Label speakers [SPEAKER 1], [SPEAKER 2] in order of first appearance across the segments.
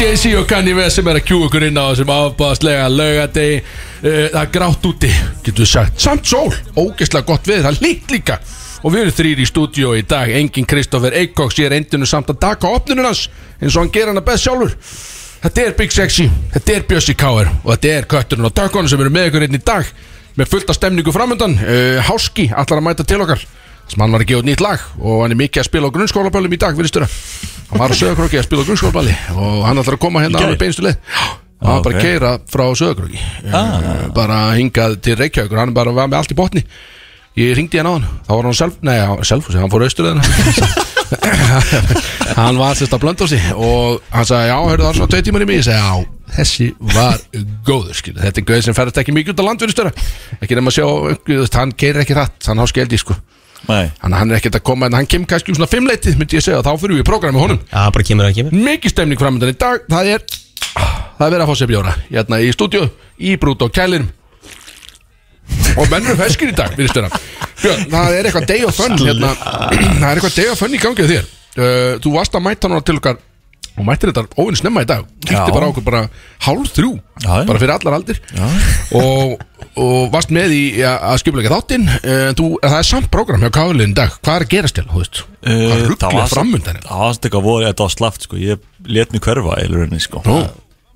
[SPEAKER 1] Jay-Z og Kanye West sem er að kjú ykkur inn á þessum afbáðslega laugadegi uh, Það er grátt úti, getur við sagt Samt sól, ógeðslega gott við, það er líkt líka Og við erum þrýr í stúdíó í dag Engin Kristoffer Eikóks, ég er endinu samt að taka opnunum hans eins og hann gera hana best sjálfur Þetta er Big Sexy, þetta er Bjössi Káir og þetta er kötturinn og tökkunum sem eru með ykkur inn í dag með fullt af stemningu framöndan uh, Háski allar að mæta til okkar þar sem hann var að gefa út nýtt lag og hann er mikið að spila á grunnskólaböllum í dag, virðistur hann var á sögurkróki að spila á grunnskólaballi og hann ætlar að koma hérna
[SPEAKER 2] Í gær? Ah,
[SPEAKER 1] alveg beinstu leið og hann bara
[SPEAKER 2] Ok.
[SPEAKER 1] keira frá sögurkróki ah. bara hingað til Reykjavíkur hann bara var með allt í botni ég ringdi hann á hann, þá var hann self, nei, á- self hann fór austurleðina hann var sérst að blönda á sig og hann sagði já, hörðu það er svona tvei tímar í mig ég sagði já, þessi var góður skilu. þetta er gauð sem ferðast ekki mikið út á landverðistöra ekki nema að sjá, þú veist, hann keirir ekki rætt hann á skeldi sko
[SPEAKER 2] Nei
[SPEAKER 1] hann, hann er ekkert að koma en hann kemur kannski um svona fimmleitið myndi ég segja, þá fyrir við í prógrami honum
[SPEAKER 3] Já, bara kemur að kemur
[SPEAKER 1] mikið stemning framöndan í dag það er, það er verið að fá sér bjóra hérna í stúdíu, í brút og kælinum og mennur feskir í dag virðist vera. Björn, það er eitthvað day of fun hérna, það er eitthvað day of fun í gangi á þér uh, þú varst að mæta núna til okkar og mættir þetta óvinn snemma í dag kýtti
[SPEAKER 2] Já.
[SPEAKER 1] bara á okkur bara hálf þrjú
[SPEAKER 2] Já, já.
[SPEAKER 1] bara fyrir allar aldir og, og varst með í að- að skiplega þáttinn uh, þú- það er samt program hjá Kálinn í dag hvað er að gerast hérna, þú veist hvað er rugglega framöndan
[SPEAKER 2] Eh, Uh, Það var stakka voru, þetta var slaft sko Ég let mig hverfa í rauninni sko
[SPEAKER 1] Nú.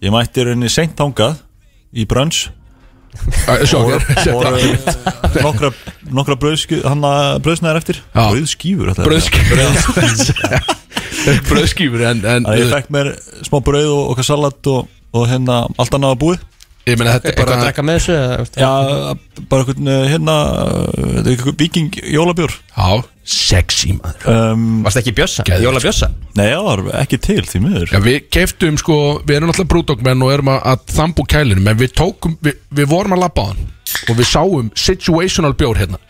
[SPEAKER 2] Ég mætti í rauninni seint þangað Í brönns
[SPEAKER 1] Sjókir
[SPEAKER 2] Nokkra, nokkra brauðsku, hann að brauðsnaðar eftir
[SPEAKER 1] Já.
[SPEAKER 2] Brauðskýfur þetta er.
[SPEAKER 1] Bröðskýfur En, en
[SPEAKER 2] Þannig að ég fekk mér smá brauð og okkar salat og, og hérna allt annað að búið
[SPEAKER 1] ég meina þetta er
[SPEAKER 3] Eitthvað að
[SPEAKER 1] bara
[SPEAKER 3] drekka með þessu eða, veist,
[SPEAKER 2] Já, bara einhvern eh, hérna eh, þetta er einhver viking jólabjór
[SPEAKER 1] Já, sexy maður
[SPEAKER 2] um,
[SPEAKER 3] Varst ekki bjössa?
[SPEAKER 1] Geðveikt.
[SPEAKER 3] Jóla bjössa?
[SPEAKER 2] Nei, já, var ekki til því miður
[SPEAKER 1] Já, við keftum sko, við erum alltaf brúdókmenn og erum að, að þambu kælinu En við tókum, við, við vorum að labba á hann Og við sáum situational bjór hérna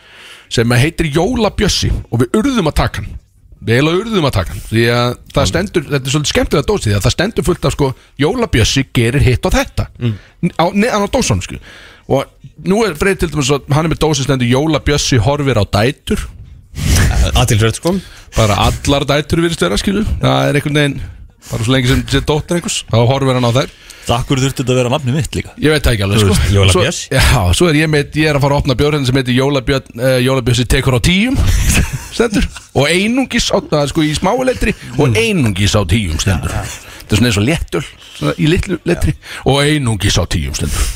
[SPEAKER 1] Sem að heitir Jóla Bjössi Og við urðum að taka hann Við eiginlega urðum að taka hann Því að það stendur, þetta er svolítið skemmtilega dósið Því að það stendur fullt af sko, Jóla Bjössi gerir hitt á þetta á, Neðan á dósanum sko Og nú er Freyr til dæmis að hann er með dósið stendur Jóla Bjössi horfir á dætur
[SPEAKER 3] Aðtilröð sko
[SPEAKER 1] bara allar dætur virðist vera skilu það er einhvern veginn bara svo lengi sem sé dóttir einhvers þá horfir hann á þær
[SPEAKER 2] Akkur þurfti þetta að vera nafni mitt líka
[SPEAKER 1] ég veit það ekki alveg
[SPEAKER 3] Þú
[SPEAKER 1] sko
[SPEAKER 3] veist, Jóla
[SPEAKER 1] Svo-
[SPEAKER 3] Björs.
[SPEAKER 1] já svo er ég með ég er að fara að opna björn sem heitir Jólabjörn uh, Jólabjörsi tekur á tíum stendur og einungis á það er sko í smáu letri og einungis á tíum stendur þetta er svona eins og léttul svona í litlu letri og einungis á tíum stendur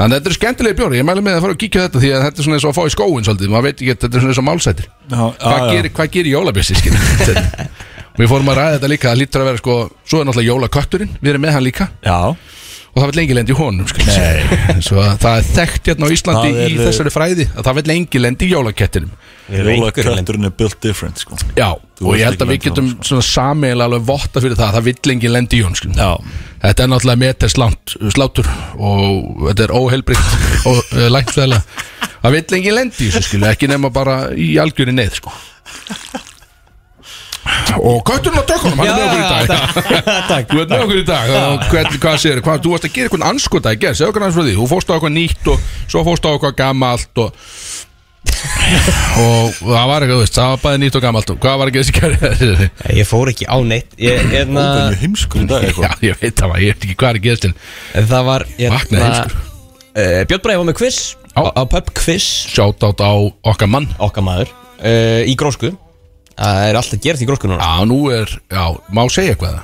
[SPEAKER 1] Þannig að þetta er skemmtilega bjóri, ég mæli með að fara að kíkja á þetta því að þetta er svona eins og að fá í skóin svolítið, maður veit ekki að þetta er svona eins og málsættir
[SPEAKER 2] Já,
[SPEAKER 1] hvað
[SPEAKER 2] já, já.
[SPEAKER 1] gerir, hvað gerir jólabjössi skilur? við fórum að ræða þetta líka það lítur að vera sko, svo er náttúrulega jólakötturinn við erum með hann líka
[SPEAKER 2] Já,
[SPEAKER 1] og það vil lengi lendi í honum skilur. svo að það er þekkt hérna á Íslandi
[SPEAKER 2] Það er-
[SPEAKER 1] í þessari fræði að það vil lengi lendi í jólakettinum
[SPEAKER 3] Við erum einhverjum lendur
[SPEAKER 2] jólakrætturinn er built different sko
[SPEAKER 1] já,
[SPEAKER 2] Þú
[SPEAKER 1] og
[SPEAKER 2] vilt
[SPEAKER 1] ég held
[SPEAKER 2] ekki
[SPEAKER 1] að við
[SPEAKER 2] lenda í
[SPEAKER 1] getum
[SPEAKER 2] honum, sko.
[SPEAKER 1] svona sameiginlega alveg votta fyrir það að það vil lengi lendi í honum skilur. þetta er náttúrulega meterslánt slátur og þetta er óheilbrikt og uh, lækfæðilega það vil lengi lendi í þessu skilur, ekki nema bara í algjörinni neð sko. og kötturinn á tökunum hann er með okkur í dag
[SPEAKER 3] Takk
[SPEAKER 1] Þú ert með okkur í dag og hvern, hvað sér, hvað, þú varst að gera eitthvað anskota í gerð, segðu okkur aðeins frá því, þú fórst á eitthvað nýtt og svo fórst á eitthvað gamalt og og það var eitthvað, þú veist, það var bæði nýtt og gamalt og hvað var ekki þessi gerð
[SPEAKER 3] Ég fór ekki á neitt Ég, hérna
[SPEAKER 2] Það er heimskur í dag
[SPEAKER 1] Já,
[SPEAKER 2] eitthvað
[SPEAKER 1] ég veit það var, ég veit ekki hvað er gerð til
[SPEAKER 3] Það var hérna,
[SPEAKER 1] Vaknaði heimskur.
[SPEAKER 3] eh, Björn Bræði var með quiz
[SPEAKER 1] Já.
[SPEAKER 3] Á, á pub quiz
[SPEAKER 1] Sjátt átt á okkar mann
[SPEAKER 3] Okkar maður uh, Í grósku Það er alltaf gerð í grósku núna
[SPEAKER 1] Já, nú er, já, má segja eitthvað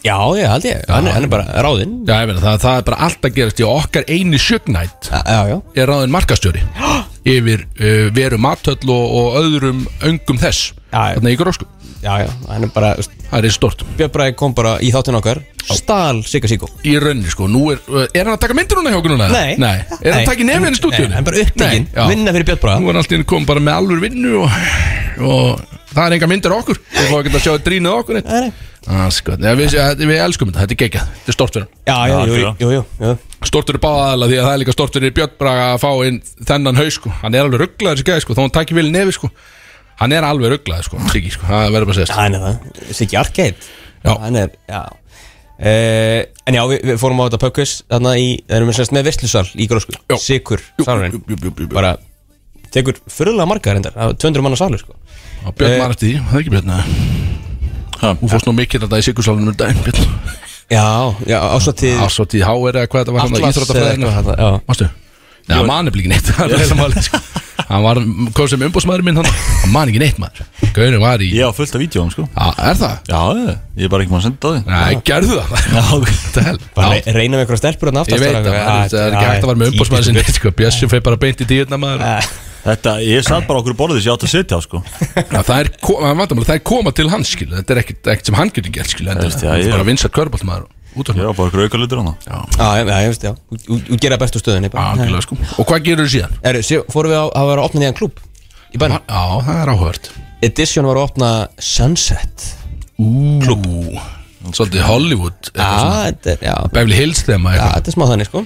[SPEAKER 3] Já, ég held ég Hann, er- hann er bara ráðinn
[SPEAKER 1] Já, ég veit það, það er bara allt að gerast í og okkar eini sjögnætt
[SPEAKER 3] Já, já
[SPEAKER 1] er ráðin markastjóri yfir uh, veru matöll og, og öðrum öngum þess
[SPEAKER 3] Já, já.
[SPEAKER 1] Þarna í grósku,
[SPEAKER 3] Já, já Hann er bara veist,
[SPEAKER 1] það er stort
[SPEAKER 3] Björn Bræði kom bara í þáttun okkar Stal Sigga Siggo
[SPEAKER 1] í raunni sko Nú er, er hann að taka myndir núna hjá okkur núna?
[SPEAKER 3] Nei.
[SPEAKER 1] Nei. Er hann að taka í nefninu stúdíunni?
[SPEAKER 3] Nei, hann er bara upptekinn.
[SPEAKER 1] Nei, já.
[SPEAKER 3] Vinna fyrir Björn Braga.
[SPEAKER 1] Nú er hann alltaf inn kom bara með alveg vinnu og, og það er enga myndir af okkur Við fáum ekki að sjá drínið af okkur neitt
[SPEAKER 3] Nei, nei.
[SPEAKER 1] ah, sko. Nei, við, við elskum þetta, þetta er gekkjað Þetta er stort fyrir hann
[SPEAKER 3] Já, já,
[SPEAKER 2] Já,
[SPEAKER 3] jú,
[SPEAKER 2] já.
[SPEAKER 3] jú, jú, jú.
[SPEAKER 1] Stort fyrir báða aðla því að það er líka stort fyrir Björn Braga að fá inn þennan haus sko Hann er alveg rugglaður þessi gæði sko, þó hann takki vel í nefi sko Hann er alveg rugglaður sko, Siggi sko, það verður bara að segja
[SPEAKER 3] Hann er það Siggi Arkeit
[SPEAKER 1] Já.
[SPEAKER 3] Hann er, já
[SPEAKER 4] Eh,
[SPEAKER 3] Uh, en já, við, við fórum á þetta pökkvist Þannig í, það erum við semst með veistlusal í grósku
[SPEAKER 1] Já.
[SPEAKER 3] Sikur,
[SPEAKER 1] Jú,
[SPEAKER 3] salurinn
[SPEAKER 1] jú, jú, jú, jú.
[SPEAKER 3] Bara, tekur fyrirlega margar reyndar Það er 200 manna salur, sko
[SPEAKER 1] Og Björn
[SPEAKER 3] Eh.
[SPEAKER 1] var eftir því, það er ekki Björn eða?
[SPEAKER 2] Ha.
[SPEAKER 1] hérna Þú fórst nú mikið þetta í Sigursalunum um daginn Björn
[SPEAKER 4] Já, já, ásatíð
[SPEAKER 1] Ársóttíð HR eða hvað þetta var hann Íþróttafræðinu Mástu? Nei, hann man nefnilega ekki neitt Það er heila málið, sko. Hann var, kom sem umbúsmaður minn hann Hann man ekki neitt maður Gauðin var í
[SPEAKER 2] Ég á fullt af vídjóum sko
[SPEAKER 1] Já, Er það?
[SPEAKER 2] Já, ég er bara ekki maður að senda það
[SPEAKER 1] Nei, gerðu það
[SPEAKER 2] Já, ok
[SPEAKER 1] Þetta hel
[SPEAKER 4] Bara re- reyna með einhverja stelpur hann
[SPEAKER 1] Ég
[SPEAKER 4] aftast
[SPEAKER 1] veit
[SPEAKER 4] bara
[SPEAKER 1] það,
[SPEAKER 4] eitthvað.
[SPEAKER 1] það er ekki hægt að vera með umbúsmaður
[SPEAKER 4] típiskt.
[SPEAKER 1] sinni sko. Bjössi fyrir bara beint í díðna maður
[SPEAKER 2] Þetta, ég satt bara okkur borðið sem ég átt að sitja á sko
[SPEAKER 1] Já, það er, ko- það er vandamál, það er koma til hans skil Þetta er ekkert ekkert sem hann getur gert skil Þetta
[SPEAKER 2] veist,
[SPEAKER 1] er
[SPEAKER 2] já,
[SPEAKER 1] hann
[SPEAKER 2] ég-
[SPEAKER 1] er bara vinsat körbált maður út af
[SPEAKER 2] Ég á bara okkur auka litur hana
[SPEAKER 4] Já, já, já, ég veist, já Þú- þú- Þú gera bestu stöðinni bara.
[SPEAKER 1] Algjörlega sko Og hvað gerur þú síðan?
[SPEAKER 4] Herru, síðan fórum við á, að vera að opna nýjan klub Í bænum
[SPEAKER 1] Já, það er áhört
[SPEAKER 4] Edition var að opna Sunset
[SPEAKER 1] Klub Svolítið Hollywood
[SPEAKER 4] Já,
[SPEAKER 1] eitthvað svona.
[SPEAKER 4] þetta er, já
[SPEAKER 1] Beverly Hills þema
[SPEAKER 4] Já,
[SPEAKER 1] eitthvað
[SPEAKER 4] þetta er smá þannig, sko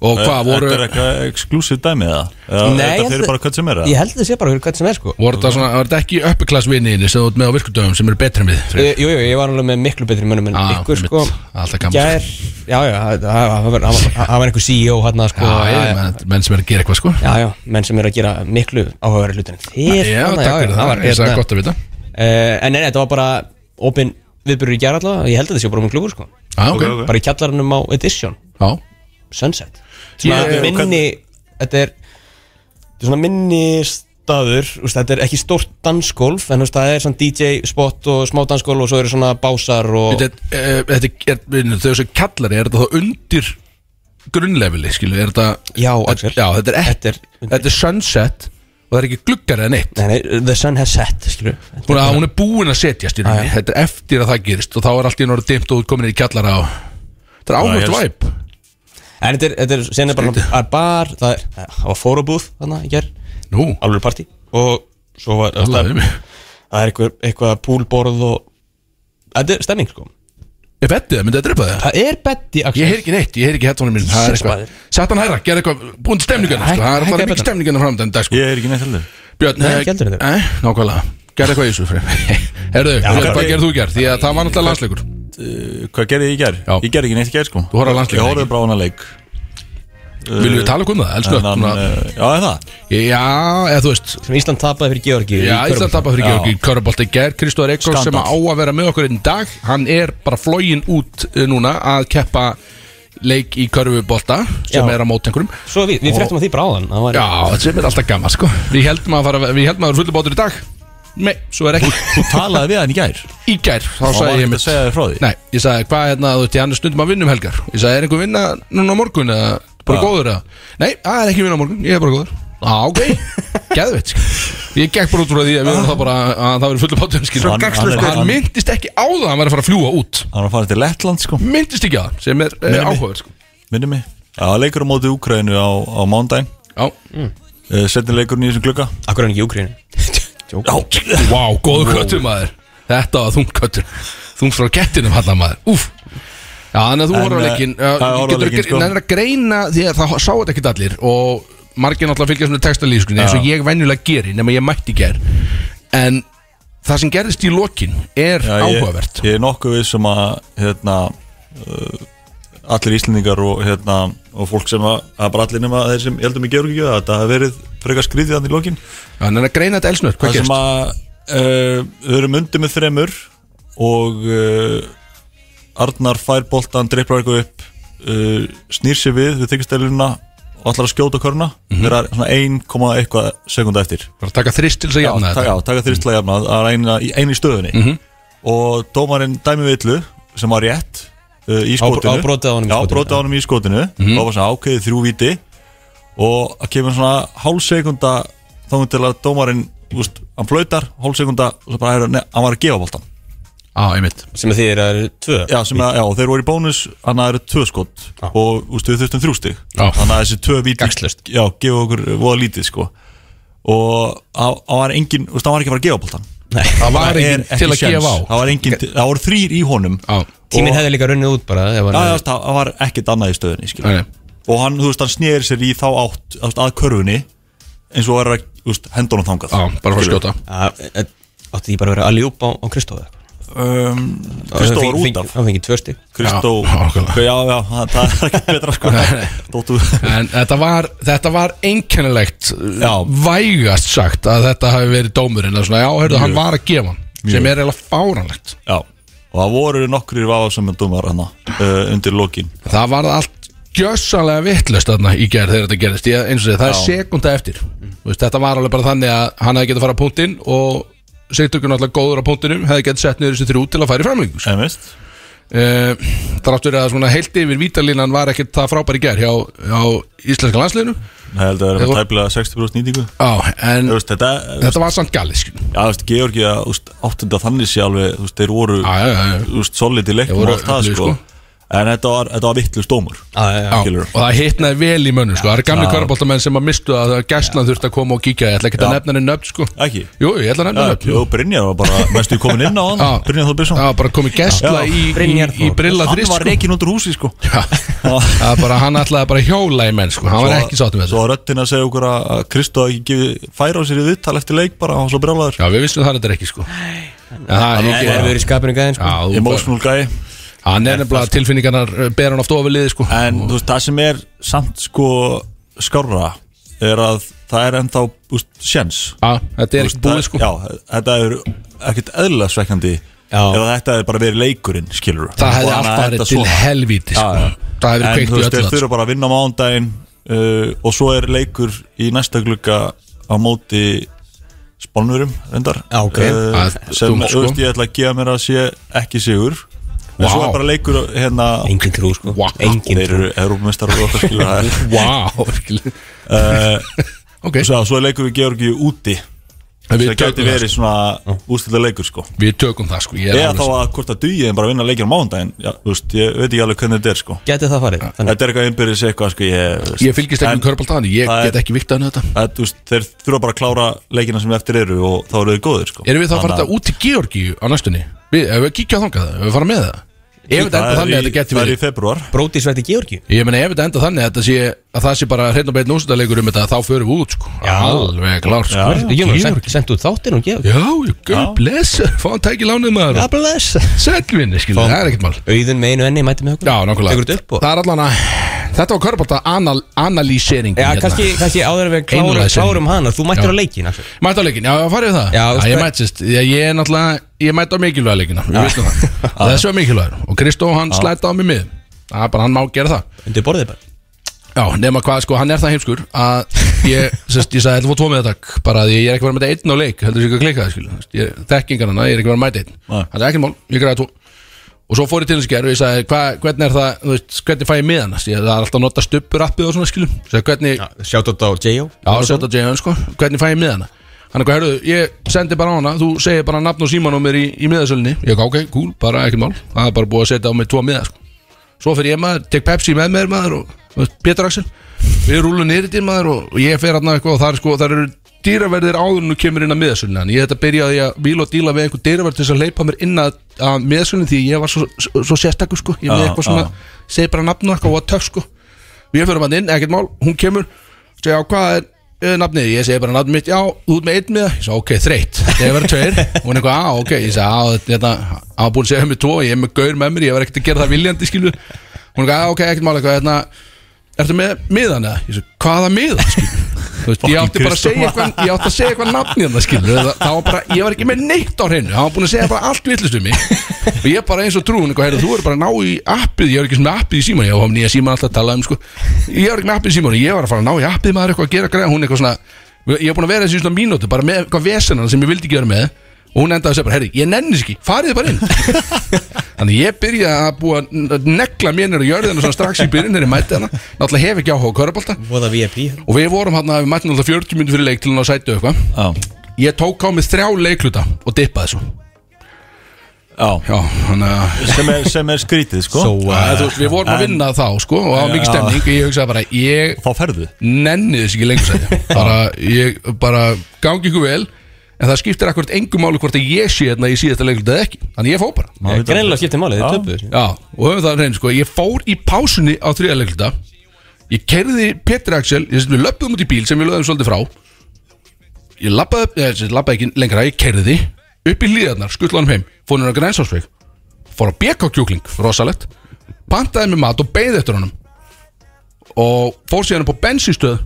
[SPEAKER 1] Og hvað voru
[SPEAKER 2] Þetta er eitthvað exclusive dæmi eða? Eða
[SPEAKER 4] ég
[SPEAKER 2] Þetta
[SPEAKER 4] held
[SPEAKER 2] fyrir
[SPEAKER 4] að-
[SPEAKER 2] bara hvað sem er
[SPEAKER 4] Ég
[SPEAKER 2] eða?
[SPEAKER 4] held að þetta sé bara hvað sem er, sko
[SPEAKER 1] Voru þetta svona, var þetta ekki uppeklassvinniðinni sem þú ert með á virkudöfum sem eru betri en við?
[SPEAKER 4] Jú, jú, ég var alveg með miklu betri mönnum en
[SPEAKER 1] Já,
[SPEAKER 4] ykkur,
[SPEAKER 1] Ah, einmitt.
[SPEAKER 4] sko
[SPEAKER 1] Alltaf gaman.
[SPEAKER 4] Gær, já, já, það- það það var- það var það var einhver CEO hann, sko
[SPEAKER 1] Já, ég, menn, menn sem er að gera eitthvað sko
[SPEAKER 4] Já, já, menn sem eru að gera miklu áhugaverið hlutin en þér
[SPEAKER 1] Já,
[SPEAKER 4] þarna,
[SPEAKER 1] takk fyrir það,
[SPEAKER 4] var
[SPEAKER 1] ég sagði
[SPEAKER 4] hérna.
[SPEAKER 1] gott að vita
[SPEAKER 4] Eh, En nei, nei, þetta var bara opinn viðbyrður í gæra allavega Ég held að þetta sé bara um klubur, sko
[SPEAKER 1] Já, ok,
[SPEAKER 2] Ok, ok.
[SPEAKER 4] Bara í kjallarunum á Edition,
[SPEAKER 1] já
[SPEAKER 4] Sunset Svona
[SPEAKER 2] Ég-
[SPEAKER 4] minni, þetta er Þetta er svona minni staður úst, Þetta er ekki stórt dansgólf En þú veist, það er svona DJ spot og smá dansgólf Og svo eru svona básar og
[SPEAKER 1] Þetta er, eh, þetta er, er þau sem kallari, er þetta þá undir grunnlefili, skilu, er þetta
[SPEAKER 4] Já, Axel.
[SPEAKER 1] Já, þetta er
[SPEAKER 4] Þetta
[SPEAKER 1] ekki,
[SPEAKER 4] er undir.
[SPEAKER 1] þetta er sunset og það er ekki gluggar eða neitt
[SPEAKER 4] Nei, nei, the sun has set, skilur
[SPEAKER 1] Hún, að, hún er búin að setjast í rauninni,
[SPEAKER 4] Já, já.
[SPEAKER 1] þetta er eftir að það gerist og þá er allt í norðu dimt og þú ert komin í kjallara og þetta er áhört
[SPEAKER 2] Já, ég-
[SPEAKER 1] væp
[SPEAKER 4] En þetta er, þetta er, sen er bara að bar Það er, það var fórubúð þannig að gera
[SPEAKER 1] Nú,
[SPEAKER 4] alveg partí og svo var
[SPEAKER 1] alla
[SPEAKER 4] það, það er eitthvað, eitthvað púlborð og þetta er stemning sko
[SPEAKER 1] Ég betti það, myndi það drepa það?
[SPEAKER 4] það er betti
[SPEAKER 1] Ég heyr ekki neitt, ég heyr ekki hettónum mín Það er
[SPEAKER 4] Jesus,
[SPEAKER 1] eitthvað,
[SPEAKER 4] maður.
[SPEAKER 1] sett hann hærra, gerð eitthvað Búin til stemningarna,
[SPEAKER 4] Hæk-
[SPEAKER 1] sko, það er
[SPEAKER 4] hækkaðu
[SPEAKER 1] bara mikið
[SPEAKER 4] betur.
[SPEAKER 1] stemningarna framöndan dag, sko
[SPEAKER 2] Ég er ekki neitt heldur
[SPEAKER 1] Björn,
[SPEAKER 4] Nei,
[SPEAKER 1] eh,
[SPEAKER 4] ekki heldur þetta.
[SPEAKER 1] eh, nákvæmlega Gerð eitthvað í þessu fyrir Herðu, Björn,
[SPEAKER 2] ok.
[SPEAKER 1] hvað gerð þú gerð? Því að það var náttúrulega landsleikur
[SPEAKER 2] Uh, Hvað gerði ég í gær?
[SPEAKER 1] Já.
[SPEAKER 2] Ég gerði ekki neitt í gær sko
[SPEAKER 1] Þú horfði á landsleik,
[SPEAKER 2] Ég
[SPEAKER 1] ekki?
[SPEAKER 2] horfði bara á hana leik
[SPEAKER 1] Viljum við tala okkur um það? Elsku
[SPEAKER 2] Eh, En hann,
[SPEAKER 1] öll
[SPEAKER 2] uh, Já, er það
[SPEAKER 1] Já, eða þú veist
[SPEAKER 4] sem Ísland tapaði fyrir Georgi
[SPEAKER 1] Já, Ísland tapar fyrir Georgi Körubolt í gær Kristóður Eikór sem á
[SPEAKER 2] Standard.
[SPEAKER 1] að vera með okkur einn dag Hann er bara flógin út eh, núna að keppa leik í Körubolta sem
[SPEAKER 4] Já.
[SPEAKER 1] er á mót einhverjum
[SPEAKER 4] svo við, við frektum að því bráðan það var,
[SPEAKER 1] Já, sem er alltaf gaman sko Við heldum að fara, við heldum að það var fullu bátur í dag Nei, svo er ekki
[SPEAKER 2] Þú talaði við hann í gær
[SPEAKER 1] Í gær, þá
[SPEAKER 2] Og var
[SPEAKER 1] sagði ég
[SPEAKER 2] ekkert að
[SPEAKER 1] mitt
[SPEAKER 2] segja þér frá því
[SPEAKER 1] Nei, ég sagði hvað hérna, þú veist, ég annars stundum að vinna um helgar Ég sagði, er einhver vinna núna á morgun eða bara
[SPEAKER 2] Já.
[SPEAKER 1] góður eða Nei, það er ekki vinna á morgun, ég er bara góður Á, ok, geðveit sko. Ég gekk bara út frá því að við erum það bara að það verið fullu bátum skil
[SPEAKER 2] Svo gagnslaust
[SPEAKER 1] Hann,
[SPEAKER 2] er-
[SPEAKER 1] hann myndist ekki á það að hann væri að fara að fljúa út
[SPEAKER 2] Hann var að fara til Lettland sko
[SPEAKER 1] Myndist ekki á það, sem er
[SPEAKER 2] Nei,
[SPEAKER 1] eh,
[SPEAKER 2] nei.
[SPEAKER 1] áhugaður sko.
[SPEAKER 2] Minni mig Já, leikur á móti Úkrainu á, á mándaginn
[SPEAKER 1] Já,
[SPEAKER 2] uh, Setni leikurinn í þessum glugga
[SPEAKER 4] akkur er hann ekki í Ukrínu
[SPEAKER 2] Já
[SPEAKER 1] vá, góður köttur maður Þetta var þung köttur Þung frá kettinum hann maður, úf Já, þannig að þú
[SPEAKER 2] En,
[SPEAKER 1] horfður á
[SPEAKER 2] eh,
[SPEAKER 1] leikinn
[SPEAKER 2] það er horfður á
[SPEAKER 1] Getur
[SPEAKER 2] leikinn, sko.
[SPEAKER 1] þú að greina því að það sáu þetta ekki allir Og margir náttúrulega fylgjast með textalýskunni Eins og ég venjulega geri, nema ég mætti ger En það sem gerðist í lokin Er áhugavert
[SPEAKER 2] ég, ég er nokkuð við sem að hérna, uh, allir Íslendingar og, hérna, og fólk sem að, að bara allir nema þeir sem ég heldum í Georgi að þetta hafi verið frekar skrýðið hann í lokin
[SPEAKER 1] Þannig að greina þetta elsnöð, hvað
[SPEAKER 2] það sem
[SPEAKER 1] gerst?
[SPEAKER 2] að uh, við erum undir með þremur og uh, Arnar fær boltan, dreipar eitthvað upp uh, snýr sér við við þykisteluna og ætlar að skjóta körna
[SPEAKER 1] Mhm.
[SPEAKER 2] mm -hmm. svona 1, komma eitthvað sekunda eftir
[SPEAKER 1] Bara taka þrist til þess að
[SPEAKER 2] já,
[SPEAKER 1] jafna
[SPEAKER 2] taka,
[SPEAKER 1] þetta
[SPEAKER 2] já, taka þrýst
[SPEAKER 4] Mm.
[SPEAKER 2] til að jafna það er eina, eina í stöðunni
[SPEAKER 4] Mhm.
[SPEAKER 2] og dómarinn dæmi villu sem var rétt uh, í
[SPEAKER 4] Á-
[SPEAKER 2] skotinu
[SPEAKER 4] á brotið á honum í
[SPEAKER 2] Já,
[SPEAKER 4] skotinu,
[SPEAKER 2] á
[SPEAKER 4] Mhm.
[SPEAKER 2] brotið á honum í skotinu og var svona ákveðið þrjú viti og það kemur svona hálf sekunda þá til að dómarinn úst, hann flautar hálf sekunda og svo bara heyrðu, nei, hann var að gefa boltan
[SPEAKER 1] Á, einmitt
[SPEAKER 4] sem að því er að það eru tvö
[SPEAKER 2] já, sem að, já, og þeir voru í bónus þannig að það eru tvö skot og úst, við þurftum þrjú stig
[SPEAKER 1] Já.
[SPEAKER 2] þannig að þessi tvö viti
[SPEAKER 4] Gagnslaust.
[SPEAKER 2] já, gefa okkur voða lítið sko og hann hann var engin, úst, hann var ekki að fara að gefa boltan
[SPEAKER 4] Nei.
[SPEAKER 1] Það var
[SPEAKER 2] er
[SPEAKER 1] enginn
[SPEAKER 2] ekki
[SPEAKER 1] til að
[SPEAKER 2] séns.
[SPEAKER 1] gefa á
[SPEAKER 2] Það var engin, til- það voru þrýr í honum
[SPEAKER 1] Á,
[SPEAKER 4] tíminn
[SPEAKER 2] Og-
[SPEAKER 4] hefði líka runnið út bara ef hann
[SPEAKER 2] Það,
[SPEAKER 4] hefði-
[SPEAKER 2] það, það var ekkert annað í stöðunni skilur.
[SPEAKER 1] Nei, nei.
[SPEAKER 2] Og hann, þú veist, hann snýr sér í þá átt þú veist, að körfunni eins og var að, þú veist, hendunum þangað
[SPEAKER 1] á, bara fyrir að skjóta
[SPEAKER 4] að- að- átti því bara að vera alveg upp á, á Kristóð
[SPEAKER 2] um, Kristó var út af
[SPEAKER 4] hann fengið tvö stig
[SPEAKER 2] Kristó,
[SPEAKER 1] Já, nákvæmlega.
[SPEAKER 2] já, já, það það er ekkert betra sko Dóttu
[SPEAKER 1] En þetta var, þetta var einkennilegt
[SPEAKER 2] Já.
[SPEAKER 1] vægast sagt að þetta hafi verið dómurinn að svona, já, heyrðu, hann var að gefa hann sem er eiginlega fáranlegt
[SPEAKER 2] Já, og það voru nokkrir vafasamöndum var hana uh, undir lokin
[SPEAKER 1] Það var allt gjössalega vittlust þarna í gerð þegar þetta gerðist ég, eins og þið, það er sekunda eftir Þú veist, þetta var alveg bara þannig að hann hefði getið að fara á punktinn og Sigtökur náttúrulega góður á punktinum hefði getið sett niður þessi þrjú til að fara í framlengu
[SPEAKER 2] en veist,
[SPEAKER 1] uh, Þrátt verið að svona heilt yfir vítalínan var ekkert það frábær í gerð hjá, hjá íslenska landsliðinu
[SPEAKER 2] það held að það
[SPEAKER 1] Ég
[SPEAKER 2] er
[SPEAKER 1] vor-
[SPEAKER 2] tæplega 60% nýtingu
[SPEAKER 1] á, en
[SPEAKER 2] Þú veist, þetta,
[SPEAKER 1] þetta var samt galið skilur.
[SPEAKER 2] já, þú veist, Georgía þú veist, áttunda þannig sé alveg, þú veist, þeir voru
[SPEAKER 1] Já, já, já, já.
[SPEAKER 2] þú veist, solid í
[SPEAKER 1] Þeir
[SPEAKER 2] leiknum
[SPEAKER 1] voru
[SPEAKER 2] og allt það,
[SPEAKER 1] öflugir,
[SPEAKER 2] sko
[SPEAKER 1] sko.
[SPEAKER 2] en þetta var, þetta var vittlust dómur
[SPEAKER 3] já,
[SPEAKER 1] Já,
[SPEAKER 2] Skilurðu?
[SPEAKER 1] og það hitnaði vel í mönnu sko. það eru gamli kvaraboltamenn sem að mistu að gæstlan þurfti að koma og kíkja, ég ætla ekki að
[SPEAKER 2] Já.
[SPEAKER 1] nefna henni nöfn sko.
[SPEAKER 2] ekki,
[SPEAKER 1] jú, ég ætla að nefna
[SPEAKER 2] já,
[SPEAKER 1] nöfn jú.
[SPEAKER 2] og Brynjar var bara mestu komin inn á hann,
[SPEAKER 1] Já.
[SPEAKER 2] Brynjar Þór Björnsson
[SPEAKER 1] það var bara komið gæstla
[SPEAKER 2] Já.
[SPEAKER 1] í, í,
[SPEAKER 3] Brynjar
[SPEAKER 1] í
[SPEAKER 3] Þór.
[SPEAKER 1] brilla
[SPEAKER 2] hann
[SPEAKER 1] þrist
[SPEAKER 2] var
[SPEAKER 1] sko.
[SPEAKER 2] reikin út úr húsi, sko
[SPEAKER 1] Já.
[SPEAKER 2] Já.
[SPEAKER 1] Það er bara, hann ætlaði bara að hjóla í menn sko. hann var ekki sáttum með
[SPEAKER 2] Svo
[SPEAKER 1] þetta
[SPEAKER 2] var röddin að segja okkur að að Kristó hafi ekki gefið færa á sér í viðtal eftir leik bara, hann var svo brjálaður
[SPEAKER 1] já, við vissum það þetta ekki sko. en það er
[SPEAKER 3] Það hefur
[SPEAKER 1] ekki
[SPEAKER 3] verið skapinu gæðin sko.
[SPEAKER 1] Já, þú bara-
[SPEAKER 2] Emotional guy
[SPEAKER 1] hann er nefnilega tilfinningarnar uh, ber hann oft ofið liði sko.
[SPEAKER 2] En þú veist, það sem er samt sko skárra er að það er ennþá úst, sjens
[SPEAKER 1] Já, þetta er ekki búið
[SPEAKER 2] Það-
[SPEAKER 1] sko.
[SPEAKER 2] Já, þetta er ekkert eðlilega svekkandi
[SPEAKER 3] Já.
[SPEAKER 2] ef að þetta er bara verið leikurinn, skilur
[SPEAKER 1] það hefði allt farið til helvíti
[SPEAKER 2] Já, já.
[SPEAKER 1] sko. það hefði
[SPEAKER 2] En
[SPEAKER 1] verið
[SPEAKER 2] þú veist,
[SPEAKER 1] kveikt í
[SPEAKER 2] þeir
[SPEAKER 1] öllu sko.
[SPEAKER 2] þurfa bara að vinna mándaginn uh, og svo er leikur í næsta glugga á móti spánurum, reyndar
[SPEAKER 3] Já, ok.
[SPEAKER 2] uh,
[SPEAKER 1] Að-
[SPEAKER 2] sem,
[SPEAKER 1] þú-
[SPEAKER 2] þú
[SPEAKER 1] sko.
[SPEAKER 2] veist, ég ætla að gefa mér að sé ekki sigur en
[SPEAKER 1] Vá.
[SPEAKER 2] svo er bara leikur hérna
[SPEAKER 3] Engin trú sko
[SPEAKER 1] Wow.
[SPEAKER 3] Engin
[SPEAKER 2] þeir
[SPEAKER 3] trú
[SPEAKER 2] eru európmestrar og okkar skilur það er.
[SPEAKER 1] wow, virkilega.
[SPEAKER 2] uh,
[SPEAKER 1] ok,
[SPEAKER 2] svo, svo er leikur við Georgi úti
[SPEAKER 1] við
[SPEAKER 2] sem gæti
[SPEAKER 1] tökum það sko.
[SPEAKER 2] verið svona ústilda leikur sko
[SPEAKER 1] Við tökum það sko Ég er
[SPEAKER 2] eða
[SPEAKER 1] alveg
[SPEAKER 2] þá
[SPEAKER 1] sem-
[SPEAKER 2] að hvort að dugi en bara að vinna leikir á mándaginn já, þú veist, ég veit ekki alveg hvernig þetta er sko
[SPEAKER 3] Gæti það farið Þannig
[SPEAKER 2] þetta er eitthvað innbyrðis eitthvað sko ég, þú veist.
[SPEAKER 1] Mm. Ég fylgist ekki
[SPEAKER 2] En-
[SPEAKER 1] um körbáltaðan Ég
[SPEAKER 2] það
[SPEAKER 1] get
[SPEAKER 2] er-
[SPEAKER 1] ekki viktað henni þetta
[SPEAKER 2] að, þú veist, þeir þurfa bara að klára leikina sem eftir eru og þá eru þau góðir sko.
[SPEAKER 1] Erum við þá að fara þetta út til Georgíu á næstunni? Við, ef við kíkja þangað, ef við fara með það Ef þetta enda þannig að þetta geti
[SPEAKER 2] Það er í
[SPEAKER 1] verið
[SPEAKER 2] februar
[SPEAKER 3] Bróti svætti Georgi
[SPEAKER 1] Ég meina ef þetta enda þannig að þetta sé Að það sé bara hreinn og beinn úrstæðleikur um þetta Þá förum við út sko
[SPEAKER 3] Já.
[SPEAKER 1] Alveg klart sko
[SPEAKER 2] Já.
[SPEAKER 3] Ég var sent- sendt út þáttir og Georgi
[SPEAKER 1] Já, God bless Fá hann tæki lánið maður
[SPEAKER 3] God bless
[SPEAKER 1] Sællvinni, skilja, það er ekkert mál
[SPEAKER 3] Auðun með einu enni mæti með okkur
[SPEAKER 1] Já,
[SPEAKER 3] Tekur þetta
[SPEAKER 1] nákvæmlega
[SPEAKER 3] upp og
[SPEAKER 1] Það er allan að Þetta var körbálta anal, analýsering Hérna.
[SPEAKER 3] Já,
[SPEAKER 2] hérna.
[SPEAKER 3] kannski, kannski áður en við klárum,
[SPEAKER 1] Einlæg sem-
[SPEAKER 3] klárum hana Þú mættir á leikin Axel.
[SPEAKER 1] Mæta á leikin, já, farið við það
[SPEAKER 3] Já,
[SPEAKER 1] ég
[SPEAKER 3] sko-
[SPEAKER 1] mætist, ég, ég er náttúrulega Ég mæta á mikilvæga leikina, við vissum það Og Þessi var mikilvægur og Kristó hann slæta á mig mið Það er bara, hann má gera það
[SPEAKER 3] Undir borðið bara
[SPEAKER 1] Já, nema hvað, sko, hann er það heimskur Að ég, sérst, ég sagði, ætla að fá tvo með þetta Bara að ég er ekki verið að mæta einn á leik Heldur sér ekki að klika það, skilja Þú veist, ég- Þekkingar hana, ég er ekki verið að mæta einn
[SPEAKER 2] Nei.
[SPEAKER 1] Það er ekki mál, ég græði tvo Og svo fór ég til hans í gær og ég sagði, hva, hvernig er það, þú veist, hvernig fæ ég með hann? Það er alltaf að nota stuppurappið og svona skilum. Sagði, hvernig,
[SPEAKER 3] Sjátt á J.O.
[SPEAKER 1] Já, sjátt að J.M. sko, hvernig fæ ég með hana? Hann eitthvað, herruðu, ég sendi bara á hana, þú segir bara nafn og síman á mér í, í miðasölunni Ég ekki, ok, cool, bara ekkert mál, það er bara búið að setja á mig tvo miða sko Svo fyrir ég maður, tek Pepsi með mér maður og þú veist, Pétur Axel Við rúlum niður til maður og, og ég fer hann eitthvað og þar sko, þar eru dýraverðir áður en þú kemur inn að miðasölunni Þannig ég þetta byrjaði að bíla og díla við einhver dýraverð til þess að leipa mér inn að, að miðasölunni því ég var svo, svo, svo sérstakur sko, ég
[SPEAKER 2] Já,
[SPEAKER 1] með eitthvað svona,
[SPEAKER 2] já.
[SPEAKER 1] segi bara nafn og eitthvað og að töff sko Við fyrir hann inn, ekkert mál, hún kemur Segja á hvað er, er nafnið Ég segi bara nafnið mitt, já, þú ert með einn með það Ég segi ok, þreytt, þegar verður tveir Hún er eitthvað, á ok, ég segi á, þetta Á búin að segja með tvo, ég er með gaur með mér Ég var ekkert að gera það viljandi, skilu Hún er eitthvað, á ok, ekkert mál, eitthvað, hérna Ertu með miðan eða? Ég segi, hvaða miðan, skilu Þú veist, ég átti bara að segja eitthvað Ég átti að segja eitthvað nafn í hann, skilu það, það var bara, Ég var ekki með neitt á hreinu Það var búin að segja bara allt villust um mig Og ég bara eins og trúin, eitthvað, heyrðu, þú er bara að ná í appið Ég var ekki sem með appið í síman Ég var nýja síman alltaf að tala um, sko Ég var ekki með appið í síman Ég var að fara að ná í appið maður eitthvað að gera greið Hún eitthvað svona, ég var búin að vera þessi svona mínútu Bara með eitthvað vesenan sem ég vildi ekki vera með Og hún endaði að segja bara, herri, ég nenni þess ekki, farið þið bara inn Þannig ég byrja að búa að negla mér nýra jörðina svona strax í byrjun þegar ég mæti hana Náttúrulega hef ekki áhuga á körubólta
[SPEAKER 3] Voða VIP
[SPEAKER 1] Og við vorum hann að við mættum alltaf 40 minnum fyrir leik til hann á sæti og eitthvað
[SPEAKER 2] Já,
[SPEAKER 1] Ég tók á mig þrjá leikluta og dippaði svo
[SPEAKER 2] já
[SPEAKER 1] Já, hann að
[SPEAKER 2] sem er, sem er skrítið sko
[SPEAKER 3] So, uh,
[SPEAKER 1] Þú veist, Við vorum að
[SPEAKER 2] en-
[SPEAKER 1] vinna þá sko og það var mikið
[SPEAKER 2] Já.
[SPEAKER 1] stemning og ég hugsaði bara ég
[SPEAKER 2] Þá ferðu
[SPEAKER 1] nenni þess ekki lengur sæti bara, ég, bara gangi ykkur vel en það skiptir akkurat engum máli hvort að ég sé hérna í síðasta leikluta eða ekki Þannig ég fór bara
[SPEAKER 2] Maður veit
[SPEAKER 3] Greinlega skiptir málið,
[SPEAKER 2] Já.
[SPEAKER 3] þið töpuðu þessu.
[SPEAKER 1] Já, og höfum það reynd sko Ég fór í pásunni á þriða leikluta Ég kerði Petri Axel ég, Við löpum út í bíl sem við lögum svolítið frá Ég labbaði, eða, sem sagt, labbaði ekki lengra Ég kerði upp í hlýðarnar Skullanum heim, fór hann að grænsásveik Fór á BK kjúkling, rosalegt Pantaði mér mat og beigði eftir honum Og fór síðan upp á hérna, bensinstöð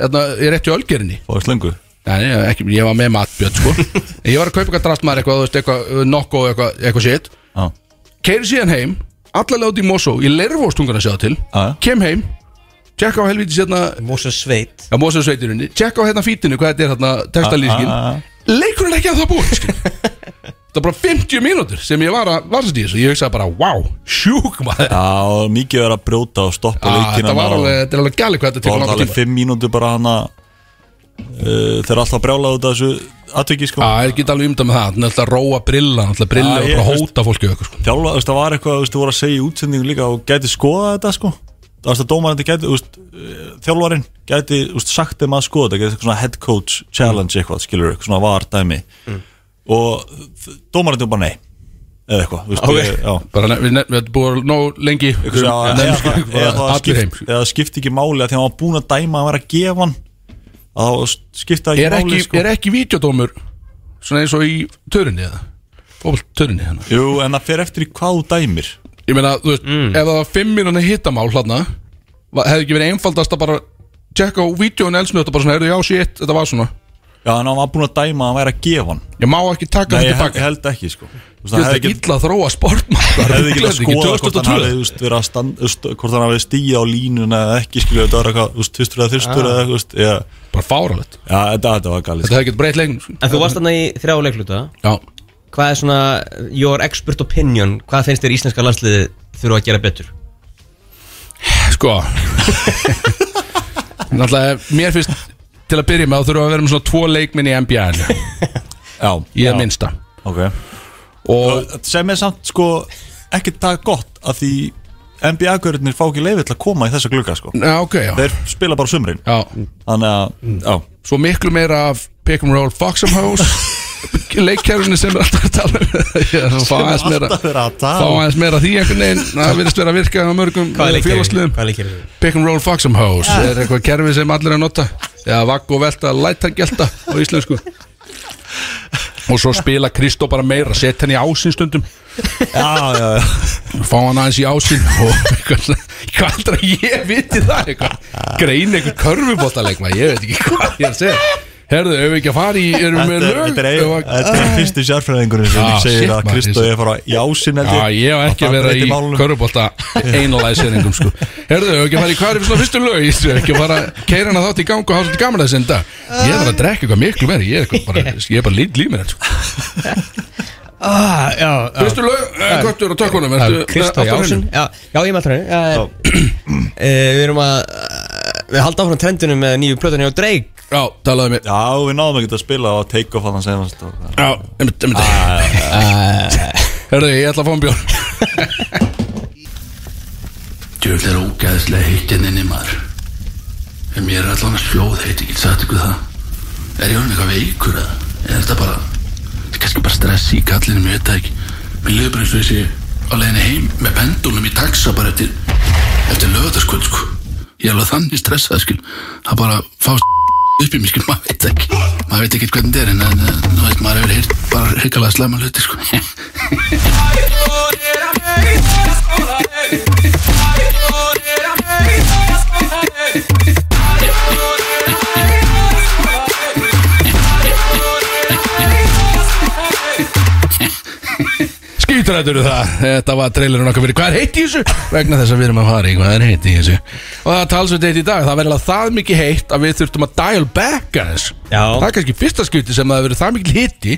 [SPEAKER 1] Þarna, ég rétti ölgerinni
[SPEAKER 2] Fáðu slöngu
[SPEAKER 1] Nei, nei, ekki, ég var með matbjörn sko En Ég var að kaupa eitthvað drastmaður eitthvað, þú veist, eitthvað, eh, nokko eitthvað, eitthvað shit
[SPEAKER 2] Já.
[SPEAKER 1] Keiri síðan heim Allalega út í Mosó Í Lervóstungana sjá til
[SPEAKER 2] Já.
[SPEAKER 1] Kem heim Tjekka á helviti sérna
[SPEAKER 3] Moses Sveit
[SPEAKER 1] Já, Mosó-sveiturinni Tjekka á hérna fítinu Hvað þetta er hérna Textalýskin
[SPEAKER 2] Ah, ah, ah.
[SPEAKER 1] Leikurinn er ekki að það búið skilur. Það er bara 50 mínútur Sem ég var að varsast í þessu Ég hugsaði bara Wow, sjúk maður
[SPEAKER 2] Já, mikið er að brjóta og stoppa
[SPEAKER 1] Ah,
[SPEAKER 2] Ah, leikina
[SPEAKER 1] Þetta var alveg, þetta er alveg gæli hvað þetta
[SPEAKER 2] Það
[SPEAKER 1] tekur
[SPEAKER 2] var
[SPEAKER 1] langt
[SPEAKER 2] alveg
[SPEAKER 1] tíma
[SPEAKER 2] fimm mínútur bara hana uh, Þeir eru alltaf brjálaði út af þessu atviki sko
[SPEAKER 1] Já, Ah, ég get alveg umdæð með það, hann er alltaf að róa brilla hann er alltaf að brilla
[SPEAKER 2] Já,
[SPEAKER 1] og
[SPEAKER 2] Ah, ég
[SPEAKER 1] bara
[SPEAKER 2] veist-
[SPEAKER 1] hóta fólki og eitthvað sko.
[SPEAKER 2] Þjálfa, þú veist, það var eitthvað, þú veist, þú voru að segja í útsendingu líka og gæti skoða þetta sko Það veist að dómarandi gæti, þú veist, eh, þjálfarinn gæti, þú veist, sagt þeim að skoða þetta gæti eitthvað svona head coach challenge eitthvað, skilur eitthvað svona var dæmi og þ- dómarandi var bara nei eða eitthvað, þú veist,
[SPEAKER 3] Ok.
[SPEAKER 2] ég, já
[SPEAKER 1] bara, ne- við, ne- við erum búin nóg lengi
[SPEAKER 2] Eitthvað sem að-
[SPEAKER 1] Nefnum
[SPEAKER 2] eða
[SPEAKER 1] skil-
[SPEAKER 2] það- eða
[SPEAKER 1] bara
[SPEAKER 2] það
[SPEAKER 1] allir heim
[SPEAKER 2] skipt- eða það skipti ekki máli að því að hann var búin að dæma að vera að gefa hann að þá skipta ekki
[SPEAKER 1] er
[SPEAKER 2] máli sko.
[SPEAKER 1] ekki, er ekki videodómur svona eins og í törinni eða fólk törinni hérna
[SPEAKER 2] Jú, en það fer eftir í hvað þú dæmir
[SPEAKER 1] ég meina, þú veist,
[SPEAKER 2] Mm.
[SPEAKER 1] ef það var fimm mínúna hittamál hérna, va- hefði ekki verið einfaldast að bara tjekka á videóinu elsmið þetta bara svona, heyrðu, já, shit, þetta var svona
[SPEAKER 2] Já, en hann var búin að dæma að hann væri að gefa hann
[SPEAKER 1] ég má ekki taka
[SPEAKER 2] Nei,
[SPEAKER 1] þetta
[SPEAKER 2] ég
[SPEAKER 1] tilbaka
[SPEAKER 2] held,
[SPEAKER 1] ég
[SPEAKER 2] ég held ekki, sko Þú veist,
[SPEAKER 1] held
[SPEAKER 2] Það
[SPEAKER 1] að
[SPEAKER 2] hefði ekki,
[SPEAKER 1] illa að þróa sportmann
[SPEAKER 2] hefði ekki að skoða hvort hann hafi,
[SPEAKER 1] 2002
[SPEAKER 2] þú veist, verið að standa st- hvort hann hafi stíð á línuna eða ekki, skilja þetta var eitthvað, þú veist, tvistur eða þyrstur eða, þú veist, já,
[SPEAKER 1] bara fáralegt,
[SPEAKER 2] já, þetta, þetta var galið
[SPEAKER 1] Ah. þetta hefði ekki breytt lengur
[SPEAKER 4] En þú varst þarna í þrjá leikluta
[SPEAKER 1] já,
[SPEAKER 4] Hvað er svona your expert opinion Hvað finnst þér íslenska landsliði þurfa að gera betur?
[SPEAKER 1] sko náttúrulega, mér finnst til að byrja með þá þurfum við að vera með svona tvo leikminn í NBA-inu
[SPEAKER 2] Já,
[SPEAKER 1] í
[SPEAKER 2] já,
[SPEAKER 1] það minnsta
[SPEAKER 2] ok
[SPEAKER 1] og
[SPEAKER 2] Og sem er samt, sko, ekki það gott að því NBA-görðinir fá ekki leiði til að koma í þessa glugga, sko
[SPEAKER 1] Já, ok, já.
[SPEAKER 2] Þeir spila bara á sumrin
[SPEAKER 1] já Mm.
[SPEAKER 2] Þannig að, já,
[SPEAKER 1] Svo miklu meira af pick and roll Foxham House leikkerfinu sem er alltaf að tala um Ég er að fá aðeins meira
[SPEAKER 2] alltaf verið að
[SPEAKER 1] fá
[SPEAKER 2] tala
[SPEAKER 1] aðeins meira af því einhvern veginn það virðist vera að virka á mörgum
[SPEAKER 4] Hvað leikir
[SPEAKER 1] félagsliðum
[SPEAKER 4] Hvað leikir þér?
[SPEAKER 1] pick and roll Foxham House er eitthvað kerfi sem allir er að nota eða vagg og velta lætan gelta á íslensku og svo spila Kristó bara meira setja henni í ásinn stundum
[SPEAKER 2] Já, já, já
[SPEAKER 1] fá hann aðeins í ásinn og eitthvað svona- hvað heldur að ég viti það eitthvað, grein eitthvað körfubóttalegma, ég veit ekki hvað ég er að segja herðu, ef við ekki að fara í, erum við með
[SPEAKER 2] Þetta er-
[SPEAKER 1] lög
[SPEAKER 2] þetta er ein-
[SPEAKER 1] Eigum við að-
[SPEAKER 2] þetta er fyrsti sérfræðingurinn sem
[SPEAKER 1] Ah,
[SPEAKER 2] segir
[SPEAKER 1] shit,
[SPEAKER 2] að
[SPEAKER 1] maður,
[SPEAKER 2] Kristó
[SPEAKER 1] þessi-
[SPEAKER 2] er fara í ásin
[SPEAKER 1] Já, ég á ekki að vera í körubólta einalæseringum sko. Herðu, ef ekki að fara í hvað er fyrir svona fyrstu lög Ég er ekki að fara að keira hana þátt í gang og hafa svolítið gaman að þessi en dag Ég er bara að drekka eitthvað miklu verið Ég er eitthvað bara, ég er bara línd límir sko.
[SPEAKER 4] Ah, já, já
[SPEAKER 1] Fyrstu lög, eh, köttur og tökkunum ertu- eh, aftur
[SPEAKER 4] Kristó
[SPEAKER 1] á
[SPEAKER 4] Jásson
[SPEAKER 1] hreinu?
[SPEAKER 4] já, já, ég með alltaf henni Við erum að eh, Við halda áfram trendunum með nýju plötunni á Drake
[SPEAKER 1] Já, talaðu mig
[SPEAKER 2] Já, við náðum ekki að spila á take-off hann senast og-
[SPEAKER 1] Já, einmitt, einmitt Herðu, ég ætla að fá um bjórn
[SPEAKER 5] Djöfn er ógæðislega heitt en inni maður En mér er allan að sjóð heitt, ég get sagt ykkur það Er ég orðin eitthvað veikur eða? Eða er þetta bara, þetta er kannski bara stress í kallinu, mér veit það ekki Mér liður bara eins og ég sé á leiðinni heim með pendulum í taxa bara eftir Eftir lögðarskvöld sko Ég er alveg þannig stressað skil Það bara fást upp í mér skil, maður veit ekki Maður veit ekki hvernig þetta er en, en, en þú veist, maður hefur heyrt bara hrikalega slæma hluti sko
[SPEAKER 1] Skýtrættur eru það, þetta var trailerun okkar fyrir hvað er heitt í þessu vegna þess að við erum að fara í hvað er heitt í þessu og það er talsveit heitt í dag, það verður alveg það mikið heitt að við þurftum að dial back aðeins
[SPEAKER 4] Já.
[SPEAKER 1] það er kannski fyrsta skipti sem það hefur verið það mikil hitti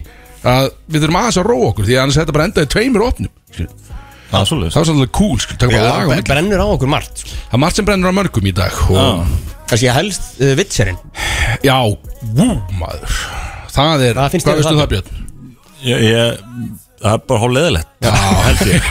[SPEAKER 1] að við þurfum aðeins að róa okkur því að annars þetta bara endaði í tveimur opnum skilur.
[SPEAKER 2] Það er svolítið
[SPEAKER 1] það var svolítið cool, skil, taka bara lag á
[SPEAKER 4] Það
[SPEAKER 1] milli.
[SPEAKER 4] brennur á okkur margt sko.
[SPEAKER 1] það er margt sem brennur á mörgum í dag og
[SPEAKER 4] Kannski helst uh, vitserinn
[SPEAKER 1] já, vú maður það er,
[SPEAKER 4] Hvað finnst
[SPEAKER 1] hvað
[SPEAKER 4] þér um
[SPEAKER 1] veistu
[SPEAKER 4] það,
[SPEAKER 1] það Björn?
[SPEAKER 2] Ég, ég, það er bara hálf leðilegt
[SPEAKER 1] Já, held ég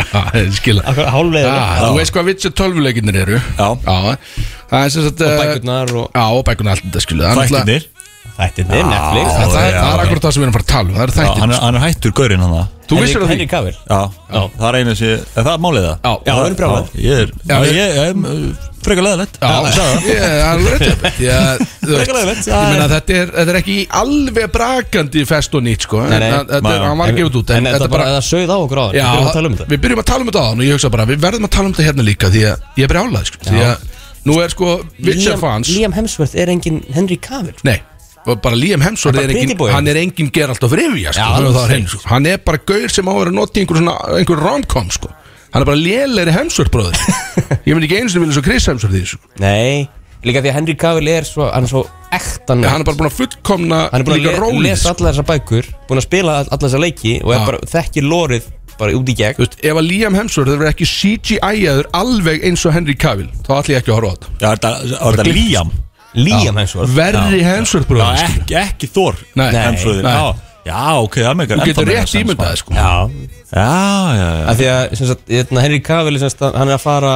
[SPEAKER 1] Já, skilja
[SPEAKER 4] Hálflega
[SPEAKER 1] Já, þú veist hvað Witcher 12 leikinnir eru
[SPEAKER 2] Já.
[SPEAKER 1] Það er sem sagt Og
[SPEAKER 4] Bækurnar og
[SPEAKER 1] Já, og bækurnar allt þetta skilu Það er náttúrulega-
[SPEAKER 2] Þættinir
[SPEAKER 4] Þættinni, Netflix
[SPEAKER 1] Það, það, er-
[SPEAKER 2] Já,
[SPEAKER 1] það er
[SPEAKER 2] já.
[SPEAKER 1] akkurat það sem við erum að fara að tala um, Það er
[SPEAKER 2] Já, hann,
[SPEAKER 1] þættir
[SPEAKER 2] er- hann er hættur gaurinn hann það
[SPEAKER 1] Þú vissir það því
[SPEAKER 4] Henry Cavill
[SPEAKER 2] Já, það er einu sem, er það málið það?
[SPEAKER 1] Já. Já,
[SPEAKER 4] það er brjálað.
[SPEAKER 2] Já, Ég er,
[SPEAKER 1] Já,
[SPEAKER 2] ég, ég, ég er mm, frekar leðilegt
[SPEAKER 1] Já, ég- það er alveg rétt hjá þér. Því að, þú veist,
[SPEAKER 4] Frekar leiðilegt,
[SPEAKER 1] Ég
[SPEAKER 4] það
[SPEAKER 1] meina þetta er, þetta er ekki í alveg brakandi fest og nýtt sko
[SPEAKER 4] Nei, nei.
[SPEAKER 1] En Þetta er,
[SPEAKER 2] Nei.
[SPEAKER 1] hann var gefið út
[SPEAKER 4] En þetta bara, það sögð á okkur á
[SPEAKER 1] Já,
[SPEAKER 4] Við erum að tala um þetta
[SPEAKER 1] við byrjum að tala um þetta áðan og ég hugsa bara Við verðum að tala um þetta hérna líka því að ég er brjálað sko Því að nú er sko Witcher
[SPEAKER 4] Liam,
[SPEAKER 1] fans
[SPEAKER 4] Liam Hemsworth er engin Henry Cavill
[SPEAKER 1] Nei, bara Liam Hemsworth
[SPEAKER 4] Bara
[SPEAKER 1] er engin,
[SPEAKER 4] pretty boy.
[SPEAKER 1] hann er engin geralt of rifja sko,
[SPEAKER 4] Já,
[SPEAKER 1] þannig að það er
[SPEAKER 4] alveg
[SPEAKER 1] hreinu, sko. hann er bara gaur sem á að vera að nota í einhver, svona- einhver romcom sko. hann er bara lélegri Hemsworth bróður ég myndi ekki einu sinni vilja svo Chris Hemsworth í þessu sko.
[SPEAKER 4] Nei, líka því að Henry Cavill er svo, hann er svo ektan
[SPEAKER 1] hann er bara búin að fullkomna
[SPEAKER 4] hann er búin
[SPEAKER 1] líka
[SPEAKER 4] að le
[SPEAKER 1] rólið,
[SPEAKER 4] lesa
[SPEAKER 1] sko.
[SPEAKER 4] allar þessar bækur búin að spila all- allar þessar leiki og
[SPEAKER 1] Já.
[SPEAKER 4] er bara, þekkir lórið bara út í gegn
[SPEAKER 1] Þú veist, ef að Liam Hemsworth verður ekki CGI-aður alveg eins og Henry Cavill þá ætlum ég ekki að horfa á þetta
[SPEAKER 2] Já, er þetta- er þetta Liam?
[SPEAKER 4] Liam Hemsworth
[SPEAKER 1] verri Hemsworth sko.
[SPEAKER 2] Já,
[SPEAKER 1] bróður
[SPEAKER 2] ekki, ekki Þór
[SPEAKER 1] Nei.
[SPEAKER 2] Hemsworth.
[SPEAKER 1] Nei.
[SPEAKER 2] Já, já, ok, það meikar
[SPEAKER 1] Þú
[SPEAKER 2] ennþá
[SPEAKER 1] getur
[SPEAKER 2] meira
[SPEAKER 1] rétt
[SPEAKER 2] sens,
[SPEAKER 1] ímyndað
[SPEAKER 2] maður.
[SPEAKER 1] þér, sko.
[SPEAKER 4] Já,
[SPEAKER 2] Já, já, já
[SPEAKER 4] af því að sem sagt, hérna, Henry Cavill sem sagt, hann er að fara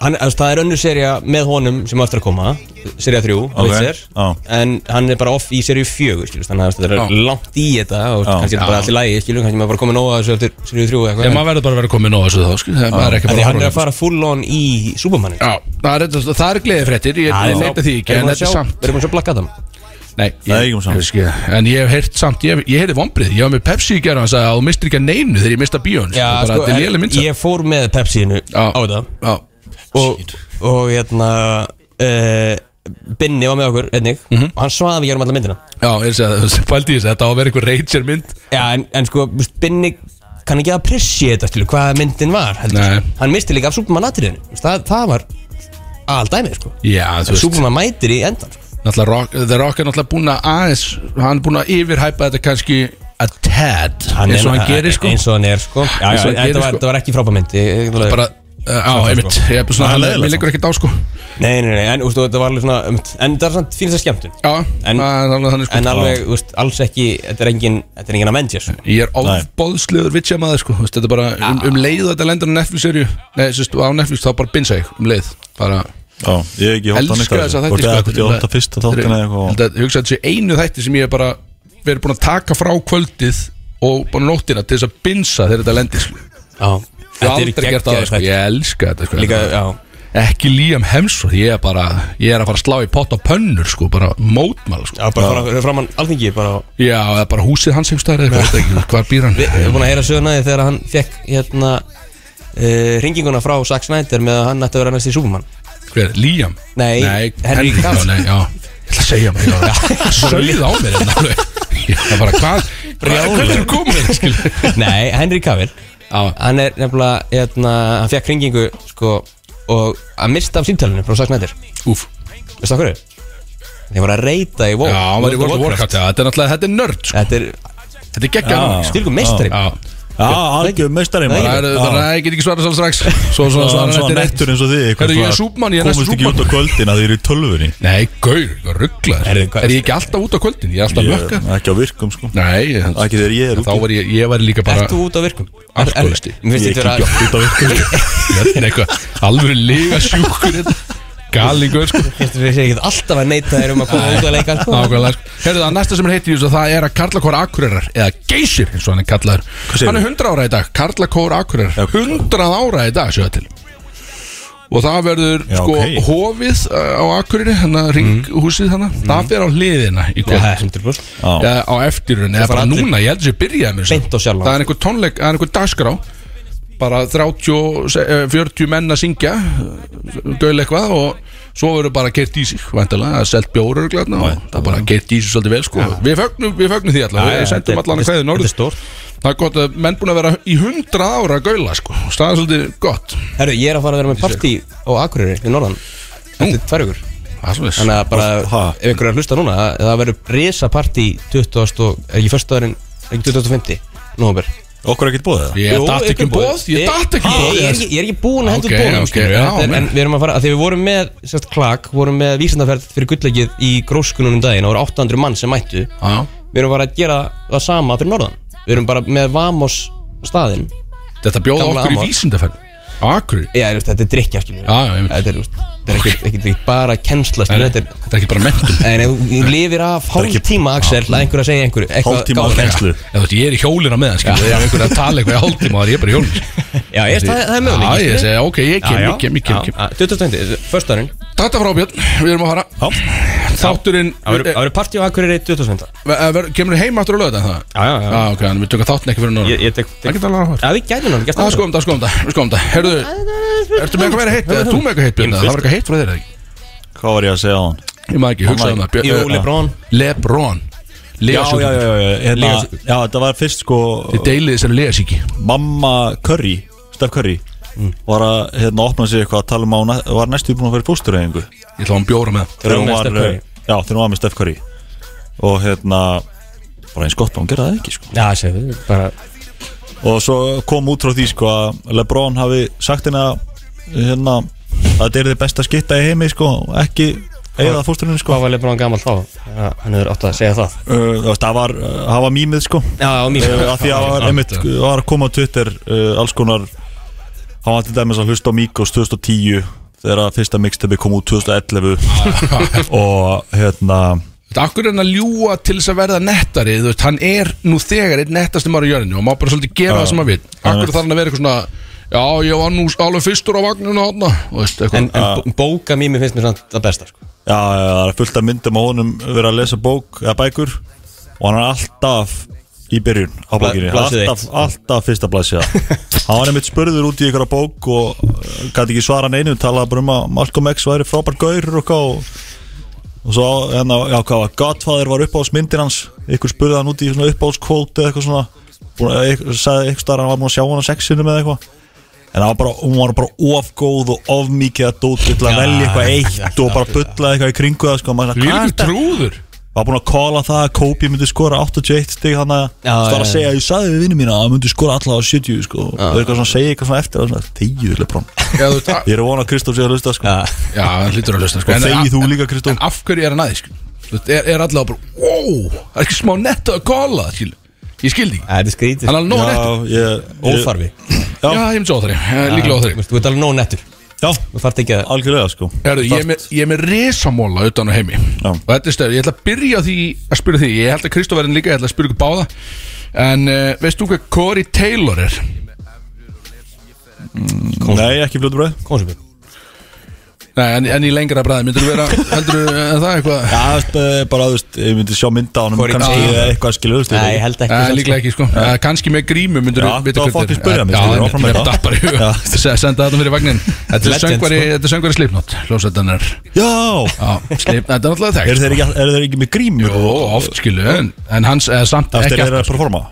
[SPEAKER 4] hann, að, það er önnur serja með honum sem á eftir að koma serja 3,
[SPEAKER 2] Ok,
[SPEAKER 4] Witcher
[SPEAKER 2] já.
[SPEAKER 4] en hann er bara off í serju 4 skilur, þannig að þetta er
[SPEAKER 1] Já.
[SPEAKER 4] langt í þetta og
[SPEAKER 2] Já.
[SPEAKER 4] kannski er þetta bara allir lægi, skilur, kannski maður bara komið nóga þessu eftir serju 3 eða
[SPEAKER 1] en
[SPEAKER 4] eitthvað
[SPEAKER 1] maður verður bara að vera komin á þessu þá sko. það maður er ekki
[SPEAKER 4] Af
[SPEAKER 1] bara að
[SPEAKER 4] því
[SPEAKER 1] horfa
[SPEAKER 4] að hann
[SPEAKER 1] á
[SPEAKER 4] er
[SPEAKER 1] þetta,
[SPEAKER 4] að fara full on í Supermanin
[SPEAKER 1] Já, það er, það er gleðið fréttir Ég
[SPEAKER 4] Já,
[SPEAKER 1] neyta því ekki, en
[SPEAKER 4] erum búin að
[SPEAKER 1] þetta er
[SPEAKER 4] sjá-
[SPEAKER 1] samt
[SPEAKER 4] Erum við að sjá Black Adam?
[SPEAKER 1] Nei,
[SPEAKER 2] Nei, ekki um samt.
[SPEAKER 1] ég, ég, En ég hef heyrt samt, ég, ég heyrði vombrið Ég var með Pepsi í gerð og hann sagði að þú mistir ekki að neinu þegar ég mista bíón
[SPEAKER 4] Já,
[SPEAKER 1] bara,
[SPEAKER 4] sko,
[SPEAKER 1] Þetta er lélega
[SPEAKER 4] en,
[SPEAKER 1] mynd
[SPEAKER 4] ég fór með Pepsi-inu
[SPEAKER 1] Já.
[SPEAKER 4] á þetta
[SPEAKER 1] Já,
[SPEAKER 4] og, og hérna uh, Binni var með okkur einnig, og hann svaði við gerum alla myndina
[SPEAKER 1] já, ég segi það, fældi ég segi þetta á að vera einhver Ranger mynd
[SPEAKER 4] Já, en, en sko, þú veist, Binni kann ekki að prissi þetta til hvað myndin var heldur,
[SPEAKER 1] Nei.
[SPEAKER 4] sko. hann misti líka af Superman atriðinu þú veist, það, það var aldæmið sko.
[SPEAKER 1] Já, þú veist,
[SPEAKER 4] Superman mætir í endan sko.
[SPEAKER 1] náttúrulega rock, The Rock er náttúrulega búin að aðeins Hann er búin að yfirhæpa þetta kannski a tad eins og hann gerir sko
[SPEAKER 4] eins og hann er sko. já,
[SPEAKER 1] Eins
[SPEAKER 4] já,
[SPEAKER 1] og hann
[SPEAKER 4] þetta,
[SPEAKER 1] gerir,
[SPEAKER 4] var,
[SPEAKER 1] sko.
[SPEAKER 4] þetta var ekki frábæmynd
[SPEAKER 1] Bara, uh, á, einmitt Ég er bara
[SPEAKER 2] Það er
[SPEAKER 1] svona,
[SPEAKER 2] leiðilegt,
[SPEAKER 1] mér liggur ekkert á sko
[SPEAKER 4] nei, nei, nei, en þú veist, þetta var alveg svona um, en það er svona fínast að skemmtun
[SPEAKER 1] Já,
[SPEAKER 4] En-
[SPEAKER 1] það er alveg þannig sko
[SPEAKER 4] en alveg, þú veist, alls ekki þetta er engin, þetta er engin Avengers
[SPEAKER 1] Ég er ofbóðslegur vitsjamaður sko Vist, Þetta er bara um,
[SPEAKER 4] Ah.
[SPEAKER 1] um leið og þetta lendur á Netflix-serju Nei, sérst, á Netflix þá bara binsa ég um leið Bara
[SPEAKER 2] Já, ég hef ekki hótt að
[SPEAKER 1] elska
[SPEAKER 2] nýta
[SPEAKER 1] þess að
[SPEAKER 2] Hvort
[SPEAKER 1] þætti sko,
[SPEAKER 2] eða hvort ég hótt að fyrsta þáttin eða eitthvað
[SPEAKER 1] Ég hugsa að þessi einu þætti sem ég er bara Verið búin að taka frá kvöldið Og bara nóttina til þess að binsa þegar þetta lendir sko.
[SPEAKER 4] Já,
[SPEAKER 1] Ég hef aldrei gert það sko.
[SPEAKER 4] þetta
[SPEAKER 1] Ég elska þetta sko.
[SPEAKER 4] Líka, já
[SPEAKER 1] Ekki Liam Hemsworth Ég er bara Ég er að fara að slá í pott á pönnur sko, Bara mótmála sko.
[SPEAKER 4] Já, bara fara framann alþingi bara
[SPEAKER 1] Já, eða bara húsið hans heimstæðar Hvar býr hann
[SPEAKER 4] Við erum búin að heyra sögnaði þegar hann fekk hérna uh, ringinguna frá Zack Snyder með að hann ætti að vera næst í Superman
[SPEAKER 1] Hver, Liam?
[SPEAKER 4] Nei,
[SPEAKER 1] Henry
[SPEAKER 4] Henry
[SPEAKER 1] Cavill Já, nei,
[SPEAKER 4] Cavill.
[SPEAKER 1] já Ég ætla að segja mér já. Sögð á mér hérna alveg Ég er bara, hvað? Hvað er komið? skil?
[SPEAKER 4] Nei, Henry Cavill
[SPEAKER 1] Já.
[SPEAKER 4] Hann er nefnilega, hérna, hann fekk ringingu sko, og að mista af símtælinu frá Zack Snyder
[SPEAKER 1] Úf
[SPEAKER 4] Veistu það hverju? Þeir voru að reyta í WoW
[SPEAKER 1] Já, hann var í World of Warcraft já, Þetta er náttúrulega, þetta er nörd sko.
[SPEAKER 4] Þetta er
[SPEAKER 1] Þetta er geggja
[SPEAKER 2] Já.
[SPEAKER 4] stilgu meistari
[SPEAKER 1] Já,
[SPEAKER 2] Já, algjör meistari
[SPEAKER 1] það er, það er, ég get ekki svarað svo strax Svo svona
[SPEAKER 2] Svo hann
[SPEAKER 1] svarað
[SPEAKER 2] svona
[SPEAKER 1] þetta
[SPEAKER 2] nettur eins og þið eitthvað
[SPEAKER 1] Herru, ég er
[SPEAKER 2] svona,
[SPEAKER 1] súpmann, ég er næstu
[SPEAKER 2] Komist ekki út á
[SPEAKER 1] súpmann
[SPEAKER 2] kvöldin að þið eru í tölvunni
[SPEAKER 1] Nei, gaur, ég var rugglaður
[SPEAKER 4] Herðu, hvað-
[SPEAKER 1] Er ég ekki alltaf út á kvöldin? Ég er alltaf að
[SPEAKER 2] Ég-
[SPEAKER 1] mökka
[SPEAKER 2] Ekki á virkum sko
[SPEAKER 1] Nei, ég-
[SPEAKER 2] Ekki þegar ég er
[SPEAKER 1] þá
[SPEAKER 2] úti
[SPEAKER 1] var ég, ég var líka bara
[SPEAKER 4] Ert þú út á virkum? Er- er-
[SPEAKER 1] Alkoholisti.
[SPEAKER 4] Mér finnst
[SPEAKER 2] Ég
[SPEAKER 4] þetta
[SPEAKER 2] kíkja
[SPEAKER 4] vera
[SPEAKER 2] oft út á virkum
[SPEAKER 1] Þetta er eitthvað alveg lega sjúkur Galingur sko
[SPEAKER 4] Þetta er ekki alltaf að neita þér um að koma út að leika sko.
[SPEAKER 1] Nákvæmlega sko. Herðu það, næsta sem er heitt í þessu Það er að Karlakór Akureyrar Eða Geysir, eins og hann er kallaður
[SPEAKER 2] segirðu?
[SPEAKER 1] Hann er 100 ára í dag, Karlakór Akureyrar 100 ára í dag, sjöða til Og það verður
[SPEAKER 2] Já,
[SPEAKER 1] sko
[SPEAKER 2] ok. Mhm.
[SPEAKER 1] Hofið uh, á Akureyri Hanna ringhúsið mm. Það fer á hliðina í
[SPEAKER 4] Já,
[SPEAKER 1] kvöld ja.
[SPEAKER 4] 100%
[SPEAKER 2] Já,
[SPEAKER 1] Á eftirun, eða
[SPEAKER 4] fara
[SPEAKER 1] bara
[SPEAKER 4] allir-
[SPEAKER 1] núna Ég held að ég byrjaði mér
[SPEAKER 4] Beint á sjálfan.
[SPEAKER 1] Það er einhver tónleik, það er einhver dagskrá bara 30, og se- eh, 40 menn að syngja göl eitthvað og svo verður bara kert í sig vantilega, það er selt bjóru og það er bara kert í sig svolítið vel sko. við, fögnum, við fögnum því allavega, við sendum um allan að hverju norður
[SPEAKER 4] stórt
[SPEAKER 1] það er gott að menn búin að vera í 100 ára að göla sko, og staðan svolítið gott
[SPEAKER 4] Herru, ég er að fara að vera með partí á Akureyri í Norðan Þetta er tvær ykkur
[SPEAKER 1] það er svolítið
[SPEAKER 4] Þannig að bara,
[SPEAKER 2] Ha?
[SPEAKER 4] ef ykkur er að hlusta núna það- Það verður resa partí 20. og, eh, er ekki föstaðarinn, er ekki 2050 Nóber
[SPEAKER 2] okkur ekkert bóðið það
[SPEAKER 1] ég datt ekki um bóð ég datt ekki um
[SPEAKER 4] Eh, Ég er
[SPEAKER 1] bóð
[SPEAKER 4] ekki- ég er ekki búin að hendur
[SPEAKER 1] Ok,
[SPEAKER 4] bóðum
[SPEAKER 1] ok,
[SPEAKER 4] skilur
[SPEAKER 1] já,
[SPEAKER 4] við. Þetta er-
[SPEAKER 1] menn.
[SPEAKER 4] En við erum að fara, að því við vorum með sérst, klak, vorum með vísindaferð fyrir gulllegið í gróskununum daginn og voru 800 mann sem mættu
[SPEAKER 1] Já.
[SPEAKER 4] Við erum bara að gera það sama fyrir Norðan Við erum bara með Vamos staðinn
[SPEAKER 1] þetta bjóða
[SPEAKER 4] Gamla
[SPEAKER 1] okkur í
[SPEAKER 4] amma.
[SPEAKER 1] vísindaferð akkur
[SPEAKER 4] Já, þú veist, þetta er drikja, skiljum
[SPEAKER 1] Já, já, einmitt.
[SPEAKER 4] Þetta er, þú veist, þetta er ekkert ekki, ekki bara kennsla, skiljum Þetta er,
[SPEAKER 1] þetta er ekki bara mentum
[SPEAKER 4] en ef þú lifir af hálf
[SPEAKER 2] ekki-
[SPEAKER 4] tíma, Axel, að einhver að segja einhverju eitthvað
[SPEAKER 2] Hálftíma
[SPEAKER 4] gáfulegt.
[SPEAKER 2] kennslu.
[SPEAKER 1] Eða, þú veist, ég er í hjólina með hann skilur, ég er einhvern að tala eitthvað í hálftíma og það er ég bara í hjólina
[SPEAKER 4] Já, ég veist, það, það er möguleik
[SPEAKER 1] Já, ég segi, ok, ég kem, ég kem, ég kem, ég kem.
[SPEAKER 4] Ah, 2020, förstarinn
[SPEAKER 1] Þetta frá Björn, við erum að fara Þátturinn
[SPEAKER 4] Það verður-
[SPEAKER 1] eh,
[SPEAKER 4] það verður partí á Akureyri 2020
[SPEAKER 1] eh, ver- Kemur heim aftur á lögða það?
[SPEAKER 4] Já, já, já.
[SPEAKER 1] Já, ok, en við tökum þáttin ekki fyrir núna
[SPEAKER 4] Ég- ég tek- tek-
[SPEAKER 1] Ekki tala á hver
[SPEAKER 4] Já, við gætum náttúrulega gæst
[SPEAKER 1] Það skoðum það, skoðum það, skoðum það Herðu, ertu með eitthvað meira heitt? Eða þú með eitthvað heitt, Björn? eða Það var eitthvað heitt frá þér, eða ekki?
[SPEAKER 2] Hvað var ég að segja á hann?
[SPEAKER 1] Ég maður ekki, hugsaði um það Björn-
[SPEAKER 3] Jú,
[SPEAKER 1] eh,
[SPEAKER 3] Lebron.
[SPEAKER 1] Lebron
[SPEAKER 2] Já, já, já,
[SPEAKER 1] Legasjúklingur
[SPEAKER 2] já, já, hérna, já, þetta var fyrst sko
[SPEAKER 1] Þið deilið þessari legasíki
[SPEAKER 2] Mamma Curry, Steph Curry Var að hérna opna sig eitthvað að tala um að hún að- var næstu búin að fyrir bústureyðingu
[SPEAKER 1] Ég ætla að hann bjóra með það
[SPEAKER 2] Þegar hún
[SPEAKER 3] með
[SPEAKER 2] var, eh,
[SPEAKER 3] Steph Curry.
[SPEAKER 2] já, þegar hún var með Steph Curry Og hérna, bara eins gott að hún gera það ekki sko
[SPEAKER 3] Já, segðu, bara
[SPEAKER 2] og svo kom út frá því sko að Lebron hafi sagt hérna hérna að þetta er þið besta skitta í heimi sko ekki eigið að fósturinn sko
[SPEAKER 3] Hvað var Lebron gammal þá? Já, hann hefur átt að segja það
[SPEAKER 2] Uh, þú veist, það var, uh, það var mýmið sko
[SPEAKER 3] Já, á mín
[SPEAKER 4] Eh,
[SPEAKER 2] uh, að því að það var, einmitt, uh, var að koma á Twitter uh, alls konar hann var til dæmis að hlusta á Mikos 2010 þegar að fyrsta mixtape kom út 2011 og hérna
[SPEAKER 1] Akkur er hann að ljúa til þess að verða nettari þú veist, Hann er nú þegar einn nettasti maður í jörðinu Og maður bara svolítið gera það sem maður veit Akkur þarf hann að vera eitthvað svona Já, ég var nú alveg fyrstur á vagninu hátna Og veist,
[SPEAKER 3] En,
[SPEAKER 1] eitthvað
[SPEAKER 3] en bó- bóka mými finnst mér samt það besta sko.
[SPEAKER 2] já, það er fullt af myndum og honum verið að lesa bók eða bækur og hann er alltaf í byrjun á bókinni
[SPEAKER 3] blaðsíða eitt.
[SPEAKER 2] alltaf, alltaf fyrsta blaðsíða hann var einmitt spurður út í ykkur bók og gæti ekki svara neinu talaði bara um að Malcolm X væri frábær gaur og hvað og, og svo hérna, já hvað var Godfather var uppáhaldsmyndin hans ykkur spurði hann út í svona uppáhaldskvót eða eitthvað svona búin, að- ykkur, sagði ykkur starf hann var búin að sjá hann á sexinu með eitthvað en hann var bara, hún var bara ofgóð og ofmikið að dót til að velja eitthvað eitt og bara bulla eitthvað í kringu það sko, og maður svona,
[SPEAKER 1] Við
[SPEAKER 2] hvað
[SPEAKER 1] erum
[SPEAKER 2] er þetta?
[SPEAKER 1] trúður
[SPEAKER 2] var búinn að kóla það að Kobe myndi skora 81 stig hann að
[SPEAKER 3] Já,
[SPEAKER 2] það var að
[SPEAKER 3] já,
[SPEAKER 2] segja ég sagði við vinnum mína að hann myndi skora allavega 70 sko og það er eitthvað svona að segja eitthvað svona eftir og svona þegið Lebron
[SPEAKER 1] Já, þú veist, a-
[SPEAKER 2] ég er að vona að Kristóf sé að hlusta sko
[SPEAKER 1] já, hann hlýtur að hlusta sko.
[SPEAKER 2] og
[SPEAKER 1] En-
[SPEAKER 2] þegið þú
[SPEAKER 1] en-
[SPEAKER 2] líka Kristóf
[SPEAKER 1] En af hverju er hann aðeins Er, er allavega bara, wow, það er ekki smá netta að kóla skil. Ég skildi ekki
[SPEAKER 3] Æ, Þetta er skrítið
[SPEAKER 1] Hann er sko. alveg nóg
[SPEAKER 2] Já,
[SPEAKER 1] nettur
[SPEAKER 2] ég- ég-
[SPEAKER 3] Ófarfi
[SPEAKER 1] Já, ég myndi svo á þeirri, líklega á
[SPEAKER 3] Þú
[SPEAKER 1] þeirri
[SPEAKER 3] veist, þú ert alveg nóg nettur
[SPEAKER 2] Já,
[SPEAKER 3] Þú þarft ekki að
[SPEAKER 2] algjörlega sko
[SPEAKER 1] Herðu, ég, er með- ég er með risamóla utan á heimi
[SPEAKER 2] Já.
[SPEAKER 1] Og þetta er stöð, ég ætla að byrja á því að spyrja því Ég held að Kristof verðin líka, ég ætla að spyrja ykkur báða En uh, veist þú hvað Corey Taylor er?
[SPEAKER 2] Nei, ekki fljótu bröð
[SPEAKER 3] Kónsubjörn
[SPEAKER 1] Nei, en, en í lengra bræði, myndir þú vera, heldur þú en það eitthvað?
[SPEAKER 2] Já, þú veist, eh, bara, þú veist, ég myndi sjá mynda á hann
[SPEAKER 3] Hvor í
[SPEAKER 2] kannski
[SPEAKER 3] dag?
[SPEAKER 2] eða eitthvað skilur, þú veist
[SPEAKER 3] Nei, ég held ekki
[SPEAKER 1] Nei,
[SPEAKER 3] samt,
[SPEAKER 1] líklega ekki, sko ja. Kanski með grímu, myndir
[SPEAKER 2] Já,
[SPEAKER 1] þú vita
[SPEAKER 2] þá
[SPEAKER 1] hvernig
[SPEAKER 2] fucking spyrja
[SPEAKER 1] Eh,
[SPEAKER 2] mig,
[SPEAKER 1] Já,
[SPEAKER 2] skilur,
[SPEAKER 1] en
[SPEAKER 2] áfram
[SPEAKER 1] mér
[SPEAKER 2] með það.
[SPEAKER 1] datt bara í huga
[SPEAKER 2] Já.
[SPEAKER 1] Senda þetta fyrir vagnin Þetta er
[SPEAKER 3] Legend,
[SPEAKER 1] söngvari,
[SPEAKER 3] sko.
[SPEAKER 1] þetta er söngvari slipnot Ljósættanar
[SPEAKER 2] Já,
[SPEAKER 1] Já, slipnot, þetta er náttúrulega
[SPEAKER 2] eru
[SPEAKER 1] þekkt
[SPEAKER 2] þeir ekki, er þeir ekki með grímur
[SPEAKER 1] Ó, oft skilu, en, en hans eða samt
[SPEAKER 2] Það er
[SPEAKER 1] ekki
[SPEAKER 2] þeir eru að performa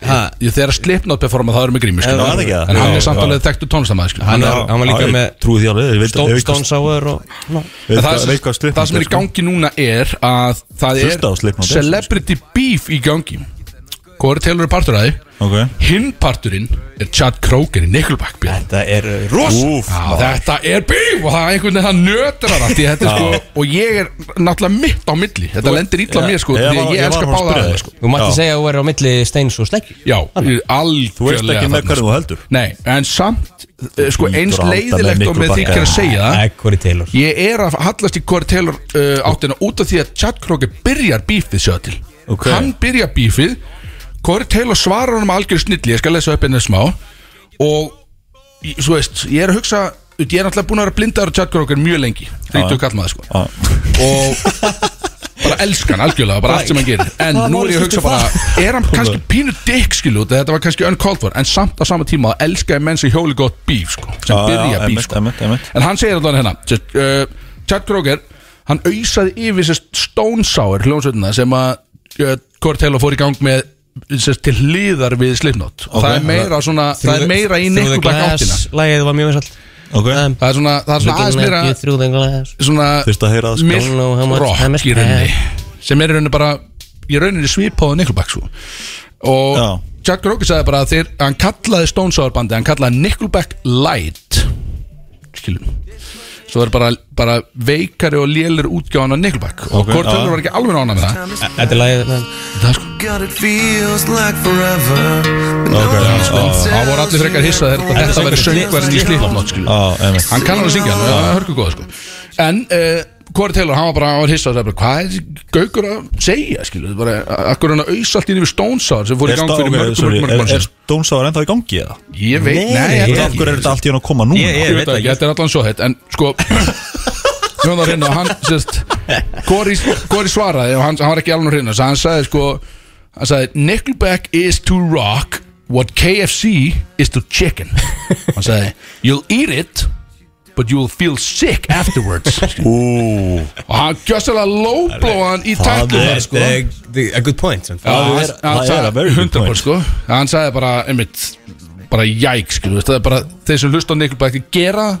[SPEAKER 3] Ha,
[SPEAKER 1] Ég þegar Slipknot performa það eru með grími
[SPEAKER 2] Já,
[SPEAKER 1] skilur.
[SPEAKER 2] það er ekki það.
[SPEAKER 1] En hann er
[SPEAKER 2] Já,
[SPEAKER 1] samt
[SPEAKER 2] já.
[SPEAKER 1] alveg þekktu tónlistamæð
[SPEAKER 3] Hann
[SPEAKER 2] Já,
[SPEAKER 3] er- hann var líka
[SPEAKER 2] já, ég
[SPEAKER 3] með
[SPEAKER 2] Trúi því alveg, ég veit- ég veit
[SPEAKER 3] Stone
[SPEAKER 2] hvað-
[SPEAKER 3] Sour og Ná.
[SPEAKER 2] veit
[SPEAKER 1] Það,
[SPEAKER 2] hvað-
[SPEAKER 1] það,
[SPEAKER 2] veit hvað
[SPEAKER 1] það sem er í
[SPEAKER 2] Slipknot sko?
[SPEAKER 1] gangi núna er að það er
[SPEAKER 2] Hlusta á Slipknot, sko.
[SPEAKER 1] celebrity beef í gangi Hvor Taylor er partur að þið
[SPEAKER 2] sko. Ok.
[SPEAKER 1] Hinn parturinn er Chad Kroger í Nickelback björn.
[SPEAKER 3] Þetta er
[SPEAKER 2] Úff,
[SPEAKER 1] uh, Já, Þetta er beef og það er einhvern veginn það nötrar allt í þetta sko, og ég er náttúrulega mitt á milli þetta lendir illa á mér sko
[SPEAKER 2] Ég
[SPEAKER 1] því
[SPEAKER 2] var-
[SPEAKER 1] að ég
[SPEAKER 2] ég var
[SPEAKER 1] elska
[SPEAKER 2] bara að
[SPEAKER 1] báða
[SPEAKER 2] spyrja
[SPEAKER 1] aðeila,
[SPEAKER 2] þig.
[SPEAKER 1] sko.
[SPEAKER 3] Þú mætti segja að þú verður á milli steins og sleggju
[SPEAKER 1] Já, ég er algjörlega
[SPEAKER 2] Þú veist ekki með
[SPEAKER 1] þarna,
[SPEAKER 2] hverju þú heldur
[SPEAKER 1] Nei, en samt eh, sko,
[SPEAKER 2] Hlýtur
[SPEAKER 1] eins
[SPEAKER 2] að halda með
[SPEAKER 1] leiðilegt og með
[SPEAKER 2] Nickelback,
[SPEAKER 1] þykir að
[SPEAKER 2] ja.
[SPEAKER 1] segja það
[SPEAKER 3] Ekkur í Taylor
[SPEAKER 1] Ég er að hallast í Corey Taylor uh, áttina út af því að Chad Kroger byrjar bífið sjá til
[SPEAKER 2] Ok.
[SPEAKER 1] Hann byrjar bífið Corey Taylor svarar honum algjör snilli Ég skal lesa upp henni smá Og, í- svo veist, ég er að hugsa Ég er náttúrulega búin að vera blindaður á Chad Kroger mjög lengi Þrítu kall maður sko
[SPEAKER 2] Já.
[SPEAKER 1] Og bara elska hann algjörlega Bara allt sem hann gerir En nú er ég að hugsa bara Er hann kannski pínu dick skilu út af Þetta var kannski uncalled for En samt á sama tíma að elska ég menn sem hjóli gott bíf sko Sem
[SPEAKER 2] Já, já,
[SPEAKER 1] byrja bíf
[SPEAKER 2] ah, einmitt,
[SPEAKER 1] sko
[SPEAKER 2] einmitt, einmitt.
[SPEAKER 1] En hann segir allan hérna sérst, uh, Chad Kroger, hann auðsaði yfir sérst Stone Sour hljómsveitina sem að uh, Corey Taylor fór í gang með sérst, til hliðar við Slipknot og það er meira svona, það er meira í Nickelback áttina
[SPEAKER 3] Lægið var mjög vinsall
[SPEAKER 2] Ok.
[SPEAKER 1] það er svona, það er svona aðeins meira
[SPEAKER 3] Through the glass
[SPEAKER 2] Fyrst að heyra
[SPEAKER 1] svona
[SPEAKER 2] það, sko.
[SPEAKER 1] milt
[SPEAKER 3] Don't know how much time
[SPEAKER 1] rock
[SPEAKER 3] is
[SPEAKER 1] í rauninni sem er í rauninni bara í rauninni svipað á Nickelback svo og
[SPEAKER 2] Já.
[SPEAKER 1] Chad Kroger sagði bara að þeir hann kallaði Stone Sour bandi, hann kallaði Nickelback Light skilum svo er bara, bara veikari og lélir útgjáðan á Nickelback og
[SPEAKER 2] Ok,
[SPEAKER 1] Corey
[SPEAKER 2] já.
[SPEAKER 1] Taylor var ekki alveg nána með það
[SPEAKER 3] Þetta er lægið
[SPEAKER 1] það er sko
[SPEAKER 6] God, it feels like forever. But
[SPEAKER 2] Ok, já, já, já.
[SPEAKER 1] Ah, það voru allir frekar hissað þegar þetta, þetta verið söngverðin í Slipknot skilum
[SPEAKER 2] Já, Ah, einmitt.
[SPEAKER 1] hann kann hann að syngja hann, það er hörku góð sko. en uh, Corey Taylor, hann var bara hann var hissa og sagði bara, hvað er þessi gaukur að segja skilu, bara, eh, akkur hann að auðsa allt inn yfir Stonesar sem fór í
[SPEAKER 2] Er
[SPEAKER 1] gang
[SPEAKER 2] Stone-
[SPEAKER 1] fyrir
[SPEAKER 2] ok,
[SPEAKER 1] mörgum
[SPEAKER 2] sorry,
[SPEAKER 1] mörgum mörgum
[SPEAKER 2] er- Er
[SPEAKER 1] mörgum
[SPEAKER 2] Stone Sour ennþá í gangi eða?
[SPEAKER 1] ég veit, nei,
[SPEAKER 3] Nei,
[SPEAKER 1] ég
[SPEAKER 3] ég-
[SPEAKER 2] Af
[SPEAKER 1] veit
[SPEAKER 2] hverju er þetta allt í hann að koma núna?
[SPEAKER 3] Ég- ég-
[SPEAKER 1] ég veit ekki, þetta er allan svo hett en sko Nú var hérna, hann sérst Corey Corey svaraði og hann, hann var ekki alveg hérna hann sagði sko hann sagði Nickelback is to rock what KFC is to chicken hann sagði you'll eat it but you'll feel sick afterwards og hann gjössalega lóblóða hann í
[SPEAKER 2] það
[SPEAKER 1] taklu
[SPEAKER 2] er-
[SPEAKER 1] þar sko
[SPEAKER 4] Eh, the- A good point son.
[SPEAKER 1] Já,
[SPEAKER 2] Það
[SPEAKER 1] hann-
[SPEAKER 2] er-
[SPEAKER 1] hann
[SPEAKER 2] það
[SPEAKER 1] sagði-
[SPEAKER 2] er a very
[SPEAKER 1] 100%
[SPEAKER 2] good point.
[SPEAKER 1] sko. hann sagði bara einmitt, bara jæk skilu, veist, það er bara þeir sem hlusta á Nikkel bara ekki gera það,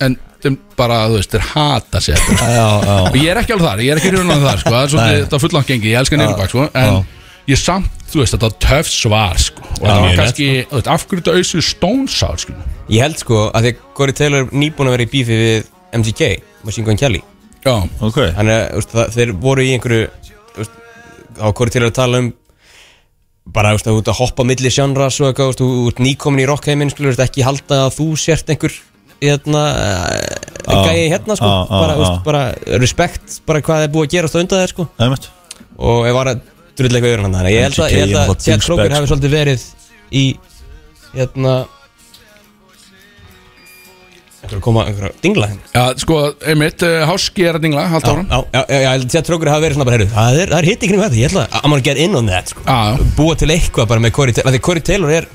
[SPEAKER 1] en þeim bara, þú veist, þeir hata sér sko.
[SPEAKER 2] Já, já,
[SPEAKER 1] og ég er ekki alveg þar, ég er ekki raunan þar sko. það er svolítið, þetta fullan gengi, ég elska Nikkel sko. en ég samt, þú veist, þetta var töff svar sko. og það var
[SPEAKER 2] mjög
[SPEAKER 1] kannski, þú veist, af hverju þetta auðvitað stónsál sko.
[SPEAKER 4] Ég held sko að því að Corey Taylor er nýbúin að vera í bífi við MGK Machine Gun Kelly
[SPEAKER 1] já,
[SPEAKER 2] ok
[SPEAKER 4] Þannig að úst, það, þeir voru í einhverju úst, þá var Corey Taylor að tala um bara úst, að, úst, að hoppa á milli sjánra svo eitthvað, úst, þú ert nýkomin í rockheiminn skilur úst, ekki halda að þú sért einhver hérna, uh, gæi hérna sko,
[SPEAKER 2] á, á,
[SPEAKER 4] bara,
[SPEAKER 2] á.
[SPEAKER 4] úst, bara respekt bara hvað er búið að gera á undan þér sko
[SPEAKER 2] Það er mitt
[SPEAKER 4] og ég var að drulla eitthvað yfir hann þannig að ég held að, ég held
[SPEAKER 2] MGK
[SPEAKER 4] að
[SPEAKER 2] náttúrulega
[SPEAKER 4] Chad Kroger
[SPEAKER 2] douchebag,
[SPEAKER 4] hafi svolítið verið í hérna einhverju að koma einhverju að dingla hérna. henni
[SPEAKER 1] já sko, einmitt eh, háski er að dingla, halda áram
[SPEAKER 4] já, já, já, ég held að Chad Kroger hafi verið svona bara heyrðu, það er, það er hitt í kringum þetta, ég ætla að I'm gonna get in on that sko.
[SPEAKER 1] Já, já.
[SPEAKER 4] búa til eitthvað bara með Corey Taylor af því Corey Taylor er,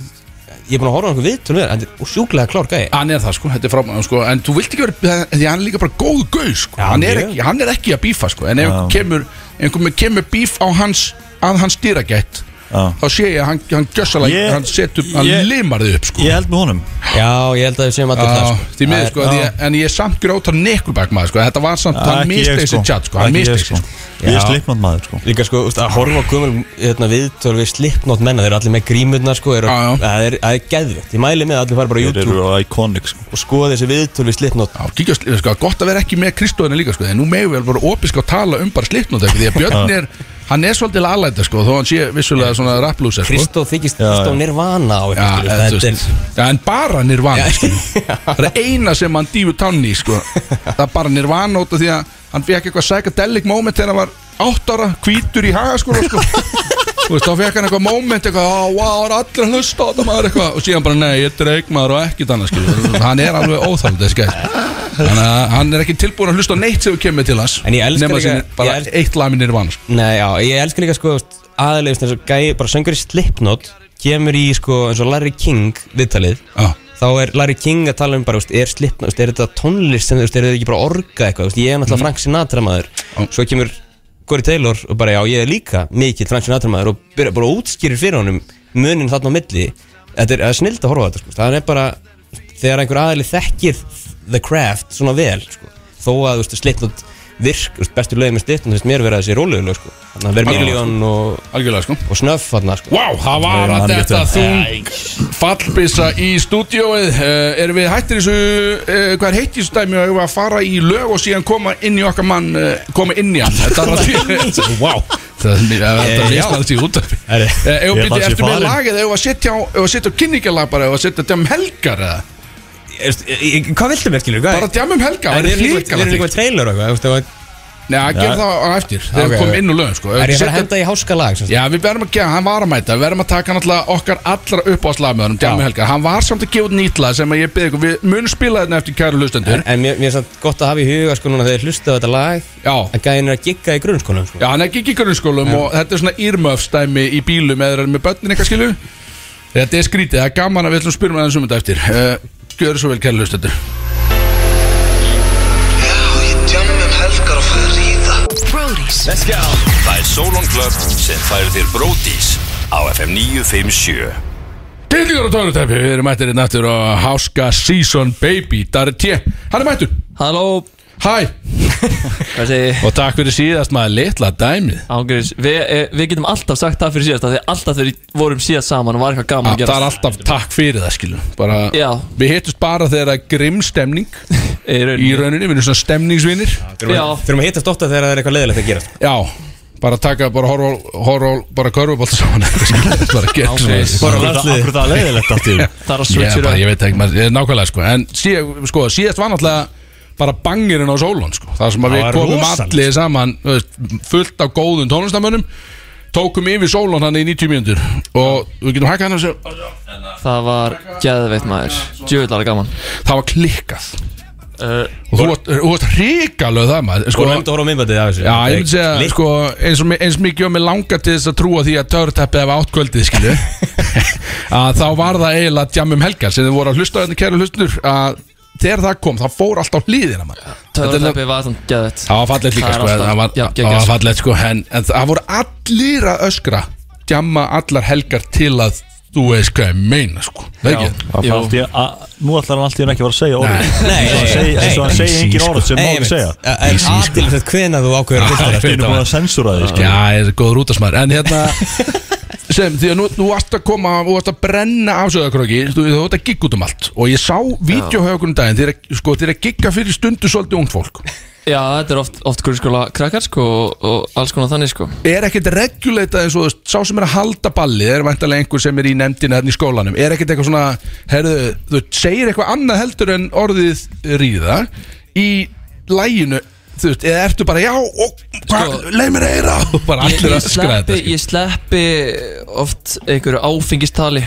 [SPEAKER 4] ég er búin að horfa á einhverju viðtölu við hann, hann er sjúklega klár gæi
[SPEAKER 1] hann er það sko, þetta er frábæðan sko en þú vilt ekki vera, því hann er líka bara góð gauð sko, hann, er
[SPEAKER 4] mjög.
[SPEAKER 1] ekki, hann er ekki að bífa sko, en ef kemur, einhver með kemur bíf á hans, að hans dýragætt
[SPEAKER 2] Já.
[SPEAKER 1] þá sé ég að hann, hann gjössalega,
[SPEAKER 2] Ég-
[SPEAKER 1] hann setur, hann
[SPEAKER 2] ég-
[SPEAKER 1] limar þið upp sko
[SPEAKER 2] Ég held með honum
[SPEAKER 4] já, ég held að við séum allir
[SPEAKER 1] Já,
[SPEAKER 4] það sko.
[SPEAKER 1] því miður sko, því, að- en ég er samt grótar Nickelback maður sko, þetta var samt, hann
[SPEAKER 2] Ekki ég,
[SPEAKER 1] misti
[SPEAKER 2] sko.
[SPEAKER 1] þessi tjátt sko, hann
[SPEAKER 2] Ekki
[SPEAKER 1] misti
[SPEAKER 2] ég,
[SPEAKER 1] þessi sko
[SPEAKER 2] sko Ég er slipnátt maður sko
[SPEAKER 4] Líka sko, úst, að horfa á gömul hérna, viðtöl við slipnót menna, þeir eru allir með grímurnar sko, eru,
[SPEAKER 1] Já, já.
[SPEAKER 4] það er, það er geðvitt, ég mæli með að allir fara bara á
[SPEAKER 2] Þeir
[SPEAKER 4] YouTube
[SPEAKER 2] eru iconic sko
[SPEAKER 4] og skoða þessi viðtöl við slipnót
[SPEAKER 1] Já, kíkja, á sli- sko, gott að vera ekki með Kristóðinu líka sko, en nú megum við bara opisk að tala um bara slitnótt því að Björn er, hann er svolítið alæta sko, þó hann sé vissulega svona rapplúsa sko.
[SPEAKER 4] Kristó þykist, Kristó nirvana á
[SPEAKER 1] Já,
[SPEAKER 4] eitthvað, skilur,
[SPEAKER 1] eða, þú
[SPEAKER 4] þetta
[SPEAKER 1] veist, já, en bara Nirvana skilur. Það er eina sem hann dýfur tanni sko. Það er bara Nirvana út af því að hann fekk eitthvað psychedelic moment þegar hann var átt ára, hvítur í haga sko, sko. Þú veist, þá fekk hann eitthvað moment eitthvað, á, vá, það er allir að hlusta á þetta maður eitthvað og síðan bara, nei, ég er dreikmaður og ekkit annað skilur. hann er alveg óþáld þannig að hann er ekki tilbúin að hlusta á neitt sem við kemur til hans
[SPEAKER 4] En ég elska
[SPEAKER 1] nema
[SPEAKER 4] líka-
[SPEAKER 1] sem bara
[SPEAKER 4] ég elska-
[SPEAKER 1] eitt lag með Nirvana sko.
[SPEAKER 4] Nei, já, ég elska líka sko úst, aðalega, úst, eins og gæi, bara söngur í slipnót kemur í sko, eins og Larry King viðtalið,
[SPEAKER 1] Já.
[SPEAKER 4] þá er Larry King að tala um bara, úst, er slipnót, úst, er þetta tónlist sem, úst, er þetta ekki bara orga eitthvað, úst, ég er náttúrulega Frank Sinatra maður, svo kemur Corey Taylor og bara, já, ég er líka mikill Frank Sinatra maður og byrja bara að útskýrir fyrir honum munin þarna á milli þetta er, það er snild að horfa á þetta, sko, það er bara þegar einhver aðali þekkir the craft svona vel, sko, þó að, úst, slipnót virk, úst, bestu lögum með slipnót, finnst mér vera þessi róleguleg, sko, þannig að vera miljón og,
[SPEAKER 1] algjörlega sko
[SPEAKER 4] og snöff þarna, sko
[SPEAKER 1] Vá, það var
[SPEAKER 2] Nei,
[SPEAKER 1] að
[SPEAKER 2] hann
[SPEAKER 1] þetta
[SPEAKER 2] getur-
[SPEAKER 1] þung fallbissa í stúdíóið uh, Erum við hættir þessu, uh, hvað er heitt í þessu dæmi og erum við að fara í lög og síðan koma inn í okkar mann, uh, koma inn í hann Þetta Eh, var því, vá Það er mjög, þetta er mjög þessi útdarfi Ef
[SPEAKER 2] Ég
[SPEAKER 1] Eh, við
[SPEAKER 2] fannst ég
[SPEAKER 1] eftir með
[SPEAKER 2] farin.
[SPEAKER 1] lagið, ef við að setja á, ef við setja á kynningalag bara, ef við að setja dæmum helgar eða
[SPEAKER 4] Hvað viltu mér, skilur,
[SPEAKER 1] Bara dæmum helgar,
[SPEAKER 4] Við
[SPEAKER 1] það er
[SPEAKER 4] erum líka
[SPEAKER 1] hlíkala því
[SPEAKER 4] með trailer og eitthvað, þú veist,
[SPEAKER 1] Nei, að gera
[SPEAKER 2] Já.
[SPEAKER 1] það á eftir, þegar
[SPEAKER 4] Ok,
[SPEAKER 1] við komum
[SPEAKER 4] ok.
[SPEAKER 1] inn úr lögum sko Ef
[SPEAKER 4] er
[SPEAKER 1] við
[SPEAKER 4] ég að fara að
[SPEAKER 1] setja-
[SPEAKER 4] henda í háska lag, sem sagt?
[SPEAKER 1] Já, við verðum að gefa, hann var að mæta Við verðum að taka náttúrulega okkar allra uppáðslag með honum Djami Helgar, hann var samt að gefa út nýtla sem að ég byrði ykkur, við munum spila þetta eftir kæru hlustendur
[SPEAKER 4] En mér, mér er samt gott að hafa í huga sko núna þegar hlusta á þetta lag
[SPEAKER 1] Já.
[SPEAKER 4] Að gæðin er að gigga í grunnskólanum sko
[SPEAKER 1] Já, hann er ekki í grunnskólum og þetta er svona írmöfstæmi í bílum eða þeir eru með börnin eitthvað skilu Þetta er skrítið, það er gaman að við ætlum að spyrja með þessum þetta eftir uh, Gjör svo vel kæru hlustendur
[SPEAKER 6] Já, ég djamma um helgar og fæði að ríða
[SPEAKER 7] Brody's
[SPEAKER 8] Það er Solon Club sem færir þér Bródís á FM 957
[SPEAKER 1] Dillingar og tónutæpi, við erum mættir einn aftur og Háska Season Baby, Darri T Hann er mættur,
[SPEAKER 9] Halló,
[SPEAKER 1] hæ
[SPEAKER 9] hvað segir
[SPEAKER 1] Og takk fyrir síðast maður litla dæmið
[SPEAKER 9] Ángurins, við, eh, við getum alltaf sagt það fyrir síðast af Því að alltaf þegar við vorum síðast saman og var eitthvað
[SPEAKER 1] Já,
[SPEAKER 9] gaman að gera
[SPEAKER 1] Það er alltaf takk fyrir það skilu bara,
[SPEAKER 9] Já.
[SPEAKER 1] Við hittust bara þegar það er grimm stemning Í
[SPEAKER 9] í rauninni
[SPEAKER 1] rauninni, við erum svona stemningsvinir
[SPEAKER 9] Já,
[SPEAKER 4] Þurfum að hitta stótt að þegar það er eitthvað leiðilegt að gera sko.
[SPEAKER 1] Já, bara taka, bara horfa, á- horfa á- bara körfubólt saman Bara gert svona
[SPEAKER 2] Akkur það akkur það er leiðilegt allt í einu?
[SPEAKER 9] það er
[SPEAKER 1] Ég,
[SPEAKER 9] að switcha
[SPEAKER 1] bara,
[SPEAKER 9] yeah,
[SPEAKER 1] ég veit ekki, maður, ég, nákvæmlega sko En síðan, sko, síðast var náttúrulega bara bangirinn á Solon sko Það sem að við
[SPEAKER 4] var
[SPEAKER 1] komum
[SPEAKER 4] rosalegt.
[SPEAKER 1] allir saman þú veist, fullt af góðum tónlistamönnum Tókum yfir Solon hann í 90 mínútur Og við getum hækkað hann og segja
[SPEAKER 9] Það var geðveitt maður Djöðlar gaman
[SPEAKER 1] Það var klikkað
[SPEAKER 9] uh,
[SPEAKER 1] Og þú varst- þú varst hrikalög það maður
[SPEAKER 4] Þú erum að horfa á minnbætið af þessu
[SPEAKER 1] Sko- Já, ég myndi segja,
[SPEAKER 4] Litt-
[SPEAKER 1] sko, eins, og, mi- eins mikið og mig langar til þess að trúa því að törrteppið hafa átt kvöldið, skilju að þá var það eiginlega djamum helgar sem þið voru að hlusta á þetta kæru hlustur að þegar það kom, það fór alltaf hlýðina maður Þetta er
[SPEAKER 9] Töðurleppi var þannig geðvett
[SPEAKER 1] Það var fallegt líka
[SPEAKER 9] Það er
[SPEAKER 1] sko,
[SPEAKER 9] alltaf-
[SPEAKER 1] það var,
[SPEAKER 9] já,
[SPEAKER 1] það
[SPEAKER 9] geggjað,
[SPEAKER 1] var
[SPEAKER 9] sko.
[SPEAKER 1] fallegt sko en, en það voru allir að öskra Djamma allar helgar til að Þú veist hvað ég meina sko Það er ekki
[SPEAKER 2] Það
[SPEAKER 9] Jú.
[SPEAKER 2] var allt í- að- Nú ætlar hann alltaf ekki að vera að segja orðið
[SPEAKER 4] Nei, nei,
[SPEAKER 2] Eins og hann segi- eins og hann
[SPEAKER 1] nei,
[SPEAKER 2] segi
[SPEAKER 1] nei,
[SPEAKER 2] engin
[SPEAKER 1] sí,
[SPEAKER 2] orð sem má
[SPEAKER 4] Nei, ég
[SPEAKER 2] ekki
[SPEAKER 4] veit.
[SPEAKER 2] segja
[SPEAKER 4] En en aðtilfett hvenær þú ákveður að
[SPEAKER 1] Ah,
[SPEAKER 4] byrta
[SPEAKER 2] Þetta er
[SPEAKER 1] þetta
[SPEAKER 2] nú
[SPEAKER 1] var-
[SPEAKER 2] búin að censúra þig sko.
[SPEAKER 1] Já, það er góður útasmaður En hérna sem, Því að nú, nú varst að koma Þú varst að brenna afsöðakróki Þú þú varst að gigga út um allt Og ég sá vídeohaugunum daginn Þeir að- sko, þeir að gigga fyrir stundu svolítið ungd fólk
[SPEAKER 9] Já, þetta er oft, oft grunnskóla krakkar sko og, og alls konar þannig sko
[SPEAKER 1] Er ekkert reguleitað eins og þú veist, Sá sem er að halda ballið Er vantarlega einhver sem er í nefndina Þannig í skólanum Er ekkert eitthvað svona herðu, Þú segir eitthvað annað heldur en orðið ríða Í læginu Þú veist, eða ertu bara já og, sko,
[SPEAKER 9] Sko-
[SPEAKER 1] Leið mér að heyra og bara
[SPEAKER 9] Ég,
[SPEAKER 1] allir
[SPEAKER 9] ég,
[SPEAKER 1] að skræða
[SPEAKER 9] sleppi,
[SPEAKER 1] þetta sko.
[SPEAKER 9] ég sleppi oft einhverju áfengistali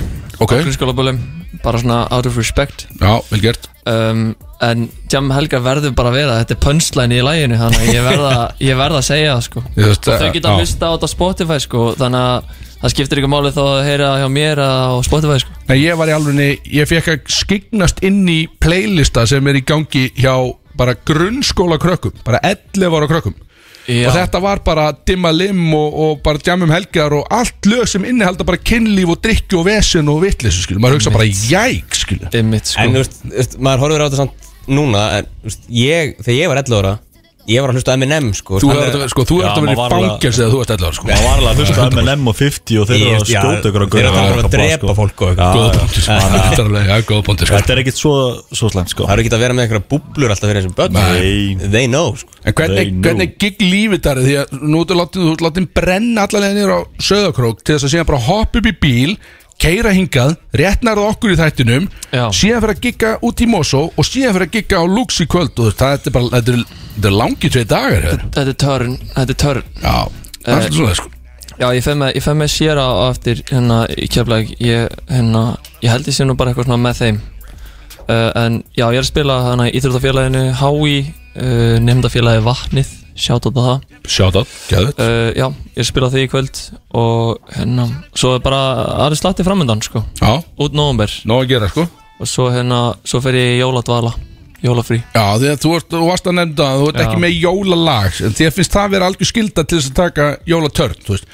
[SPEAKER 1] Ok.
[SPEAKER 9] á grunnskólaböllum bara svona out of respect
[SPEAKER 1] Já, vel gert
[SPEAKER 9] um, en Jam Helga verður bara að vera þetta er punchline í læginu þannig að ég verða, ég verða að segja það sko
[SPEAKER 1] Ég veist,
[SPEAKER 9] og þau geta
[SPEAKER 1] já.
[SPEAKER 9] að hlusta á þetta á Spotify sko þannig að það skiptir ykkur máli þó að heyra hjá mér að- á Spotify sko
[SPEAKER 1] Nei, ég var í alvegni, ég fekk að skiknast inn í playlista sem er í gangi hjá bara grunnskóla krökkum, bara 11 ára krökkum
[SPEAKER 9] Já.
[SPEAKER 1] og þetta var bara dimma lim og, og bara djamum helgar og allt lög sem innihalda bara kynlíf og drikki og vesen og vitlis, skilur, maður hugsa bara jæk, skilur
[SPEAKER 9] Einmitt, sko.
[SPEAKER 4] En þú veist, þú veist, maður horfir á þetta samt núna en, þú veist, ég, Þegar ég var 11 ára Ég var að hlusta á M&M sko,
[SPEAKER 1] Þú
[SPEAKER 4] hann
[SPEAKER 1] hefur
[SPEAKER 4] er-
[SPEAKER 1] þetta, sko, þú
[SPEAKER 2] Já,
[SPEAKER 1] hefur þetta
[SPEAKER 2] maður
[SPEAKER 1] verið
[SPEAKER 2] var alveg-
[SPEAKER 1] fangels eða þú ert 11 ára, sko
[SPEAKER 2] Það var alveg að hlusta með M og 50 og þeir eru að
[SPEAKER 4] Ég- já,
[SPEAKER 2] skjóta ykkur á
[SPEAKER 4] þeir eru að fara að
[SPEAKER 2] gaur.
[SPEAKER 4] drepa
[SPEAKER 2] Sko.
[SPEAKER 4] fólk og eitthvað.
[SPEAKER 2] Já,
[SPEAKER 1] Góða
[SPEAKER 2] já.
[SPEAKER 1] punktur, sko Þetta er alveg, já, góða punktur, sko
[SPEAKER 2] Þetta er ekkit svo, svo slæmt sko
[SPEAKER 4] Það eru ekki að vera með einhverja búblur alltaf fyrir þessum börn
[SPEAKER 2] Nei.
[SPEAKER 4] They know sko.
[SPEAKER 1] En hvernig,
[SPEAKER 2] They know.
[SPEAKER 1] hvernig gigg lífið þar er? Því að nú ertu látið, þú látið brenna allalega niður á söðakrók til þess að síðan bara hoppa upp í bíl keira hingað, réttnarða okkur í þættinum
[SPEAKER 9] Já.
[SPEAKER 1] síðan fyrir að gigga út í Mosó og síðan fyrir að gigga á Lux í kvöld og það þetta er bara, þetta er, þetta er langi tvei dagar hér.
[SPEAKER 9] þetta er törn þetta er törn
[SPEAKER 1] Já, það er svolítið svona sko
[SPEAKER 9] Já, ég feg með, ég feg með sér á á eftir hérna í keflag ég, hérna, ég held ég sé nú bara eitthvað svona með þeim uh, En já, ég er að spila hérna í Íþróttafélaginu HÍ uh, Nefndafélagi Vatnið, sjátt á það uh,
[SPEAKER 1] Sjátt á, gæðu
[SPEAKER 9] Eh, Já, ég er að spila því í kvöld og hérna, svo er bara aðri slatti framöndan, sko,
[SPEAKER 1] Já,
[SPEAKER 9] út nóvumber
[SPEAKER 1] nóg að gera sko
[SPEAKER 9] Og svo hérna, svo fer ég í jóladvala, jólafrí
[SPEAKER 1] Já, því að þú, varst, þú varst að nefnda að þú ert
[SPEAKER 9] Já.
[SPEAKER 1] ekki með jólalag en því að finnst það vera algjör skilda til þess að taka jólatörn, þú veist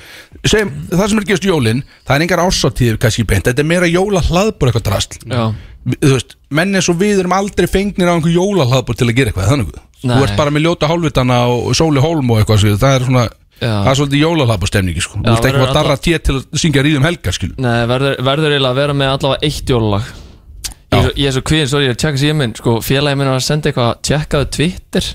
[SPEAKER 1] Sem, það sem er gefst jólin, það er engar ársatíðir kannski beint, þetta er meira jólahlaðbúr eitthvað drasl,
[SPEAKER 9] Já,
[SPEAKER 1] Vi- þú veist menn eins og við erum aldrei fengnir á einhver jólahlaðbúr til að gera eitthvað, þannig
[SPEAKER 9] Nei.
[SPEAKER 1] þú ert bara með ljóta hálfvitana og sóli hólm og eitthvað, skil, það er svona
[SPEAKER 9] Já.
[SPEAKER 1] það er svolítið jólahlaðbúr stemningi, sko
[SPEAKER 9] Já,
[SPEAKER 1] þú ert ekki
[SPEAKER 9] verður
[SPEAKER 1] bara að darra
[SPEAKER 9] alla-
[SPEAKER 1] tíð til að syngja ríðum helga, skil
[SPEAKER 9] Nei, verður, verður eiginlega að vera með allavega eitt jólalag
[SPEAKER 1] Já.
[SPEAKER 9] Ég er svo- Ég er svo kvíðin, sorry, ég er að tjekka síðan minn Sko, félagi minn var að senda eitthvað Tjekkaðu Twitter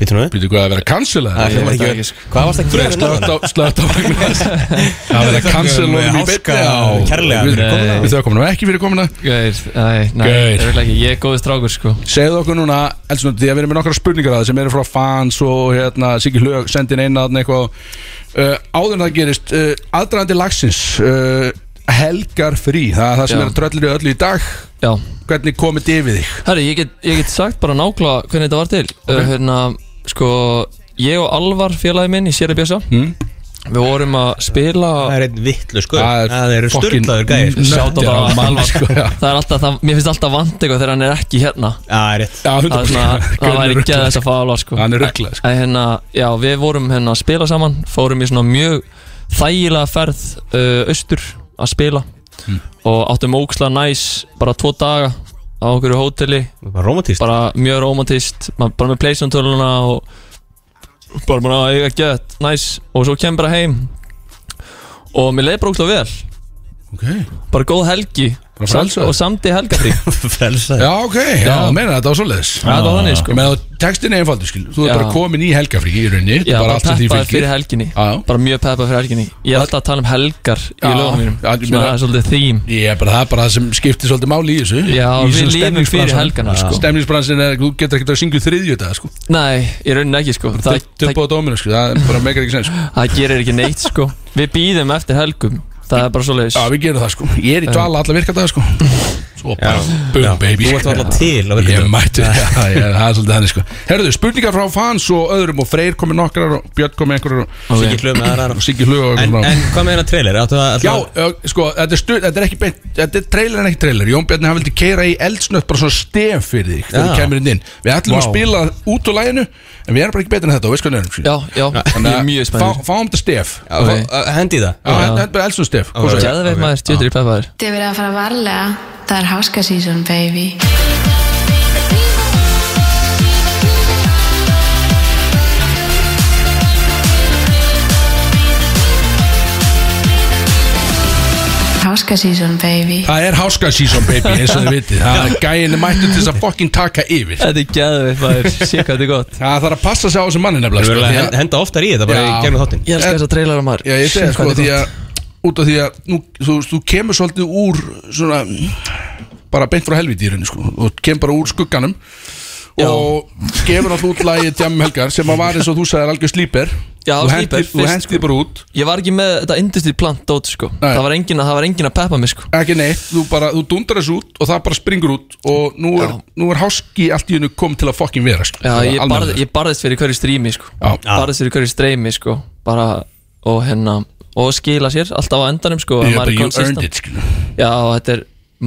[SPEAKER 4] Býtum við
[SPEAKER 1] Býtu hvað að vera
[SPEAKER 4] Það
[SPEAKER 1] cancelað?
[SPEAKER 4] hljómar
[SPEAKER 9] veit
[SPEAKER 4] ekki
[SPEAKER 9] það
[SPEAKER 4] vel.
[SPEAKER 9] ekki, sko.
[SPEAKER 4] Hvað varst að gera
[SPEAKER 1] Freyr,
[SPEAKER 4] náðan?
[SPEAKER 1] slögt á slögt á Magnús Það verður að cancel
[SPEAKER 4] þökkum,
[SPEAKER 1] honum í
[SPEAKER 4] eh,
[SPEAKER 1] beinni
[SPEAKER 4] háska
[SPEAKER 1] á
[SPEAKER 4] kærlega
[SPEAKER 1] Við
[SPEAKER 4] fyrir
[SPEAKER 9] komuna.
[SPEAKER 1] við þökkum honum ekki fyrir komuna
[SPEAKER 9] Gauir, nei, nei,
[SPEAKER 1] Gaur.
[SPEAKER 9] það er ekki Ég er góðið strákur, sko
[SPEAKER 1] Segðu okkur núna, elsnum, því að við erum með nokkra spurningar að það sem eru frá fans og hérna Siggi Hlög sendi inn eina þarna eitthvað uh, Áður en það gerist, uh, aðdraðandi lagsins uh, Helgar frí, það er það sem
[SPEAKER 9] Já.
[SPEAKER 1] er að tröllir í öllu í dag
[SPEAKER 9] Já,
[SPEAKER 1] Hvernig komið þið við þig?
[SPEAKER 9] herri, ég get, ég get sagt bara nákvæmlega hvernig þetta var til okay. Hérna, sko Ég og Alvar, félagi minn í Sérri Bjösa
[SPEAKER 1] Mm.
[SPEAKER 9] Við vorum að spila
[SPEAKER 4] Það er einn vittlu sko
[SPEAKER 1] Það er
[SPEAKER 4] Það eru
[SPEAKER 1] fucking-
[SPEAKER 4] styrlaður gæðir sko.
[SPEAKER 9] Sjátt á
[SPEAKER 1] Nöttir á
[SPEAKER 9] það
[SPEAKER 1] mann,
[SPEAKER 9] Alvar
[SPEAKER 1] sko, já.
[SPEAKER 9] Það er alltaf, það, mér finnst alltaf vant eitthvað þegar hann er ekki hérna
[SPEAKER 4] Það er rétt
[SPEAKER 1] Já,
[SPEAKER 9] Það, er svona, það væri ekki að þess að fá Alvar, sko
[SPEAKER 1] Hann er rugglaður, sko.
[SPEAKER 9] En hérna, já, við vorum hérna að spila saman Fórum í svona mjög þægilega ferð uh, austur að spila
[SPEAKER 1] Hmm.
[SPEAKER 9] Og áttum óksla næs bara tvo daga á okkur hóteli
[SPEAKER 4] Bara Romantist
[SPEAKER 9] bara mjög romantist ma- bara með playstation töluna og bara bara að eiga gett, næs og svo kem bara heim og mér leið bara ógst vel
[SPEAKER 1] okay.
[SPEAKER 9] bara góð helgi
[SPEAKER 1] Bara
[SPEAKER 9] samt,
[SPEAKER 1] frelsaður.
[SPEAKER 9] og samti helgafrí
[SPEAKER 4] Frelsaði
[SPEAKER 1] Já, ok, já, já. meina þetta var svoleiðis
[SPEAKER 9] það var þannig
[SPEAKER 1] Ég
[SPEAKER 9] sko
[SPEAKER 1] meina, textin er einfaldur, skil Þú
[SPEAKER 9] Já.
[SPEAKER 1] er bara komin í helgafrí í rauninni
[SPEAKER 9] Já,
[SPEAKER 1] bara
[SPEAKER 9] bara
[SPEAKER 1] allt sem því
[SPEAKER 9] peppaði
[SPEAKER 1] fylgir.
[SPEAKER 9] fyrir helginni
[SPEAKER 1] Já, já.
[SPEAKER 9] Bara mjög peppaði fyrir helginni Ég er alltaf að tala um helgar í
[SPEAKER 1] Já,
[SPEAKER 9] lögum mínum
[SPEAKER 1] já, ég
[SPEAKER 9] Svona
[SPEAKER 1] meina-
[SPEAKER 9] það er svolítið þým
[SPEAKER 1] Ég er bara það er bara það sem skiptir svolítið máli í þessu
[SPEAKER 9] Já,
[SPEAKER 1] í
[SPEAKER 9] við
[SPEAKER 1] þessum
[SPEAKER 9] lifum fyrir
[SPEAKER 1] stemningsbransanum.
[SPEAKER 9] helgana sko
[SPEAKER 1] Stemningsbransin er, þú getur ekkert að syngja þriðju dag sko.
[SPEAKER 9] Nei, í rauninni ekki sko Það, það,
[SPEAKER 1] Töpa á dóminu, sko. það er bara megar ekki sens sko.
[SPEAKER 9] það gerir ekki neitt sko Við býðum eftir helgum Það er bara svo
[SPEAKER 1] Já, við gerum það sko Ég er í dvala alla virka dag sko. Svo bara boom baby
[SPEAKER 4] Þú ert alltaf til á
[SPEAKER 1] Ég
[SPEAKER 4] virkundum
[SPEAKER 1] mættu, já, ég, það er svolítið þannig sko Herðu, spurningar frá fans og öðrum og Freyr komið nokkrar og Björn komið einhverjar og
[SPEAKER 4] Svo ekki hlöfum með aðra
[SPEAKER 1] og Siggi Hluga og
[SPEAKER 4] En,
[SPEAKER 1] eitthvað
[SPEAKER 4] en hvað með hérna trailer? Áttu að, ætla-
[SPEAKER 1] Já, ö, sko, þetta er, stuð, þetta er ekki beint Þetta er trailer en ekki trailer Jón Bjarni, hann vildi keira í eldsnött bara svona stef fyrir þig þegar
[SPEAKER 4] Já.
[SPEAKER 1] þú kemur inn inn Við ætlum að
[SPEAKER 4] Vá.
[SPEAKER 1] spila út úr læginu en við erum bara ekki betur en þetta og veist hvað nefnum
[SPEAKER 9] Já, já, ég er mjög spennur
[SPEAKER 1] Fá, Fáum þetta stef Já,
[SPEAKER 4] Fá- að Hendi í það
[SPEAKER 1] Þetta er bara eldsnött stef Hvað svo?
[SPEAKER 9] Gæðveit maður, djöður í peppaður
[SPEAKER 7] Þið verða að fara varlega, það er háska season baby Háska season baby
[SPEAKER 1] Það er háska season baby eins og þið vitið Það er gæin mættu til þess að fucking taka yfir
[SPEAKER 9] Þetta er gæðveit maður, sé hvað þetta er gott
[SPEAKER 1] Það þarf að passa sig á þessum manni nefnilega
[SPEAKER 4] Þú
[SPEAKER 1] sko,
[SPEAKER 4] verður
[SPEAKER 1] því
[SPEAKER 4] að
[SPEAKER 1] að-
[SPEAKER 4] hen- henda oftar í þetta bara í
[SPEAKER 1] Já.
[SPEAKER 4] gegnum þáttinn
[SPEAKER 9] Ég elska þess að trailera maður
[SPEAKER 1] Já, ég segi
[SPEAKER 9] Shit,
[SPEAKER 1] sko
[SPEAKER 9] hvað
[SPEAKER 1] því
[SPEAKER 9] þetta er
[SPEAKER 1] að út af því að nú, þú, þú kemur svolítið úr svona bara beint frá helvíti í rauninu sko og kemur bara úr skugganum og gefur alltaf út lagið Djammi Helgar sem að var eins og þú sagðir algjör slíper
[SPEAKER 9] Já,
[SPEAKER 1] þú
[SPEAKER 9] Sleeper,
[SPEAKER 1] hendir, þú
[SPEAKER 9] fyrst-
[SPEAKER 1] hendir því bara út
[SPEAKER 9] gott. Ég var ekki með þetta industry plant dót sko
[SPEAKER 1] Nei.
[SPEAKER 9] Það var engin að, það var engin að peppa mig sko
[SPEAKER 1] ekki neitt, þú bara, þú dundar þessu út og það bara springur út og nú er,
[SPEAKER 9] Já.
[SPEAKER 1] nú er háski allt í hennu kom til að fokkin vera sko.
[SPEAKER 9] Já, ég, barð,
[SPEAKER 1] Almennilega.
[SPEAKER 9] ég barðist fyrir hverju strími sko
[SPEAKER 1] Já.
[SPEAKER 9] Barðist fyrir hverju streymi sko Bara, og hérna Og skila sér alltaf á endanum sko
[SPEAKER 1] Ég
[SPEAKER 9] að maður
[SPEAKER 1] bara,
[SPEAKER 9] er
[SPEAKER 1] you
[SPEAKER 9] consistent.
[SPEAKER 1] earned it sko.
[SPEAKER 9] Já, og þetta er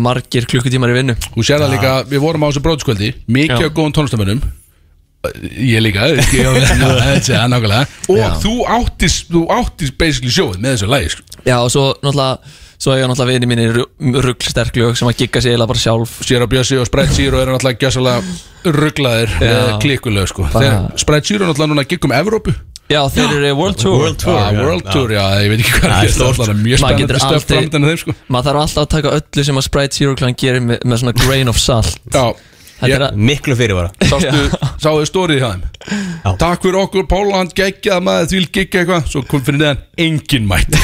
[SPEAKER 9] margir klukkutímar í vinnu
[SPEAKER 1] Þú sér það líka, við vorum á þessu bróðskvöldi Mikið
[SPEAKER 9] Já.
[SPEAKER 1] á góðum tónlistamönnum Ég líka ekki, já, já, þetta er nákvæmlega. Og þú áttist Þú áttist basically sjóið með þessu lægi sko.
[SPEAKER 9] Já, og svo náttúrulega Svo eiga náttúrulega vini mínir rugglsterklög sem að gigga sig eiginlega bara sjálf
[SPEAKER 1] Sér á Bjössi og Sprite Zero eru náttúrulega Gjössalega rugglaðir
[SPEAKER 9] Já.
[SPEAKER 1] Klikkulega sko
[SPEAKER 9] Bara-
[SPEAKER 1] Þegar Sprite Zero er náttúrulega núna giggum Evrópu
[SPEAKER 9] Já, þeir eru World Tour
[SPEAKER 4] World Tour,
[SPEAKER 1] Já, World Tour, já, ég veit ekki hvað
[SPEAKER 4] Það er
[SPEAKER 1] er
[SPEAKER 4] stórt.
[SPEAKER 1] Það er um. mjög
[SPEAKER 9] Maður getur
[SPEAKER 1] spennandi stöf
[SPEAKER 9] aldrei-
[SPEAKER 1] framdann þeim sko
[SPEAKER 9] Maður þarf alltaf að taka öllu sem að Sprite Zero Clan gerir með, með svona grain of salt
[SPEAKER 1] Já,
[SPEAKER 9] Þetta er að
[SPEAKER 4] Miklu fyrirvara
[SPEAKER 1] sástu, sáðu stórið hjá þeim Takk fyrir okkur, Póland geggjað maður því vil giggja eitthvað, svo kom fyrir neðan engin mætt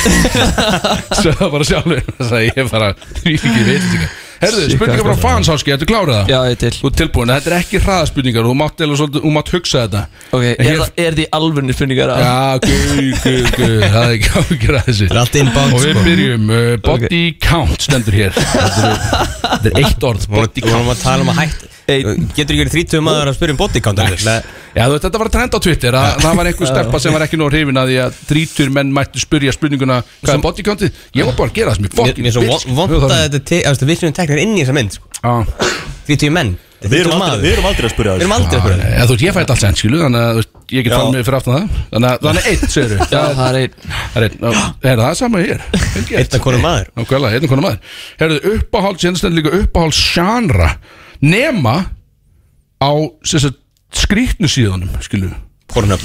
[SPEAKER 1] svo það bara sjálfur það sagði ég bara, því ekki veit þetta Herðu,
[SPEAKER 9] Shit,
[SPEAKER 1] spurningar
[SPEAKER 9] hvað
[SPEAKER 1] frá fans áski, ertu klárað það?
[SPEAKER 9] Já, ég er til
[SPEAKER 1] Þú ert tilbúin, þetta er ekki hraðaspurningar þú mátt, eiginlega svolítið, þú mátt hugsa þetta
[SPEAKER 9] Ok,
[SPEAKER 1] En
[SPEAKER 9] er,
[SPEAKER 1] hér-
[SPEAKER 9] það- er því alvörnir spurningar að
[SPEAKER 1] Já, guð, guð, guð, það er ekki ágjör að þessu
[SPEAKER 4] Það er allt inbound
[SPEAKER 1] Og við
[SPEAKER 4] sko
[SPEAKER 1] byrjum, uh, body count stendur hér Þetta er, þetta er eitt orð, body
[SPEAKER 4] Við
[SPEAKER 1] count
[SPEAKER 4] vorum að tala um að hætt
[SPEAKER 9] Einn.
[SPEAKER 4] Getur ekki verið 30 maður að spyrja um body count Alex?
[SPEAKER 1] Já, þú veist, þetta var að trenda á Twitter að, Það var einhver stelpa sem var ekki nóg hrifin að því að drítur menn mættu spyrja spurninguna Hvað er bodycountið? Ég var bara að gera það sem ég
[SPEAKER 4] Mér
[SPEAKER 1] fokkin
[SPEAKER 4] mér er svo von- vont að þetta te- að Við séum teknir inn í þessa mynd sko.
[SPEAKER 1] Já,
[SPEAKER 4] 30 menn
[SPEAKER 2] Við erum aldrei- við erum aldrei að spyrja
[SPEAKER 4] Við erum
[SPEAKER 2] þessu sko.
[SPEAKER 4] aldrei að spyrja um
[SPEAKER 1] eða þú veist, ég fæ þetta allt senn, skilu Þannig að þú veist, ég get
[SPEAKER 2] Já.
[SPEAKER 1] fann mig fyrir aftan það Þannig að þannig að eitt, segir þú
[SPEAKER 9] Já, það er einn
[SPEAKER 1] Það er einn, ná, er það sama hér? Vel gert.
[SPEAKER 4] Einn af konum maður
[SPEAKER 1] Nákvæmlega, einn og konar maður Herðu, uppáhalds, hérna stendur líka uppáhalds sjánra Nema á sem sagt, skrýtnu síðunum, skilu
[SPEAKER 4] Pornhub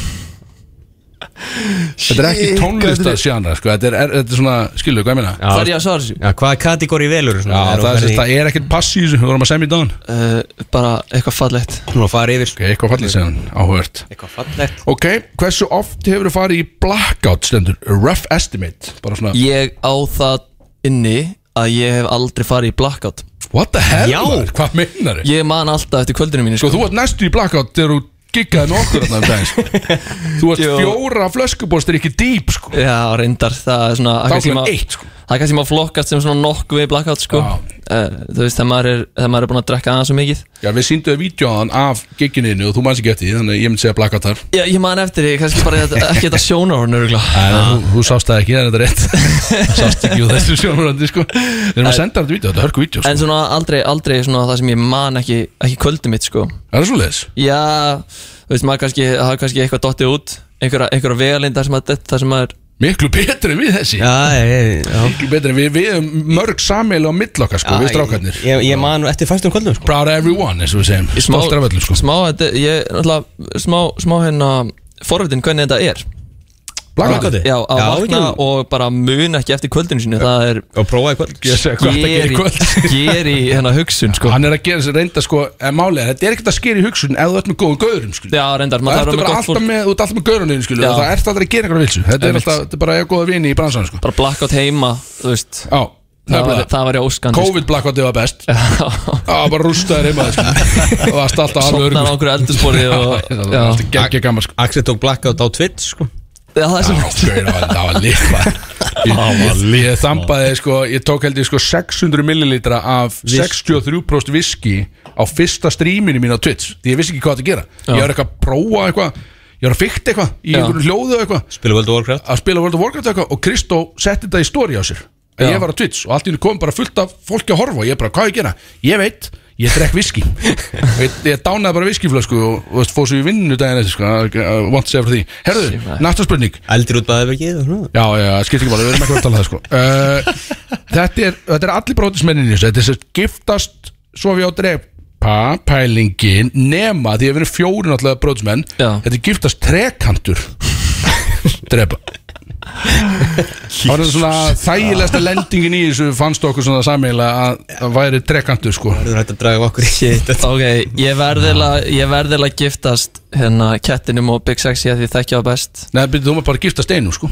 [SPEAKER 1] Þetta er ekki tónlistar sko Þetta er, er, þetta er svona, skilu, hvað ég meina?
[SPEAKER 9] Það er ég að svara þessu
[SPEAKER 4] Já, hvaða kategóri velur
[SPEAKER 1] Já, það, er, það er ekkert pass í þessu, við vorum að semja í dagann
[SPEAKER 9] uh, Bara eitthvað fallegt
[SPEAKER 4] Nú að fara yfir
[SPEAKER 1] Ok, eitthvað fallið segjan, áhört
[SPEAKER 4] Eitthvað fallegt
[SPEAKER 1] Ok, hversu oft hefur þú farið í blackout stendur? Rough estimate, bara svona
[SPEAKER 9] Ég á það inni að ég hef aldrei farið í blackout
[SPEAKER 1] What the hell,
[SPEAKER 4] Já.
[SPEAKER 1] maður? hvað meinar þau?
[SPEAKER 9] Ég man alltaf eftir kvöldinu mínu
[SPEAKER 1] Sko,
[SPEAKER 9] sko.
[SPEAKER 1] þú varst næstu í blackout þegar þú giggaði með okkur þarna um daginn sko. Þú varst
[SPEAKER 9] Jú.
[SPEAKER 1] fjóra flöskubóstir ekki dýp, sko
[SPEAKER 9] Já, reyndar, það er svona
[SPEAKER 1] Þá
[SPEAKER 9] það kannski
[SPEAKER 1] klukkan
[SPEAKER 9] má-
[SPEAKER 1] eitt, sko
[SPEAKER 9] Það er kannski maður flokkast sem svona nokkuð við blackout sko
[SPEAKER 1] Já.
[SPEAKER 9] uh, Þú veist, þegar maður er, þegar maður er búin að drekka aðeins svo mikið
[SPEAKER 1] Já, við sýnduðu vídjóðan af gigginiðinu og þú manns ekki eftir því, þannig að ég myndi segja blackout þar
[SPEAKER 9] Já, ég man eftir því, kannski bara þetta- ekki þetta sjónarhorn örgulega
[SPEAKER 1] Æ, þú, þú sást það ekki, það er þetta rétt Þú Sást ekki úr þessu sjónurandi, sko Við erum að senda þetta vídjó, þetta er hörku vídjó, sko
[SPEAKER 9] En svona aldrei, aldrei svona það sem ég man ekki, ekki kvöldu mitt sko
[SPEAKER 1] Er það svoleiðis?
[SPEAKER 9] Já, þú veist maður kannski, það er kannski eitthvað dottið út Einhverja, einhverja vegalinn þar sem maður dett, þar sem maður
[SPEAKER 1] Miklu betri en við þessi
[SPEAKER 4] Já, ég, já.
[SPEAKER 1] miklu betri en við, við erum mörg sammeil á millokkar sko, við strákarnir
[SPEAKER 4] Ég, ég man nú eftir fæstum kvöldum sko.
[SPEAKER 1] Proud of everyone, eins og við segjum,
[SPEAKER 9] smá-
[SPEAKER 1] stoltar af öllum sko
[SPEAKER 9] Smá, þetta, ég, náttúrulega, smá, smá hérna Forvitin hvernig þetta er
[SPEAKER 1] Eh, Blakandi
[SPEAKER 4] Blackoutið?
[SPEAKER 9] Já, að
[SPEAKER 4] Já,
[SPEAKER 9] vakna
[SPEAKER 4] jú.
[SPEAKER 9] og bara mun ekki eftir kvöldinu sínu Það er
[SPEAKER 4] Og prófaði kvöld
[SPEAKER 1] Eh, Ég segi hvað þetta gerir í kvöld
[SPEAKER 9] geri hérna hugsun sko
[SPEAKER 1] Hann er að gera þessi reynda sko, en málega, þetta er ekkert að skera í hugsun ef þú ert með góðum gaurum sko
[SPEAKER 9] Já, reyndar,
[SPEAKER 1] Það
[SPEAKER 9] maður
[SPEAKER 1] ertu
[SPEAKER 9] þarf að með
[SPEAKER 1] bara
[SPEAKER 9] gott
[SPEAKER 1] alltaf
[SPEAKER 9] fólk
[SPEAKER 1] með, þú ert alltaf með gaurunum sko,
[SPEAKER 9] Já.
[SPEAKER 1] það ert alltaf að gera eitthvað vilsu Þetta er
[SPEAKER 9] Einmitt.
[SPEAKER 1] alltaf, þetta er bara að góða vini í bransan sko
[SPEAKER 9] Bara blackout heima, þú veist
[SPEAKER 1] Já,
[SPEAKER 9] Það var,
[SPEAKER 1] nefnilega
[SPEAKER 9] það var ég óskandi sko.
[SPEAKER 1] COVID blakkvati var best Já, bara rústaður heima þér, sko Og varst alltaf alveg
[SPEAKER 9] Sopnar á
[SPEAKER 1] örgum
[SPEAKER 9] einhverju eldursporði og
[SPEAKER 1] Það
[SPEAKER 9] Já.
[SPEAKER 1] var alltaf geggja gaman sko
[SPEAKER 4] Axel tók blackout á Twitch sko.
[SPEAKER 9] Já, það er
[SPEAKER 1] Já,
[SPEAKER 9] sem
[SPEAKER 1] gauðir, það var- það var líka Ég, ég þambaði sko, ég tók held ég sko 600 millilitra af 63% viski á fyrsta stríminu mín á Twitch því ég vissi ekki hvað átti að gera ég var eitthvað að prófa eitthvað ég var að fykta eitthvað í
[SPEAKER 9] Já.
[SPEAKER 1] einhverju hljóðu og eitthvað
[SPEAKER 4] Spila World of Warcraft
[SPEAKER 1] að spila World of Warcraft og eitthvað og Kristó setti þetta í story á sér en ég var á Twitch og allt í henni kom bara fullt af fólki að horfa og ég bara hvað á ég að gera ég veit Ég drekk viski Ég, ég dánaði bara viskiflösku og, og veist, fóð svo í vinnu daginn eftir sko, I want to say for því Herðu, næsta spurning
[SPEAKER 4] Eldir út baðið og
[SPEAKER 1] Já, já, það skiptir ekki máli, við erum ekki að tala það sko uh, þetta, er, þetta er allir brotismennin í þessu, þetta er sem sagt giftast svo við á drepa pælingin nema því að við erum fjóri náttúrulega brotismenn,
[SPEAKER 9] Já.
[SPEAKER 1] þetta er giftast trekantur drepa Það var þetta svona þægilegsta lendingin í þessu fannst okkur svona sameiginlega að það væri trekantur sko
[SPEAKER 4] Þú er hægt að draga okkur í þetta
[SPEAKER 9] Ok, ég verðilega að giftast hérna kettinum og Big Sexy að því þekkja á best
[SPEAKER 1] Nei, byrjuðu, þú maður bara að giftast einu sko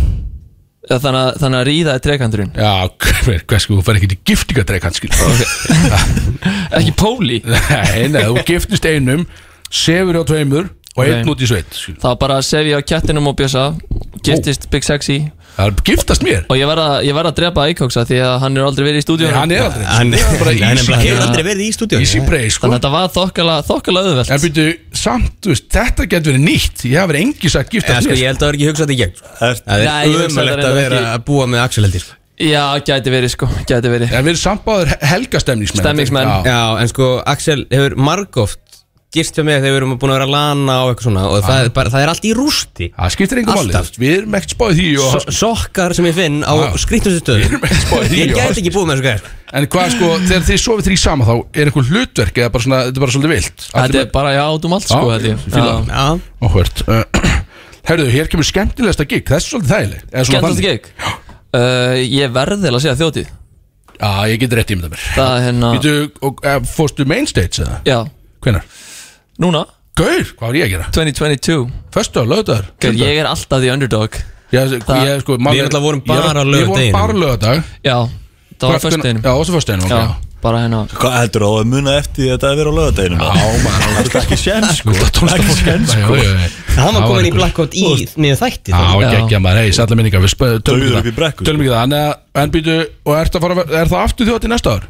[SPEAKER 9] Já, þannig, að, þannig að ríða er trekandurinn
[SPEAKER 1] Já, hver, hver sko, þú fer ekki til giftingatrekant skil
[SPEAKER 9] Ekki póli
[SPEAKER 1] Nei, nei, þú giftist einum Sefur á tveimur og einn
[SPEAKER 9] Ok.
[SPEAKER 1] út í sveit skilur.
[SPEAKER 9] Það var bara að sef ég á kettinum og bjösa Giftist Big Sexy
[SPEAKER 1] Það er giftast mér
[SPEAKER 9] Og ég verð að, ég verð að drepa Eikóksa því að hann er aldrei verið í
[SPEAKER 1] Nei,
[SPEAKER 9] stúdíunum
[SPEAKER 1] Hann er aldrei
[SPEAKER 4] Hann
[SPEAKER 1] Það er bara easy
[SPEAKER 4] hann er bara- hann hefur
[SPEAKER 1] game.
[SPEAKER 4] aldrei verið í stúdíu
[SPEAKER 1] Easy prey sko
[SPEAKER 9] Þannig að þetta var þokkala, þokkala auðvelt
[SPEAKER 1] En byrju, samt, þú veist, þetta getur verið nýtt Ég hafa verið engi sagt
[SPEAKER 4] Já,
[SPEAKER 1] giftast
[SPEAKER 4] sko, ég
[SPEAKER 1] mér
[SPEAKER 4] held að það er ekki hugsað í gegn sko. Það
[SPEAKER 9] Nei, ég
[SPEAKER 4] er
[SPEAKER 9] hugsa
[SPEAKER 4] umöðlegt
[SPEAKER 9] þetta
[SPEAKER 4] að
[SPEAKER 9] reyndar
[SPEAKER 4] vera
[SPEAKER 9] ekki.
[SPEAKER 4] að búa með Axel heldur sko.
[SPEAKER 9] Já, gæti verið sko, gæti verið
[SPEAKER 1] En við erum samt báður helgastemningsmenn
[SPEAKER 9] Stemningsmenn.
[SPEAKER 1] Já.
[SPEAKER 4] Já, en sko, Axel hefur margóft gist hjá mig þegar við erum búin að vera að lana og eitthvað svona og það er, bara, það er allt í rústi
[SPEAKER 1] Það skiptir engum máli
[SPEAKER 4] Alltaf.
[SPEAKER 1] þú veist, Við erum ekkert spáðið því og
[SPEAKER 4] so Sokkar sem ég finn á
[SPEAKER 1] Já.
[SPEAKER 4] skrýtnustu
[SPEAKER 1] Við erum
[SPEAKER 4] stöðum
[SPEAKER 1] ekkert spáðið því
[SPEAKER 4] Ég
[SPEAKER 1] og
[SPEAKER 4] gæti ekki búið með þessu gæðir
[SPEAKER 1] En hvað sko, þegar þið sofið þrý sama þá Er einhver hlutverk eða bara svona, þetta er bara svolítið vilt
[SPEAKER 9] Þetta er bara, já, út um allt sko
[SPEAKER 1] Já,
[SPEAKER 9] held ég.
[SPEAKER 1] ég fíla
[SPEAKER 9] Já.
[SPEAKER 4] Já,
[SPEAKER 1] Óhvert Herðu, hér kemur skemmtilegasta gig Það er svolítið þægileg eða svona
[SPEAKER 9] Skemmtast
[SPEAKER 1] þannig.
[SPEAKER 9] gig uh, Ég verðilega að segja þjótið
[SPEAKER 1] Já, ég get rétt í mér
[SPEAKER 9] Það er hérna
[SPEAKER 1] Býtu, og eh, fórstu main stage eða?
[SPEAKER 9] Já,
[SPEAKER 1] Hvenær?
[SPEAKER 9] núna,
[SPEAKER 1] Gaur, hvað var ég að gera?
[SPEAKER 9] 2022
[SPEAKER 1] Föstu á lögðar
[SPEAKER 9] Gauð, Ég er alltaf the underdog
[SPEAKER 1] Ég, ég, sko, mál-
[SPEAKER 4] Við náttúrulega vorum
[SPEAKER 1] ég var-
[SPEAKER 4] bara á
[SPEAKER 1] Við vorum
[SPEAKER 4] laugardeginum.
[SPEAKER 1] bara lögðar
[SPEAKER 9] Já, það var fyrst
[SPEAKER 1] Já, það var fyrstu einum
[SPEAKER 9] Já, bara hérna
[SPEAKER 2] Hvað heldur þú að muna eftir því að þetta að vera á lögadeginu?
[SPEAKER 1] Já, maður
[SPEAKER 2] Það er ekki sén sko Ekki sén sko
[SPEAKER 4] hann var komin í Blackout í niður þætti
[SPEAKER 1] Já,
[SPEAKER 9] Já.
[SPEAKER 1] geggja maður, hei, sætla minninga Við spöðum
[SPEAKER 2] Dauður
[SPEAKER 1] tölum
[SPEAKER 2] upp í
[SPEAKER 1] ekki það
[SPEAKER 2] brekku,
[SPEAKER 1] Tölum ekki það, en, eh, en býtu Og er það, fara, er það aftur þjótt í næsta ár?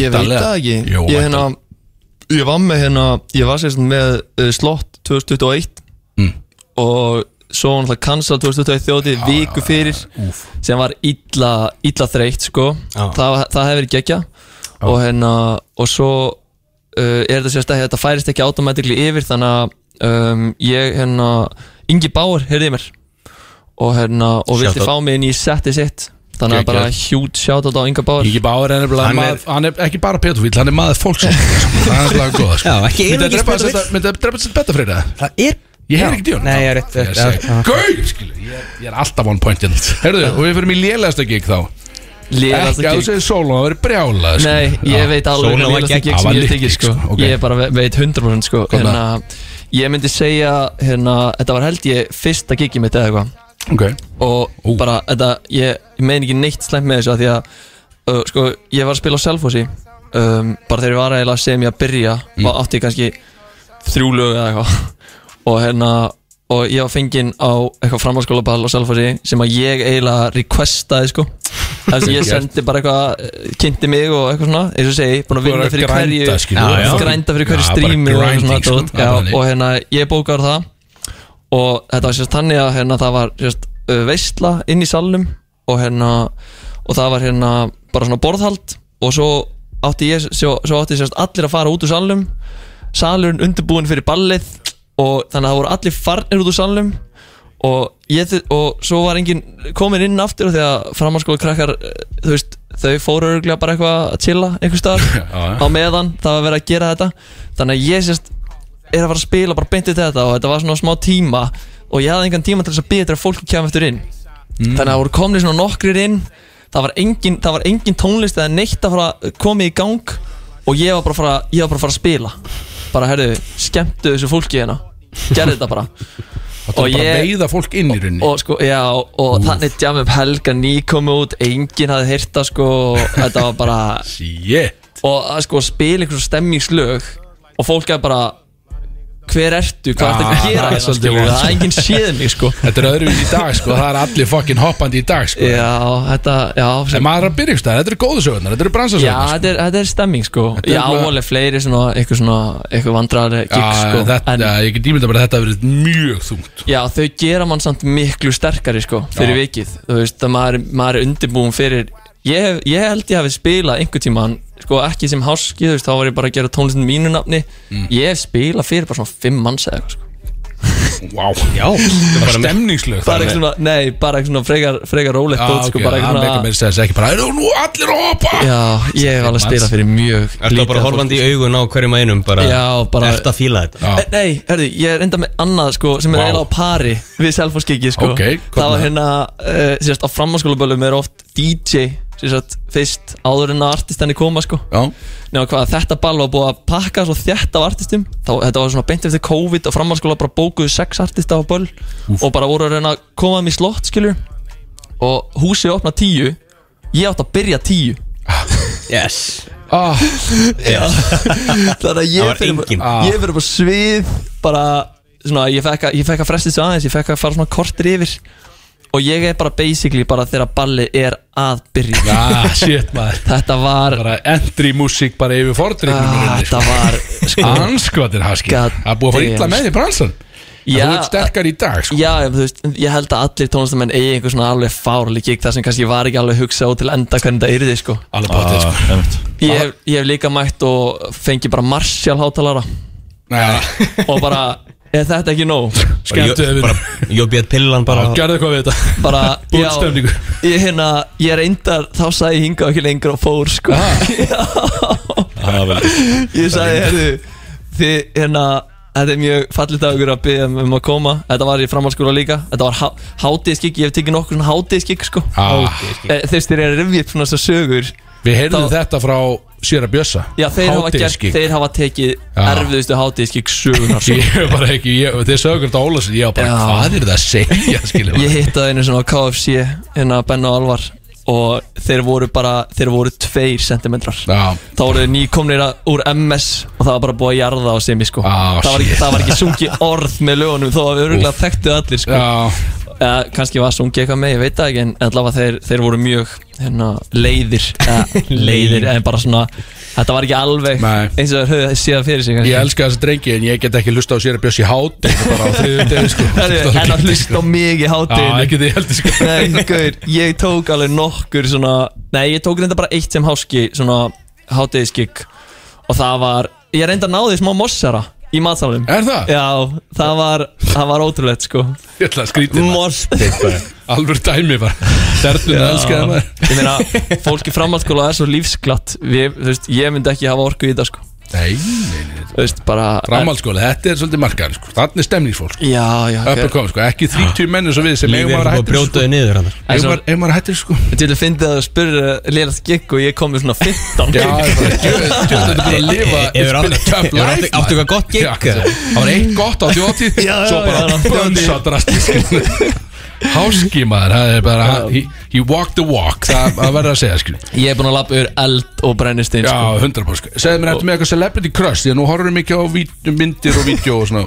[SPEAKER 9] Ég veit það ekki
[SPEAKER 1] Jó,
[SPEAKER 9] Ég, hérna, ég var með hérna Ég var sérst með uh, slott 2021
[SPEAKER 1] Mm.
[SPEAKER 9] Og svo hann alltaf cancel 2021 þjóti
[SPEAKER 1] Ah,
[SPEAKER 9] Viku fyrir Sem var illa, illa þreytt sko
[SPEAKER 1] Ah.
[SPEAKER 9] Það, það hefur gegja og, hérna, og svo uh, er þetta sérst ekki Þetta færist ekki automatikli yfir Þannig að um, ég hérna Ingi Báur, heyrði í mér Og hérna, og vildi
[SPEAKER 4] Shoutout.
[SPEAKER 9] fá mig inn í setti sitt Þannig að bara hjút shoutout á Inga Báur
[SPEAKER 1] Ingi Báður er nefnilega
[SPEAKER 4] Hann er-
[SPEAKER 1] maður- Hann er ekki bara petofíl, hann er maður fólksins Það er nefnilega góð sko.
[SPEAKER 4] Já, ekki
[SPEAKER 1] Myndi að
[SPEAKER 4] einungis
[SPEAKER 1] drepa
[SPEAKER 4] pedófíll.
[SPEAKER 1] þetta- myndi að drepa þetta betta fyrir það?
[SPEAKER 4] Það er
[SPEAKER 1] Ég heyr ekki djón
[SPEAKER 4] Nei, ég er rétt-
[SPEAKER 1] Ég segi, Gaur, skilu, ég, er- ég er alltaf on point hérna Herðu, og við fyrir mér lélegasta gig þá
[SPEAKER 9] Lélegasta
[SPEAKER 1] Ekki að þú
[SPEAKER 9] gig.
[SPEAKER 1] segir sólum, það verið brjálað sko.
[SPEAKER 9] Nei, ég veit
[SPEAKER 4] Sóla
[SPEAKER 9] alveg hvernig
[SPEAKER 4] var
[SPEAKER 9] lélegasta
[SPEAKER 4] gegn-
[SPEAKER 9] gig
[SPEAKER 1] Það
[SPEAKER 9] sem
[SPEAKER 1] var
[SPEAKER 9] ég hef tekið
[SPEAKER 1] lykt,
[SPEAKER 9] sko
[SPEAKER 1] sko, ok.
[SPEAKER 9] Ég bara ve- veit 100% sko
[SPEAKER 1] Kom
[SPEAKER 9] hérna, Ég myndi segja hérna, Þetta var held ég fyrsta gigi mitt eða eitthvað
[SPEAKER 1] Ok,
[SPEAKER 9] Og bara, þetta, ég, ég meina ekki neitt slæmt með þessu af Því að, uh, sko, ég var að spila á Selfossi um, Bara þegar ég var eiginlega sem ég að byrja mm. Og átti ég kannski þrjú lög eða eitthvað Og hérna Og ég var fenginn á eitthvað framhalskóla á Selfossi Sem að ég eiginlega requestaði sko Þannig að ég sendi bara eitthvað eh, Kynnti mig og eitthvað svona Eins og ég segi, búin að
[SPEAKER 1] Þú er
[SPEAKER 9] vinna
[SPEAKER 1] að
[SPEAKER 9] fyrir
[SPEAKER 1] grænda,
[SPEAKER 9] hverju
[SPEAKER 1] skilur þú. Já, já.
[SPEAKER 9] Grænda fyrir
[SPEAKER 1] Já,
[SPEAKER 9] hverju
[SPEAKER 1] bara
[SPEAKER 9] strími og,
[SPEAKER 1] grinding,
[SPEAKER 9] svona,
[SPEAKER 1] sko.
[SPEAKER 9] dót.
[SPEAKER 1] Já,
[SPEAKER 9] Já,
[SPEAKER 1] þannig.
[SPEAKER 9] og hérna, ég bókar það og þetta var sérst þannig að hérna, það var sérst uh, veistla inn í salnum og hérna og það var hérna bara svona borðhald og svo átti ég svo, svo átti sérst allir að fara út úr salnum salurinn undirbúin fyrir ballið og þannig að það voru allir farnir út úr salnum og, ég, þu- og svo var enginn komin inn aftur þegar framhanskóla krakkar þú veist, þau fóru örgulega bara eitthvað að chilla einhvers staðar á meðan það var verið að gera þetta þannig að ég sérst er að fara að spila bara beintið þetta og þetta var svona smá tíma og ég hafði engan tíma til þess að bíða eftir að fólki kemur eftir inn þannig að það voru komni svona nokkrir inn það var engin, það var engin tónlist eða neitt að fara komið í gang og ég var bara að fara, ég var bara að, fara að spila bara herðu, skemmtu þessu fólki hérna gerði þetta bara
[SPEAKER 1] og bara ég... veiða fólk inn í runni
[SPEAKER 9] og sko, já, og þannig jam upp helga ný kom út, enginn hafði hýrta sko, og þetta var bara
[SPEAKER 1] Shit
[SPEAKER 9] og að sko spila einhverjum stemmingslög og fólk er bara hver ertu, hvað ertu
[SPEAKER 1] Ah,
[SPEAKER 9] að gera
[SPEAKER 1] það er
[SPEAKER 9] hérna,
[SPEAKER 1] svolítið
[SPEAKER 9] skilur,
[SPEAKER 1] vont,
[SPEAKER 9] það er enginn séð mig sko
[SPEAKER 1] Þetta er öðruvís í dag sko, það er allir fucking hoppandi í dag sko
[SPEAKER 9] Já, þetta, já
[SPEAKER 1] En maður er að byrja ykkur stað, þetta eru góðu sögurnar, þetta eru
[SPEAKER 9] Já,
[SPEAKER 1] bransasögurnar
[SPEAKER 9] þetta er, þetta er stemming sko
[SPEAKER 1] Þetta er
[SPEAKER 9] Já,
[SPEAKER 1] bara-
[SPEAKER 9] alveg fleiri svona, eitthvað svona, eitthvað vandræðari gig sko
[SPEAKER 1] þetta,
[SPEAKER 9] En-
[SPEAKER 1] já, ég get ímynda bara að þetta hafi verið mjög þungt
[SPEAKER 9] Já, þau gera mann samt miklu sterkari sko, fyrir
[SPEAKER 1] Já.
[SPEAKER 9] vikið þú veist að maður, maður er undirbúin fyrir ég, hef- ég held ég hafi spilað einhver tíma sko ekki sem háski, þú veist þá var ég bara að gera tónlistin mínu nafni ég hef spilað fyrir bara svona fimm manns eða eitthvað sko.
[SPEAKER 1] wow. Já, þetta var stemningslög
[SPEAKER 9] bara eitthvað svona, nei, bara eitthvað svona frekar,
[SPEAKER 1] Ah,
[SPEAKER 9] frekar rólegt dót, sko, bara
[SPEAKER 1] Það meikar
[SPEAKER 9] eitthvað
[SPEAKER 1] mér þess að ekki bara, eru nú allir að hoppa
[SPEAKER 9] svona Já, ég hef alveg spilað fyrir mjög
[SPEAKER 4] Ertu bara horfandi í augun á hverjum að einum bara,
[SPEAKER 9] Já, bara
[SPEAKER 4] Ertu að fíla þetta?
[SPEAKER 1] Já.
[SPEAKER 9] Eh, Nei, herðu, ég er enda með annað sko sem er
[SPEAKER 1] Vá.
[SPEAKER 9] eiginlega á pari við selfoskyggið sko
[SPEAKER 1] Ok, hvernig
[SPEAKER 9] Það var
[SPEAKER 1] það?
[SPEAKER 9] hérna, uh, sérst, á framhanskólaböllum er oft DJ, sérst, fyrst áður en að artistanni koma sko
[SPEAKER 1] Já,
[SPEAKER 9] Nefna hvað, þetta ball var búið að pakka svo þjætt af artistum þá, Þetta var svona beint eftir COVID og framhanskóla bara bókuðu sex artista á böll og bara voru að reyna að koma þeim í slott skilur og húsið opna tíu ég átti að byrja tíu
[SPEAKER 4] Yes
[SPEAKER 1] ah,
[SPEAKER 9] Þannig að
[SPEAKER 4] Það
[SPEAKER 9] ég
[SPEAKER 4] var
[SPEAKER 9] fyrir
[SPEAKER 4] enginn. Ah.
[SPEAKER 9] bara, ég fyrir bara svið bara, svona, ég fekk, að, ég fekk að fresti svo aðeins ég fekk að fara svona kortir yfir og ég er bara basically bara þegar ballið er að byrja
[SPEAKER 1] ah, shit maður
[SPEAKER 9] þetta var,
[SPEAKER 1] Bara entry music bara yfir fordrykkum
[SPEAKER 9] ah, þetta var sko,
[SPEAKER 1] Anskotir haski
[SPEAKER 9] God
[SPEAKER 1] Það er búið að fara illa
[SPEAKER 9] damn.
[SPEAKER 1] með því bransan En
[SPEAKER 9] Já,
[SPEAKER 1] Þú ert sterkar í dag sko
[SPEAKER 9] já, þú veist, ég held að allir tónlistamenn eigi einhver svona alveg fárali gig þar sem kannski ég var ekki alveg hugsað út til enda hvernig það yrði sko.
[SPEAKER 1] Alveg bóttið sko
[SPEAKER 9] ég, hef, ég hef líka mætt og fengi bara Marshall hátalara
[SPEAKER 1] Nei,
[SPEAKER 9] og bara, er þetta ekki nóg?
[SPEAKER 1] Skemmtu þau við
[SPEAKER 4] Jóbið pillan bara
[SPEAKER 1] Gerðu eitthvað við þetta
[SPEAKER 9] bara,
[SPEAKER 1] Búin
[SPEAKER 9] já,
[SPEAKER 1] stemningu.
[SPEAKER 9] ég, hérna, ég reyndar, þá sagði ég hingað ekki lengur og fór sko ég sagði, herðu þið, hérna, þetta er mjög fallið dagur að byggja um að koma þetta var í framhaldsskóla líka, þetta var há, hátíðskikk ég hef tekið nokkur svona hátíðskikk sko
[SPEAKER 1] ah,
[SPEAKER 9] Eh, þeir styrir að rifja upp svona þessar sögur
[SPEAKER 1] Við heyrðum
[SPEAKER 9] Þá-
[SPEAKER 1] þetta frá Sjöra Bjössa
[SPEAKER 9] já, þeir, hafa, gert,
[SPEAKER 1] Hádegisgig. Ah.
[SPEAKER 9] þeir hafa tekið
[SPEAKER 1] Já.
[SPEAKER 9] erfiðustu hátíðskikk sögunar sko.
[SPEAKER 1] Ég hef bara ekki, ég, þeir sögur þetta Ólasin Ég hef bara,
[SPEAKER 9] Já.
[SPEAKER 1] hvað er það að segja skilur
[SPEAKER 9] Ég hittaði einu svona á KFC hérna Benna og Alvar og þeir voru bara, þeir voru tveir sentimetrar
[SPEAKER 1] Já,
[SPEAKER 9] þá voru þau nýkomnir að- úr MS og það var bara búið að jarða á semi sko.
[SPEAKER 1] Ah,
[SPEAKER 9] það, var ekki,
[SPEAKER 1] shit.
[SPEAKER 9] það var ekki sungi orð með lögunum þó að við örgulega þekktu allir sko.
[SPEAKER 1] já,
[SPEAKER 9] eða kannski var sungi eitthvað með, ég veit það ekki en allavega þeir, þeir voru mjög hérna, leiðir eða, leiðir en bara svona, þetta var ekki alveg
[SPEAKER 1] Nei.
[SPEAKER 9] eins og þeir höfðu séð fyrir sig kannski.
[SPEAKER 1] ég elska þessi drengi En ég get ekki hlusta á Sjöra Bjössi hát Bara á þriðum degi sko
[SPEAKER 9] Herri, en að hlusta á mig í
[SPEAKER 1] Já,
[SPEAKER 9] hátinu
[SPEAKER 1] ekki því heldur sko
[SPEAKER 9] Nei, gaur, ég tók alveg nokkur svona Nei, ég tók reynda bara eitt sem háski Svona hátíðiskikk Og það var, ég reynda náði smá mossara Í matsalunum
[SPEAKER 1] Er það?
[SPEAKER 9] Já, það var, það var ótrúlegt sko
[SPEAKER 1] Ég ætla að skrítið
[SPEAKER 4] Morspit
[SPEAKER 1] Alvör dæmi bara Þernum elskaði maður
[SPEAKER 9] Ég meina, fólk í framhaldsskóla er svo lífsglatt Við, þú veist, ég myndi ekki hafa orku í þetta sko
[SPEAKER 1] Nei, nei, nei
[SPEAKER 9] Þú veist, bara
[SPEAKER 1] Framhaldsskóla, þetta er svolítið markaðan sko Þannig er stemningsfólk sko
[SPEAKER 9] Já, já,
[SPEAKER 1] Upp og kom sko Ekki 30 mennur sem við sem
[SPEAKER 4] Lífið
[SPEAKER 1] eigum
[SPEAKER 4] er
[SPEAKER 1] að
[SPEAKER 4] bara
[SPEAKER 1] hættir sko
[SPEAKER 4] brjótaði niður hann
[SPEAKER 1] Eigum maður- eigum maður að hættir sko
[SPEAKER 9] Til að fyndi að spyrja Lélast gikk og ég kom með svona 15
[SPEAKER 1] Já, ég bara, djöfull, djöfull, þetta er búin að lifa
[SPEAKER 4] Hefur
[SPEAKER 1] It's been a
[SPEAKER 4] átt-
[SPEAKER 1] tough
[SPEAKER 4] hefur
[SPEAKER 1] life,
[SPEAKER 4] átt- áttu
[SPEAKER 1] maður.
[SPEAKER 4] eitthvað gott gig?
[SPEAKER 1] Já, Það var eitt gott á þjóttíð Svo bara bönsa drastisk Háski maður Það er bara He, he walked the walk Það það verður að segja skil
[SPEAKER 9] Ég er búin að lappa yfir eld og brennistein
[SPEAKER 1] Já,
[SPEAKER 9] sko.
[SPEAKER 1] 100% Segðu mér eftir með eitthvað celebrity crush Því að nú horfum við mikið á vít- myndir og vídeo og svona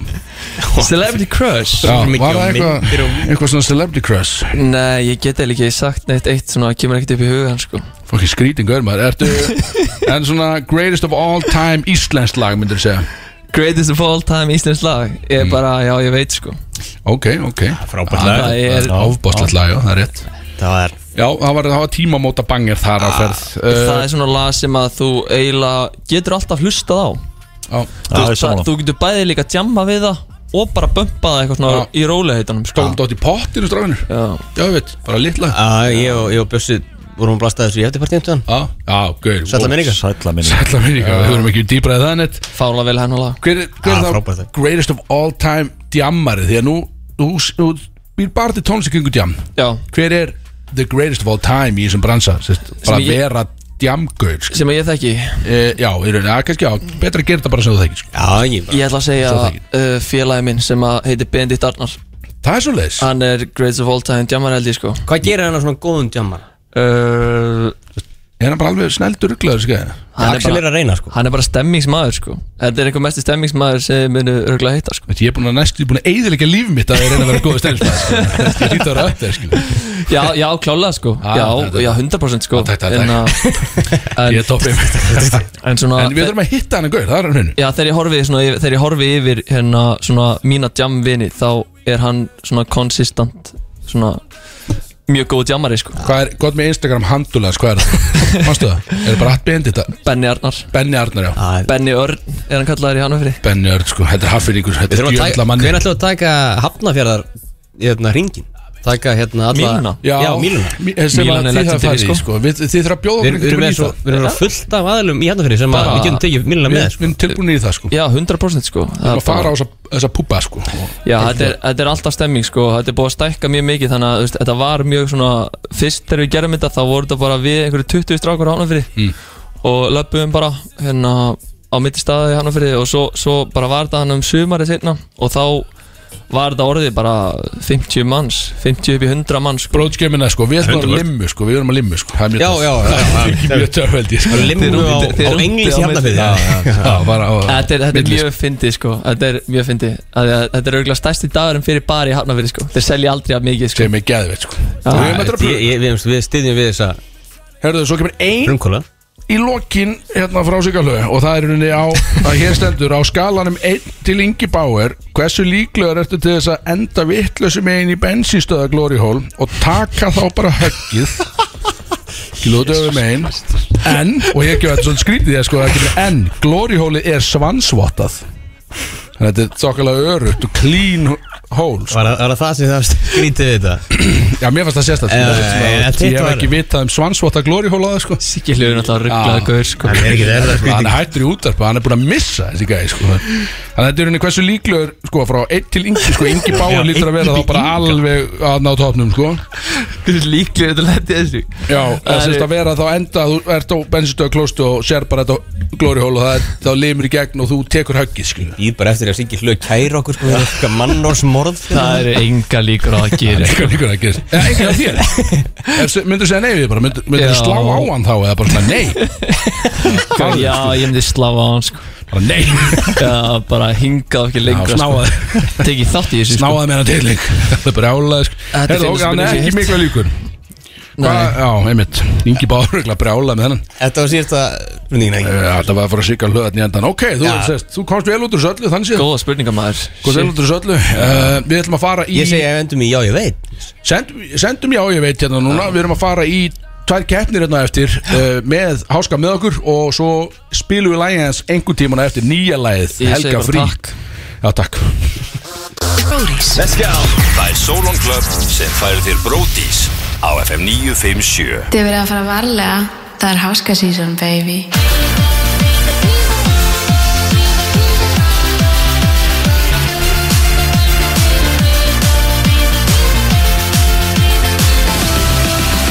[SPEAKER 9] sko. Celebrity crush
[SPEAKER 1] Já,
[SPEAKER 4] mikið
[SPEAKER 1] var
[SPEAKER 4] á
[SPEAKER 1] það
[SPEAKER 4] myndir
[SPEAKER 1] eitthvað
[SPEAKER 4] og
[SPEAKER 1] Eitthvað svona celebrity crush
[SPEAKER 9] Nei, ég get eða ekki sagt neitt eitt svona það kemur ekkert upp í hugan sko
[SPEAKER 1] Fokki skrítingur maður Ertu En svona greatest of all time Íslensk lag myndir segja
[SPEAKER 9] Greatest of all time íslensk lag Ég er bara, já ég veit sko
[SPEAKER 1] Ok, ok
[SPEAKER 4] Frábært
[SPEAKER 9] Það
[SPEAKER 4] lag
[SPEAKER 9] er,
[SPEAKER 1] Áfbáslegt lag, já, það er rétt
[SPEAKER 4] Það var
[SPEAKER 1] Já, það var, það var tímamóta bangir þar á
[SPEAKER 4] Ah,
[SPEAKER 1] ferð
[SPEAKER 9] það er svona lag sem að þú eiginlega getur alltaf hlustað á
[SPEAKER 1] uh,
[SPEAKER 2] Já, ég
[SPEAKER 9] Þú,
[SPEAKER 2] er
[SPEAKER 9] veist, það,
[SPEAKER 2] sammála.
[SPEAKER 9] þú getur bæði líka að jamma við það og bara bumpa það eitthvað svona
[SPEAKER 1] Já.
[SPEAKER 9] í róliheitunum sko
[SPEAKER 1] Stóðum dótt í pottinu stráðinu Já,
[SPEAKER 9] Já.
[SPEAKER 1] ég veit, bara litla Já,
[SPEAKER 4] Já, Ég og- ég og Bjössi vorum að blasta þessu í um eftirpartíum tuðan
[SPEAKER 1] já, gaur
[SPEAKER 4] Sætla minninga
[SPEAKER 2] Sætla minni
[SPEAKER 1] Sætla minninga, við höfum ekki dýbraðið það neitt
[SPEAKER 9] Fála vel hennar lag
[SPEAKER 1] Hver, er- hver
[SPEAKER 4] Ah,
[SPEAKER 1] er
[SPEAKER 4] frábært
[SPEAKER 1] það
[SPEAKER 4] lag.
[SPEAKER 1] greatest of all time djammarið? Því að nú, þú, þú býr bara til tónlistikyngu djam
[SPEAKER 9] Já,
[SPEAKER 1] Hver er the greatest of all time í þessum bransa? Sest, bara
[SPEAKER 9] ég-
[SPEAKER 1] vera djamgaur sko.
[SPEAKER 9] sem að ég þekki
[SPEAKER 1] e, Já, í rauninni, að kannski, já, betra að gera þetta bara sem þú þekkir sko.
[SPEAKER 4] Já, ég bara
[SPEAKER 9] Ég ætla að segja
[SPEAKER 1] Sem þekki.
[SPEAKER 9] uh, félagi minn sem að heitir Bendit Arnar
[SPEAKER 1] Það er svo leis
[SPEAKER 4] Ah.
[SPEAKER 9] Hann er greatest of all time jammar held ég sko
[SPEAKER 4] Hvað gerir hann á svona góðum djammar?
[SPEAKER 9] uh,
[SPEAKER 1] Er hann bara alveg sko? snældur rugglaður, skæði?
[SPEAKER 9] Hann er
[SPEAKER 4] Axel
[SPEAKER 9] bara,
[SPEAKER 4] er að reyna sko
[SPEAKER 9] hann er bara stemmingsmaður sko Þetta er einhver mesti stemmingsmaður sem þið munu örgulega hitta sko
[SPEAKER 1] Ég er búin að næstu, ég er búin að eiðilega líf mitt að ég reyna að vera góða stælismæð, skæði Þetta er hýttur að upp þér, sko. skæði
[SPEAKER 9] Já, já, klálega sko
[SPEAKER 1] Ah,
[SPEAKER 9] Já,
[SPEAKER 1] þetta-
[SPEAKER 9] já 100% sko
[SPEAKER 1] Ah, takk, takk,
[SPEAKER 9] En,
[SPEAKER 1] Ég
[SPEAKER 9] að-
[SPEAKER 1] er toppið
[SPEAKER 9] en, en
[SPEAKER 4] Ah.
[SPEAKER 9] svona
[SPEAKER 1] En við þurfum að hitta hann að það er hann hinn
[SPEAKER 9] Já, þegar ég horfi, svona, yfir- þegar ég horfi yfir hérna, svona, mína jamvini þá er hann svona konsistant svona mjög góð jammari sko.
[SPEAKER 1] Hvað er, gott með Instagram handulans, hvað er það? Manstu það? Er það bara hattbendi þetta?
[SPEAKER 9] Benni Arnar
[SPEAKER 1] Benni Arnar,
[SPEAKER 4] Ah.
[SPEAKER 1] já
[SPEAKER 9] Benni Örn er hann kallaður í Hannafri
[SPEAKER 1] Benni Örn, sko, þetta er haffyringur,
[SPEAKER 4] Við
[SPEAKER 1] þetta er
[SPEAKER 4] þurfum að taka,
[SPEAKER 1] djöfla manni
[SPEAKER 4] hvernig ætlum við að taka hafnafjörðar hérna ringin Taka hérna alla
[SPEAKER 9] Míluna?
[SPEAKER 4] Já, Míluna
[SPEAKER 1] Mí- sem
[SPEAKER 9] Mílan
[SPEAKER 1] að þið hafa
[SPEAKER 9] er legendary,
[SPEAKER 1] farið í,
[SPEAKER 9] sko.
[SPEAKER 1] sko. Við- Þið þurfa að bjóða
[SPEAKER 4] Við
[SPEAKER 1] okkur
[SPEAKER 4] erum- við
[SPEAKER 1] einhvern
[SPEAKER 4] erum með svo,
[SPEAKER 1] tímann í það.
[SPEAKER 4] við erum með fullt af aðalum í hafnafjörði sem að
[SPEAKER 9] Bara-
[SPEAKER 4] við getum tekið Míluna
[SPEAKER 1] Við
[SPEAKER 4] með
[SPEAKER 1] við
[SPEAKER 4] sko
[SPEAKER 1] erum tilbúinir í það, sko
[SPEAKER 9] Já, 100% sko
[SPEAKER 1] Við
[SPEAKER 9] Það
[SPEAKER 1] erum að
[SPEAKER 9] er
[SPEAKER 1] fara á
[SPEAKER 9] bara-
[SPEAKER 1] þessa, þessa púpa sko
[SPEAKER 9] Já, þetta er, þetta er alltaf stemming sko Þetta er búið að stækka mjög mikið þannig að þú veist, þetta var mjög svona Fyrst þegar við gerum þetta þá voru þetta bara við einhverju 20 strákur á Hannafri mm. Og löpum bara hérna á mitt staði í Hannafri Og svo, svo bara var þetta hann um sumari seinna Og þá var þetta orðið bara 50 manns 50 upp í 100 manns sko.
[SPEAKER 1] Brótskemina sko, við erum að limmu sko Við erum að limmu sko, það er mjög
[SPEAKER 4] Já,
[SPEAKER 1] töff.
[SPEAKER 4] já, já,
[SPEAKER 1] Það er ekki mjög törfveldi sko.
[SPEAKER 4] Limmu á, á englis í hafnafjörði
[SPEAKER 1] Já, bara á
[SPEAKER 9] Þetta er, þetta er
[SPEAKER 1] milli,
[SPEAKER 9] mjög fyndið sko Þetta er mjög fyndið Af því að Þetta er auðvitað stærsti dagurinn fyrir bari í Hafnafjörði sko Þeir selja aldrei af mikið
[SPEAKER 1] sko,
[SPEAKER 9] sko
[SPEAKER 1] Sem er geðveit sko Við erum að þetta að
[SPEAKER 4] Ég-
[SPEAKER 1] pröfa
[SPEAKER 4] ég- Við við styðjum við þessa
[SPEAKER 1] Herðu, svo kemur ein
[SPEAKER 4] frumkóla
[SPEAKER 1] í lokin hérna frá Sigalögu Og það er henni á, að hér stendur á skalanum 1 til Ingi Bauer Hversu líklegur ertu til þess að enda vittlösi megin í bensinstöða Glory Hall Og taka þá bara höggið Glóðu öfum megin En, og ég gef þetta svona skrítið þér sko það kemur En, Glory Hall er svansvottað Þannig að þetta er þokkalega örugt og clean hole sko.
[SPEAKER 4] Var það- var það það sem það skrítið við þetta
[SPEAKER 1] Já, mér fannst það
[SPEAKER 4] Já, já, já, já,
[SPEAKER 1] sérstaklega Ég
[SPEAKER 4] þitt
[SPEAKER 1] hef
[SPEAKER 4] var-
[SPEAKER 1] ekki vitað um svansvotta glóri hólaða sko.
[SPEAKER 9] Siggi hljóður náttúrulega rugglaða
[SPEAKER 1] Já.
[SPEAKER 9] gaur sko
[SPEAKER 4] Það er ekki það
[SPEAKER 1] Sko, Hann er hættur í útarpa, hann er búin að missa þessi gæði sko. Þannig að þetta er henni hversu líklegur sko, frá 1 til yngi, sko, yngi báur lítur að vera þá bara alveg að ná topnum sko.
[SPEAKER 9] Líklega þetta lendi þessu
[SPEAKER 1] Já, það
[SPEAKER 9] er-
[SPEAKER 1] sést að vera þá enda þú ert á bensinstöða klóstu og sér bara þetta glóri hól og það er, þá limur í gegn og þú tekur höggið skilur.
[SPEAKER 4] Ég bara eftir að Siggi hlög kæra okkur sko Eitthvað mannórsmorð
[SPEAKER 9] Það eru enga líkur á að gera
[SPEAKER 1] Líkur, líkur að gerist Eða enginn á þér Er- Myndirðu segja nei við bara, myndirðu myndir
[SPEAKER 9] Já.
[SPEAKER 1] slá á hann þá eða bara svona nei,
[SPEAKER 9] Já, ég myndi slá á hann sko
[SPEAKER 1] bara nei
[SPEAKER 9] Já, bara hingað ekki lengra
[SPEAKER 1] snáaði.
[SPEAKER 9] sko. Tekið þátt í þessu sko
[SPEAKER 1] Snáðaði með hann til lík Það er brjálaði sko
[SPEAKER 9] Þetta
[SPEAKER 1] Herðu,
[SPEAKER 9] finnst
[SPEAKER 1] ok, hann
[SPEAKER 9] mér
[SPEAKER 1] er
[SPEAKER 9] þessi
[SPEAKER 1] ekki
[SPEAKER 9] hitt.
[SPEAKER 1] mikla líkur
[SPEAKER 9] Nei,
[SPEAKER 1] Hvað- Já, einmitt Ingi Bárugla brjálaði með hennan
[SPEAKER 4] Þetta var síðasta spurningin ekki
[SPEAKER 1] Eh, Þetta var að fara að sigga hlöðan í endan Ok, þú,
[SPEAKER 4] Já.
[SPEAKER 1] sest, þú komst vel út úr söllu Þannig séð
[SPEAKER 9] góða spurninga maður
[SPEAKER 1] Komst vel út úr söllu uh, Við ætlum að fara í
[SPEAKER 4] Ég segi ef endum í já ég veit
[SPEAKER 1] send, Sendum já, ég veit hérna núna Við erum að fara í Tvær keppnir hérna eftir uh, Með háska með okkur Og svo spilum við lægið hans Engu tímuna eftir nýja lægið
[SPEAKER 9] Ég segi
[SPEAKER 1] Helga
[SPEAKER 9] bara
[SPEAKER 1] frí
[SPEAKER 9] takk.
[SPEAKER 1] Já, takk
[SPEAKER 8] Það er Solon Club sem færir þér Bródís á FM 957
[SPEAKER 7] Þið verið að fara varlega, það er háskasísón, baby.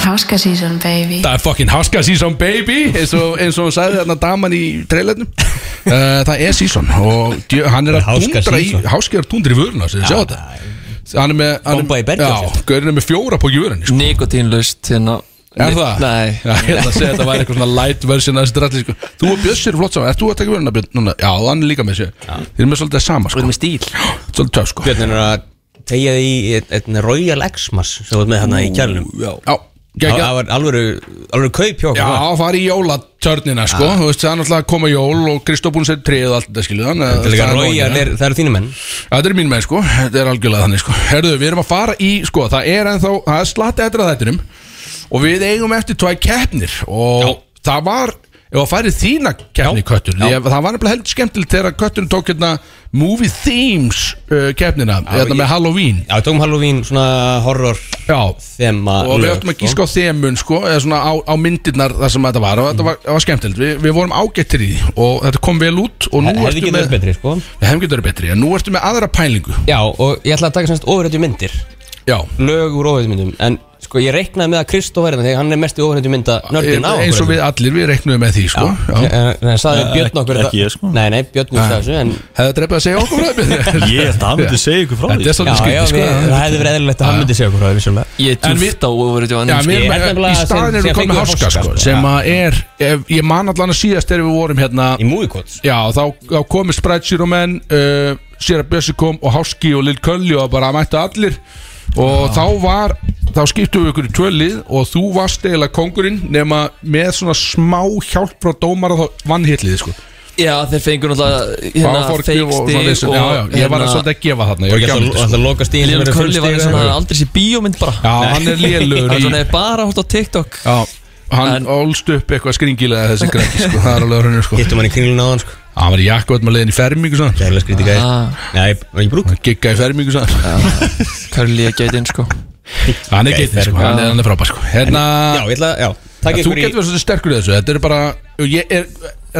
[SPEAKER 7] Háskasísón, baby.
[SPEAKER 1] Það er fucking haska season baby eins og, eins og hún sagði þarna daman í treylarnum uh, Það er season og djö, hann er að
[SPEAKER 4] Háska
[SPEAKER 1] dundra í
[SPEAKER 4] season.
[SPEAKER 1] Háski er að dundra í vöruna sem sjá þetta Hann er með hann
[SPEAKER 4] Bomba í
[SPEAKER 1] er,
[SPEAKER 4] bergi á
[SPEAKER 1] Já,
[SPEAKER 4] sér.
[SPEAKER 1] gaurinn er með fjóra póki í vörunni sko.
[SPEAKER 9] Nikotínlaust hérna
[SPEAKER 1] Er
[SPEAKER 9] Ni-
[SPEAKER 1] það?
[SPEAKER 9] Nei
[SPEAKER 1] Já, ég ætla að segja að þetta var eitthvað svona light version af þessi dralli sko. Þú og Bjössi eru flott saman, ert þú að taka vöruna Björn núna? Já, hann er líka með sér Þeir eru með svolítið sama
[SPEAKER 9] Við
[SPEAKER 1] sko.
[SPEAKER 9] erum í stíl
[SPEAKER 1] Svolítið töf sko
[SPEAKER 4] Björn er að tegja því í einn- einn Royal Xmas sem var með hérna í kjærlum
[SPEAKER 1] Já,
[SPEAKER 4] Það
[SPEAKER 1] geggjað
[SPEAKER 4] það var alvöru, alvöru kaup hjá okkur
[SPEAKER 1] Já,
[SPEAKER 4] var.
[SPEAKER 1] fara í jólatörnina sko Þú veist, það er náttúrulega að koma jól og Kristof búinn sér trið og allt þetta skilur þannig að
[SPEAKER 4] Það er líka
[SPEAKER 1] það er nóg að
[SPEAKER 4] Royal,
[SPEAKER 1] gera.
[SPEAKER 4] er, það eru þínu menn
[SPEAKER 1] Já, Þetta er mín menn sko, þetta er algjörlega þannig sko Herðu, við erum að fara í, sko, það er ennþá Það er slatti eftir að þættinum Og við eigum eftir tvæ keppnir Og það var, ef að færi þína keppni
[SPEAKER 4] Já.
[SPEAKER 1] köttun
[SPEAKER 4] Já.
[SPEAKER 1] ég, Það var nefnilega heldur skemmtilegt þegar köttun tók hérna Movie Themes uh, keppnina Þetta með Halloween
[SPEAKER 4] Já, við tókum Halloween svona horror
[SPEAKER 1] Já,
[SPEAKER 4] þema
[SPEAKER 1] og við ættum að gíska á þemun sko, eða svona á, á myndirnar þar sem þetta var og
[SPEAKER 4] Mm.
[SPEAKER 1] þetta var, var skemmtilegt, Vi, við vorum ágættir í því og þetta kom vel út og nú
[SPEAKER 4] Hefði getur verið betri, sko
[SPEAKER 1] Við hefum getur verið betri, en nú ertu með aðra pælingu
[SPEAKER 4] Já, og ég ætla að taka semst ofrættu myndir
[SPEAKER 1] Já,
[SPEAKER 4] Lög úr ofrættu myndum En sko, ég reiknaði með að Kristó verðin þegar hann er mest í ofhendu mynda nördin á
[SPEAKER 1] Eh,
[SPEAKER 4] Eh,
[SPEAKER 1] eins og við allir, við reiknum með því sko. Já.
[SPEAKER 4] Nei, saði Björn okkur
[SPEAKER 2] Ekki ég, sko.
[SPEAKER 4] Nei, nei, Björn úr þessu en
[SPEAKER 1] hefði drefðið að segja okkur frá því.
[SPEAKER 2] Ég held að hann myndi segja ykkur frá
[SPEAKER 1] Þetta er
[SPEAKER 4] Já,
[SPEAKER 2] því
[SPEAKER 1] svolítið
[SPEAKER 4] já,
[SPEAKER 1] skrítið
[SPEAKER 4] við, það
[SPEAKER 1] sko.
[SPEAKER 4] hefði verið eðlilegt að hann myndi segja okkur það, vissulega
[SPEAKER 9] Ég er
[SPEAKER 1] En við-
[SPEAKER 9] djúft á sko. ofuröðu
[SPEAKER 1] Já,
[SPEAKER 9] annars
[SPEAKER 1] mér,
[SPEAKER 4] Ég held
[SPEAKER 1] í
[SPEAKER 4] nefnilega að
[SPEAKER 1] staðin erum
[SPEAKER 4] sem-
[SPEAKER 1] við
[SPEAKER 4] sem
[SPEAKER 1] komin með
[SPEAKER 4] fengum
[SPEAKER 1] háska
[SPEAKER 4] háska,
[SPEAKER 1] sko,
[SPEAKER 4] sko.
[SPEAKER 1] sem að er, ef, ég man allan að síðast þegar við vorum hérna
[SPEAKER 4] Í Moviecodes
[SPEAKER 1] Já, þá, þá komið Sprite og menn uh, Sera Bjössi kom og Háski og Lill Kölli og bara mættu allir og þá var, þá skiptum við ykkur í tvölið og þú varst eiginlega kongurinn nema með svona smá hjálp frá dómara þá vann hitlið sko.
[SPEAKER 9] Já, þeir fengur náttúrulega hérna,
[SPEAKER 1] Það var forgjöf
[SPEAKER 9] fake
[SPEAKER 1] og svona
[SPEAKER 9] stig
[SPEAKER 1] vesen.
[SPEAKER 9] og
[SPEAKER 1] Já, já, ég var að
[SPEAKER 9] hérna,
[SPEAKER 1] svolítið að gefa þarna ég var
[SPEAKER 4] Og
[SPEAKER 1] gjafandi, sko.
[SPEAKER 4] það loka stíðin
[SPEAKER 9] Leon Curly var eins og hann hafði aldrei sér bíómynd bara
[SPEAKER 1] Já, hann er lélur
[SPEAKER 9] Hann
[SPEAKER 1] í
[SPEAKER 9] svona er bara hótt á TikTok
[SPEAKER 1] Já, hann
[SPEAKER 9] En-
[SPEAKER 1] ólst upp eitthvað skringilega þessi græki sko, það er alveg hörnur sko
[SPEAKER 4] Hittum hann í kringlun á hann, sko
[SPEAKER 1] Hann var í jakkuð með leiðin í fermingu svo
[SPEAKER 4] Kærlega skrítið gæði
[SPEAKER 9] Ah.
[SPEAKER 4] Nei, var ekki brúk
[SPEAKER 1] Hann giggaði í fermingu svo
[SPEAKER 9] Curly er gætinn sko
[SPEAKER 1] Hann er geitin sko, hann er, hann er frábær sko Hérna,
[SPEAKER 4] Já, ég ætla, já Takk
[SPEAKER 1] þú
[SPEAKER 4] ykkur í
[SPEAKER 1] getur verið svolítið sterkur í þessu Þetta er bara, ég er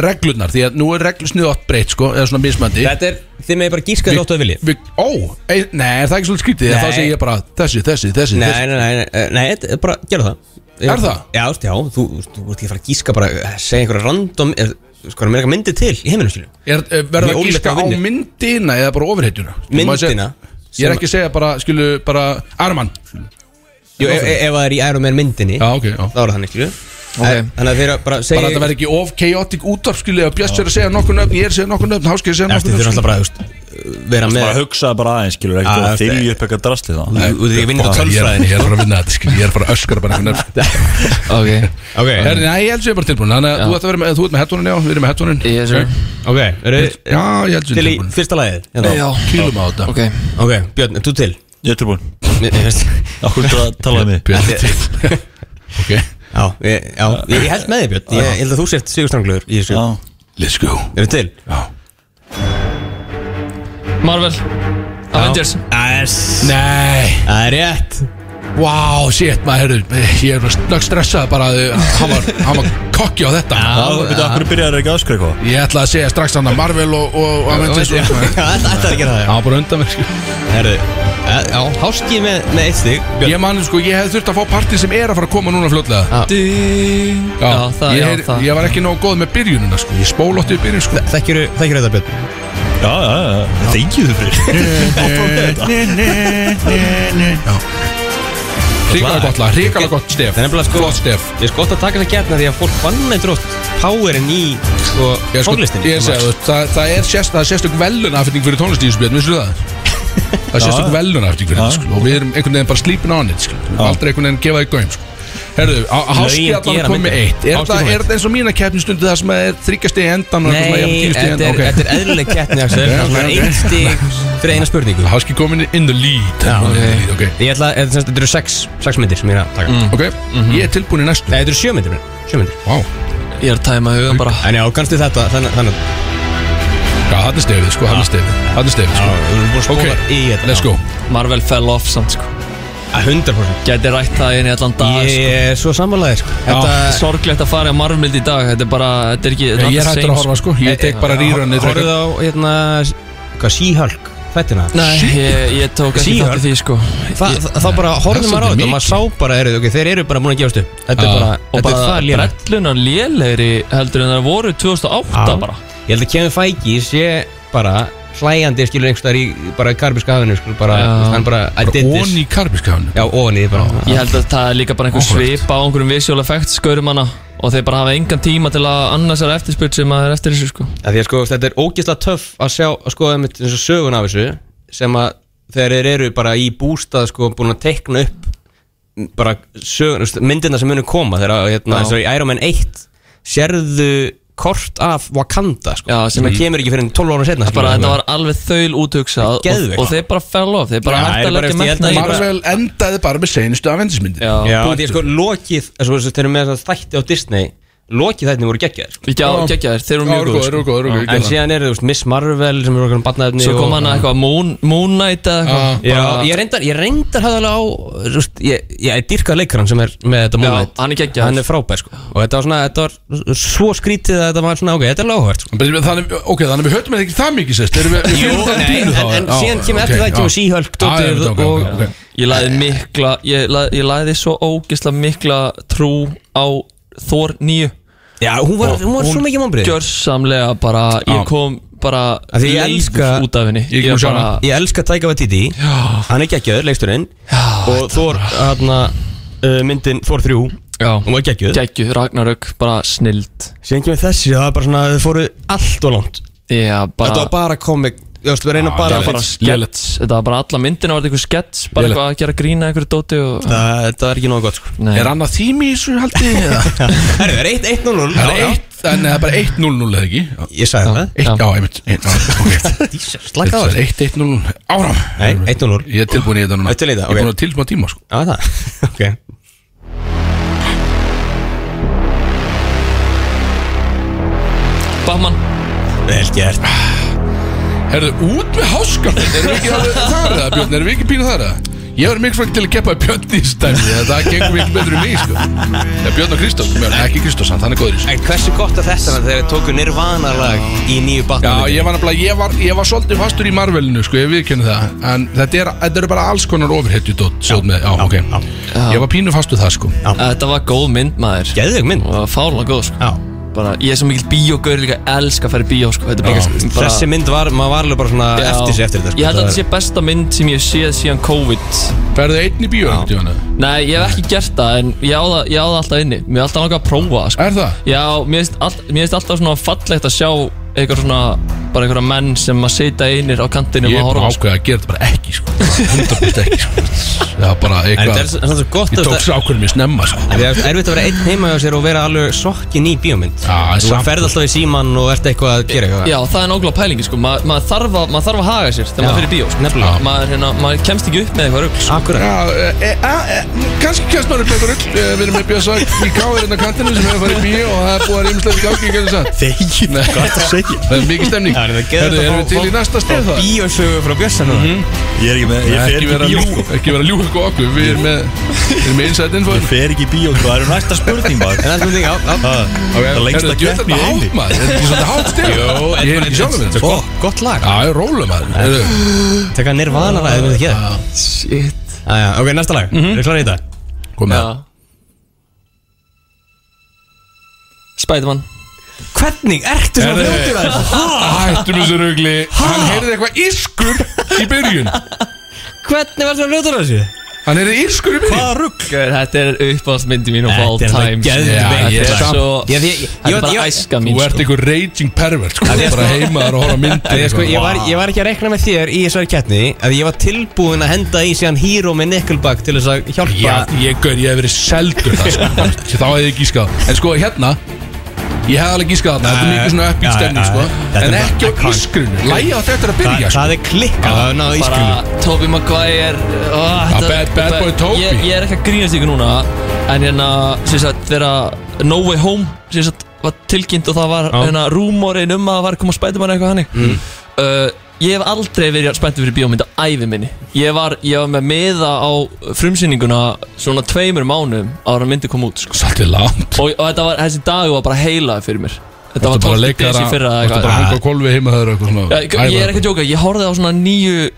[SPEAKER 1] reglurnar Því að nú er reglusnið átt breytt sko, eða svona mismandi
[SPEAKER 4] Þetta er, þið með bara gíska þér óttu að vilji
[SPEAKER 1] Vi, Ó, e, nei, er það ekki svolítið skrítið
[SPEAKER 4] Nei.
[SPEAKER 1] Það sé ég bara, þessi, þessi, þessi,
[SPEAKER 4] Nei,
[SPEAKER 1] þessi.
[SPEAKER 4] nei, nei, nei, nei, þetta er bara, gerðu það
[SPEAKER 1] Er það?
[SPEAKER 4] Já, þú veist, já, þú, þú ert ekki að fara að gíska bara, eh, segja einhverja random, er, sko, er meira eitthvað myndið til í heiminum skiljum
[SPEAKER 1] Er, er,
[SPEAKER 4] Mjög
[SPEAKER 1] Verða að
[SPEAKER 4] ólíkt
[SPEAKER 1] gíska á
[SPEAKER 4] að vinni.
[SPEAKER 1] myndina eða bara ofurheitjuna Þú maður segja-
[SPEAKER 4] Myndina
[SPEAKER 1] Ég er ekki að segja bara, skilu, bara Arman
[SPEAKER 4] Jú, ef, ef ef það er í Iron Man myndinni
[SPEAKER 1] Já, ok, já
[SPEAKER 4] þá er það þannig, skilju
[SPEAKER 9] Ok.
[SPEAKER 4] Þannig að þeirra bara segja
[SPEAKER 1] bara þetta verði ekki of chaotic útvarp skilja að Björns er að segja nokkur nöfn, ég er að segja nokkur nöfn Háski er að segja
[SPEAKER 4] Eftir
[SPEAKER 1] nokkur
[SPEAKER 4] þurfa
[SPEAKER 1] nöfn
[SPEAKER 4] alltaf bara, þú veist, vera með
[SPEAKER 2] Bara hugsaði bara aðeins, skilur,
[SPEAKER 4] Já,
[SPEAKER 2] ekkert að
[SPEAKER 4] þetta er-
[SPEAKER 2] þylja upp eitthvað drasli þá
[SPEAKER 4] Þú þú veist, ég vinnir á
[SPEAKER 1] Bara, ég er-
[SPEAKER 4] tölfræðinni
[SPEAKER 1] ég er bara að vinna þetta skilja, ég er bara að öskra bara einhvern nöfn
[SPEAKER 9] Ok
[SPEAKER 4] Ok,
[SPEAKER 1] Herri, Nei, ég held sem ég er bara tilbúin Þannig að þú ert að vera með, þú ert með hettunin, já, við erum með hettunin
[SPEAKER 9] Ég er svo
[SPEAKER 4] ok, eru
[SPEAKER 1] Já, ég held sem
[SPEAKER 4] til
[SPEAKER 1] ég
[SPEAKER 4] í
[SPEAKER 1] er tilbúin
[SPEAKER 4] fyrsta lagið? hérna?
[SPEAKER 9] Já,
[SPEAKER 1] Kýlum á þetta
[SPEAKER 9] ok
[SPEAKER 4] Ok, Björn, ert þú til?
[SPEAKER 2] Ég er tilbúin
[SPEAKER 4] Mér- mér finnst-
[SPEAKER 2] Akkur þú að tala um mig
[SPEAKER 1] Björn er til Ok,
[SPEAKER 4] Já, ég- já, ég ég held með þig Björn, ég ég held að þú sért sigurstrangluður í þessu
[SPEAKER 2] Já,
[SPEAKER 1] let's go
[SPEAKER 4] Eru til?
[SPEAKER 9] Marvel Avengers
[SPEAKER 4] Yes
[SPEAKER 1] Nei,
[SPEAKER 4] Það er rétt
[SPEAKER 1] wow, shit, maður, herru Ég er snögg stressað bara að hann var, hann var kokki á þetta
[SPEAKER 2] Já, betur, akkur byrjar ekki að öskra eitthvað
[SPEAKER 1] Ég ætla að segja strax hann að Marvel og, og Avengers og eitthvað.
[SPEAKER 4] Já, þetta ætti að gera það
[SPEAKER 1] Hann var bara undan mér, skilja
[SPEAKER 4] Herðu, eh, já, háskið með, með eitt stig Björn,
[SPEAKER 1] Ég man, sko, ég hef þurft að fá partinn sem er að fara að koma núna fljótlega Já,
[SPEAKER 9] Já, það,
[SPEAKER 1] ég,
[SPEAKER 9] já,
[SPEAKER 1] heyr-
[SPEAKER 9] það
[SPEAKER 1] ég var ekki nógu góð með byrjunina sko Ég spólótti í byrjun sko
[SPEAKER 4] þekkjur þetta Björn
[SPEAKER 2] Já, já, já, þengið þú fyrir
[SPEAKER 1] Ríkala
[SPEAKER 4] lag.
[SPEAKER 1] gott lag, ríkala gott stef
[SPEAKER 4] Það er nefnilega sko-
[SPEAKER 1] Flott stef
[SPEAKER 4] Ég er sko gott að taka þess að getna því að fólk vann með drótt Powerin í, sko,
[SPEAKER 1] Ég er sko-
[SPEAKER 4] tónlistinni
[SPEAKER 1] Ég er segja, þú veist, það, það er sérst, það er sérstök velunafning fyrir tónlistíðisbjörn, vissu það? Það er sérstök velunafning fyrir þetta sko Og við erum einhvern veginn bara sleeping on it sko Við erum Aldrei einhvern veginn gefað í gaum sko Herðu, háski
[SPEAKER 4] Lögin
[SPEAKER 1] allan
[SPEAKER 4] gera
[SPEAKER 1] komið
[SPEAKER 4] myndina.
[SPEAKER 1] eitt Er
[SPEAKER 4] Háskið
[SPEAKER 1] það
[SPEAKER 4] kom
[SPEAKER 1] er þetta eins og mína keppnistundi það sem er þryggjast í endan og eitthvað svona
[SPEAKER 4] Nei,
[SPEAKER 1] jafn tíðast í
[SPEAKER 4] þetta
[SPEAKER 1] endan?
[SPEAKER 4] er,
[SPEAKER 1] Ok.
[SPEAKER 4] þetta er eðlileg keppni Axel.
[SPEAKER 1] Ok,
[SPEAKER 4] Það er
[SPEAKER 1] ok, ok.
[SPEAKER 4] einn stig fyrir eina spurningu
[SPEAKER 1] Háski komin in the lead
[SPEAKER 4] Já,
[SPEAKER 1] In the lead, ok.
[SPEAKER 4] Ég ætla, eða sem sagt, þetta eru sex, sex myndir sem ég er að taka Nei,
[SPEAKER 1] Ok, ég er tilbúin í næstu
[SPEAKER 4] Mhm. þetta eru sjö myndir, minn, sjö myndir
[SPEAKER 1] Vá,
[SPEAKER 9] Ég er að tæma hugan bara
[SPEAKER 4] En já, kannski þetta, þannig, þannig
[SPEAKER 1] já, hann er stefið sko, hann er stefið Hann er stefið
[SPEAKER 4] Já,
[SPEAKER 1] sko
[SPEAKER 4] við erum búin að spóla í þetta
[SPEAKER 1] let's go
[SPEAKER 9] Marvel fell off samt sko
[SPEAKER 4] Að 100%
[SPEAKER 9] Gæti rætt það inn í allan dag sko.
[SPEAKER 4] Ég er svo sammálaðið, sko Þetta,
[SPEAKER 9] Sorglegt að fara í Marvel í dag Þetta er bara, þetta er ekki þetta
[SPEAKER 1] Ég er
[SPEAKER 9] alltaf
[SPEAKER 1] hættur að
[SPEAKER 9] same,
[SPEAKER 1] horfa sko, ég tek bara rýrunni
[SPEAKER 4] horfðu á, hérna, hvað, síhölk, fættina
[SPEAKER 9] Nei, ég, ég tók ekki
[SPEAKER 4] She-Hulk.
[SPEAKER 9] þátt í því sko
[SPEAKER 4] Þa,
[SPEAKER 9] Ég-
[SPEAKER 4] þá bara horfði
[SPEAKER 1] það er svolítið
[SPEAKER 4] maður á þetta og maður sá bara, eru, ok, þeir eru bara búin að gefast upp
[SPEAKER 1] Já.
[SPEAKER 4] Þetta er bara,
[SPEAKER 9] Og
[SPEAKER 4] þetta er
[SPEAKER 9] bara
[SPEAKER 4] það lélegt
[SPEAKER 9] brellunar lélegri heldur en það voru 2008
[SPEAKER 4] Já.
[SPEAKER 9] bara
[SPEAKER 4] Ég held að Kevin Feige sé bara hlæjandi skilur einhverstaðar í bara karbiska hafinu skilur bara,
[SPEAKER 9] Já.
[SPEAKER 4] þú veist, hann bara, I did this
[SPEAKER 1] Ón í karbiskafinu
[SPEAKER 4] Já, óni bara
[SPEAKER 9] Ég held að það er líka bara einhver
[SPEAKER 1] Áhugavert.
[SPEAKER 9] svip á einhverjum visual effects skaurum hana og þeir bara hafa engan tíma til að annars er eftirspurt sem að er eftir þessu sko
[SPEAKER 4] Af Því að sko, þetta er ógeðslega töff að sjá, að skoða einmitt eins og sögun af þessu sem að þegar þeir eru bara í bústað sko búin að teikna upp bara sögun, myndina sem munu koma þegar að, hérna, eins og í Iron Man 1 sérðu kort af Wakanda sko,
[SPEAKER 9] Já,
[SPEAKER 4] sem
[SPEAKER 9] sem-
[SPEAKER 4] að kemur ekki fyrir enn 12 ára setna
[SPEAKER 9] bara þetta var alveg þaul úthugsað og,
[SPEAKER 4] Geðveikt.
[SPEAKER 9] og þeir bara fell off þeir bara
[SPEAKER 4] Já,
[SPEAKER 9] hætti
[SPEAKER 4] þeir
[SPEAKER 9] að
[SPEAKER 4] bara-
[SPEAKER 9] leggja
[SPEAKER 4] ég held að
[SPEAKER 9] metna í
[SPEAKER 4] ég bara-
[SPEAKER 1] Marvel endaði bara með seinustu avendismyndin
[SPEAKER 9] Já,
[SPEAKER 4] Já, því að sko lokið, þess að þeir eru með þess að þætti á Disney lokið þættinni voru geggjaðir sko.
[SPEAKER 9] Já,
[SPEAKER 1] Já.
[SPEAKER 9] geggja þér, þeir eru
[SPEAKER 1] Já, sko,
[SPEAKER 9] mjög sko.
[SPEAKER 1] eru
[SPEAKER 9] góð
[SPEAKER 1] góðir, eru góðir, eru góðir, ég
[SPEAKER 4] en
[SPEAKER 1] gera það.
[SPEAKER 4] síðan eru þú veist Miss Marvel sem er okkar um barnaefni
[SPEAKER 9] Svo kom
[SPEAKER 4] og- Ah,
[SPEAKER 9] hann að eitthvað Moon, Moon Knight eða
[SPEAKER 1] Já.
[SPEAKER 9] eitthvað
[SPEAKER 4] Já,
[SPEAKER 9] Bara-
[SPEAKER 4] ég reyndar, ég reyndar hafði alveg á þú veist, ég, ég er dýrkað leikarann sem er með þetta
[SPEAKER 9] Já,
[SPEAKER 4] moment
[SPEAKER 9] hann er geggjaður.
[SPEAKER 4] Hann er frábær sko Og þetta var svona, þetta var svo skrítið að þetta var svona, ok, þetta er lágvært sko.
[SPEAKER 1] En betur við- Þannig, ok, þannig við höfum ekki það mikið sérst Erum við við fylgum það
[SPEAKER 4] nei,
[SPEAKER 1] pínu
[SPEAKER 4] en,
[SPEAKER 1] þá,
[SPEAKER 4] en
[SPEAKER 1] já,
[SPEAKER 4] síðan kemur
[SPEAKER 1] ok,
[SPEAKER 4] eftir það
[SPEAKER 1] já.
[SPEAKER 4] kemur síhölk
[SPEAKER 1] Já, já,
[SPEAKER 4] Dóttir
[SPEAKER 1] ok, ok,
[SPEAKER 4] og
[SPEAKER 1] ok.
[SPEAKER 9] Ég lagði mikla, ég, lagði, ég lagði svo ógisla mikla trú á Thor 9
[SPEAKER 4] Já, hún var, hún var svo mikið mannbrið
[SPEAKER 9] Gjörsamlega bara,
[SPEAKER 1] Já.
[SPEAKER 9] ég kom bara
[SPEAKER 4] Af því ég elska-
[SPEAKER 9] út af henni
[SPEAKER 1] Ég er ekki búinn að sjá hana.
[SPEAKER 4] Ég elska Taika Waititi Hann er geggjöður, leiksturinn Og Þór, hérna, uh, myndin Þór 3 Hún
[SPEAKER 9] Já,
[SPEAKER 4] var geggjöð
[SPEAKER 9] geggju, Ragnarök, bara snild
[SPEAKER 4] Síðan kemur þessi, það var bara svona, þau fóru allt og langt
[SPEAKER 9] Já, bara
[SPEAKER 4] Þetta var bara komik Þú veist, við reyna bara
[SPEAKER 9] Þetta var bara skets, þetta var bara alla myndina var þetta einhver skets, bara
[SPEAKER 1] Lélegt.
[SPEAKER 9] eitthvað að gera grína einhverju dóti og
[SPEAKER 4] Það þetta er ekki nógu gott sko
[SPEAKER 9] Nei.
[SPEAKER 1] Er annað þými í þessu haldi? eða?
[SPEAKER 4] Herru, það er 1-0
[SPEAKER 1] Það er eitt, en það er bara 1-0-0 eða ekki Já,
[SPEAKER 4] Ég sagði það
[SPEAKER 1] eitt- já, einmitt eitt- já, ok.
[SPEAKER 4] Slaka á
[SPEAKER 1] Það er
[SPEAKER 4] þessu
[SPEAKER 1] 1-1-0 áram
[SPEAKER 4] Nei, 1-0
[SPEAKER 1] Ég er tilbúin í þetta núna
[SPEAKER 4] Ertu í þetta?
[SPEAKER 1] Ég er
[SPEAKER 4] Ok.
[SPEAKER 1] búin að tilbúin tíma sko
[SPEAKER 4] Já, það Ok
[SPEAKER 9] Batman
[SPEAKER 4] Vel gert
[SPEAKER 1] Herðu, út með háskan Erum við ekki alveg þar eða Björn? Erum við ekki pínu þar eða? Ég var mikið frækt til að keppa í Björn í stæmi Það gengur mikið betur um mig sko Já, Björn og Kristóf, Björn, ekki Kristóf samt, hann er góður í þessu
[SPEAKER 4] En hversu gott að þetta var þegar þeir tóku Nirvana lag í nýju
[SPEAKER 1] Já,
[SPEAKER 4] batna
[SPEAKER 1] ég var nefnilega, ég var, ég var svolítið fastur í Marvelinu, sko, ég viðkynna það En þetta, er, þetta eru bara alls konar ofurhetju dót, sjóð með, já, ok Ég var pínu fastur það, sko
[SPEAKER 9] Þetta var góð mynd maður
[SPEAKER 4] Geðug mynd
[SPEAKER 9] og fála góð sko.
[SPEAKER 4] Já
[SPEAKER 9] bara, Ég er svo mikill bíógaur líka, elska að fara í bíó sko. Þetta er bara, bara
[SPEAKER 4] Þessi mynd var, maður var alveg bara svona
[SPEAKER 9] Já.
[SPEAKER 4] eftir sig eftir þetta sko.
[SPEAKER 9] Ég held að þetta sé besta mynd sem ég hef séð síðan COVID
[SPEAKER 1] Ferðu einn í bíó, eftir hana
[SPEAKER 9] Nei, ég hef ekki gert það en ég á það, ég á það alltaf inni Mér er alltaf langað að prófa það, sko.
[SPEAKER 1] Er það?
[SPEAKER 9] Já, mér finnst all, mér finnst alltaf svona fallegt að sjá einhver svona, bara einhverja menn sem að sitja einir á kantinum
[SPEAKER 1] Ég
[SPEAKER 9] og
[SPEAKER 1] er bara
[SPEAKER 9] horfa sko.
[SPEAKER 1] ákveða að gera þetta bara ekki, sko 100% ekki, sko Það var bara
[SPEAKER 4] En þetta er
[SPEAKER 1] eitthvað,
[SPEAKER 4] svona svo gott
[SPEAKER 1] ég
[SPEAKER 4] að
[SPEAKER 1] tók
[SPEAKER 4] þetta
[SPEAKER 1] sér ákveðin mér snemma, sko
[SPEAKER 4] Það er erfitt að vera einn heima hjá sér og vera alveg sokkin í bíómynd
[SPEAKER 1] Já,
[SPEAKER 4] Þú
[SPEAKER 1] samt-
[SPEAKER 4] ferð alltaf í síman og ert eitthvað að gera eitthvað
[SPEAKER 9] Já, það er nákvæmlega pælingi sko, Ma, maður þarf, að- maður þarf að haga sér þegar maður fyrir bíó sko.
[SPEAKER 4] Nefnilega.
[SPEAKER 9] maður, hérna, maður kemst ekki upp með eitthvað rugl sko.
[SPEAKER 4] Akkurat
[SPEAKER 1] Já, e, e, e, kannski kemst maður upp með eitthvað rull eh, Við erum með Bjösa í káður innan kantinu sem hefur farið í bíó og það er búið að rímslega í gangi, ekki þess að
[SPEAKER 2] Þegið,
[SPEAKER 1] Nei.
[SPEAKER 2] hvað það segja
[SPEAKER 1] Það er mikið stemning
[SPEAKER 4] Já, en það er geðvægt
[SPEAKER 1] Herðu,
[SPEAKER 4] að
[SPEAKER 1] erum við
[SPEAKER 4] fá-
[SPEAKER 1] til í næsta stið það?
[SPEAKER 4] Bíósögu frá Bjössa núna
[SPEAKER 2] Ég er ekki með, ég fer
[SPEAKER 1] ekki vera
[SPEAKER 2] ekki
[SPEAKER 1] að
[SPEAKER 2] í
[SPEAKER 1] ljúga ekki vera
[SPEAKER 2] bíó sko.
[SPEAKER 1] að ljúga eitthvað okkur við erum með við erum með inside info
[SPEAKER 2] Ég fer ekki í bíó, sko. það eru næsta spurning maður
[SPEAKER 4] En það er spurning, já, já
[SPEAKER 2] Það það er lengsta keppni í heimi
[SPEAKER 1] maður þetta er ekki svolítið hátt stig ég er ekki sjálfur minn
[SPEAKER 4] Ó, gott lag
[SPEAKER 1] já ég róla maður Heyrðu,
[SPEAKER 4] Tekka Nirvana lag, það er ekki það
[SPEAKER 9] Shit
[SPEAKER 4] Jæja, ok, næsta lag, er það klarið í þetta?
[SPEAKER 1] kom með
[SPEAKER 9] Spiderman
[SPEAKER 4] Hvernig ertu svona þjóttur að þessu?
[SPEAKER 1] hættum þessu rugli hann heyrði eitthvað írskur í byrjun
[SPEAKER 4] Hvernig var svona fljótur að þessu?
[SPEAKER 1] hann heyrði írskur í byrjun
[SPEAKER 4] rugg
[SPEAKER 9] Gör, Þetta er uppáhaldsmyndi mín of all
[SPEAKER 4] Þetta er alveg
[SPEAKER 9] time sko.
[SPEAKER 1] Já,
[SPEAKER 4] geðveikt
[SPEAKER 1] ég-
[SPEAKER 9] Þetta er
[SPEAKER 4] lag.
[SPEAKER 9] svo
[SPEAKER 4] Já, því ég-
[SPEAKER 9] Þetta
[SPEAKER 4] ég-
[SPEAKER 9] er bara
[SPEAKER 4] ég-
[SPEAKER 9] æska
[SPEAKER 1] þú
[SPEAKER 9] mín
[SPEAKER 1] ert
[SPEAKER 9] sko.
[SPEAKER 1] einhver raging pervert sko Þú ert bara heima þar og horfa á myndir
[SPEAKER 4] Ég, sko, ég,
[SPEAKER 1] eitthvað.
[SPEAKER 4] var, ég var ekki að rekna með þér í þessari keppni að ég var tilbúinn að henda í síðan Hero með Nickelback til þess að hjálpa
[SPEAKER 1] Já, ég gaur, ég hef verið seldur það sko Þá hef ég gískað En sko, hérna Ég hef alveg gískað þarna Þetta er mikið svona uppbyggt
[SPEAKER 4] Já,
[SPEAKER 1] stemning
[SPEAKER 4] já,
[SPEAKER 1] sko
[SPEAKER 4] já. Þetta
[SPEAKER 1] En
[SPEAKER 4] er bara
[SPEAKER 1] ekki á
[SPEAKER 4] iconic.
[SPEAKER 1] ískrinu Læja á þetta er að
[SPEAKER 4] Þa,
[SPEAKER 1] byrja sko
[SPEAKER 4] Það er klikkað að ná í skrúnu
[SPEAKER 9] Bara Tobey Maguire ó, þetta-
[SPEAKER 1] bad- bad
[SPEAKER 9] þetta-
[SPEAKER 1] boy Tobey.
[SPEAKER 9] ég, ég er ekki að grínast ykkur núna En hérna sem sagt, Þegar No Way Home sem sagt, var tilkynnt og það var hérna, rúmorinn um að það var að koma Spiderman eitthvað hannig uh, Ég hef aldrei verið spenntur fyrir bíómynd á ævi minni Ég var, ég var með meða á frumsýninguna svona tveimur mánum ára myndi kom út sko.
[SPEAKER 1] Svolítið langt
[SPEAKER 9] og, og þetta var, þessi dag var bara heilaði fyrir mér Þetta var
[SPEAKER 1] Þetta bara
[SPEAKER 9] 12.
[SPEAKER 1] leikar
[SPEAKER 9] desi
[SPEAKER 1] að
[SPEAKER 9] fyrra eða
[SPEAKER 1] Þetta
[SPEAKER 9] eitthvað.
[SPEAKER 1] bara að hanga á kolvi heima þar og eitthvað
[SPEAKER 9] Já,
[SPEAKER 1] svona
[SPEAKER 9] ég, ég er ekki að djóka, ég horfði á svona 9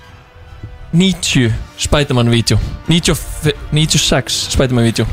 [SPEAKER 9] 90 Spiderman-vídeó 95 96 Spiderman-vídeó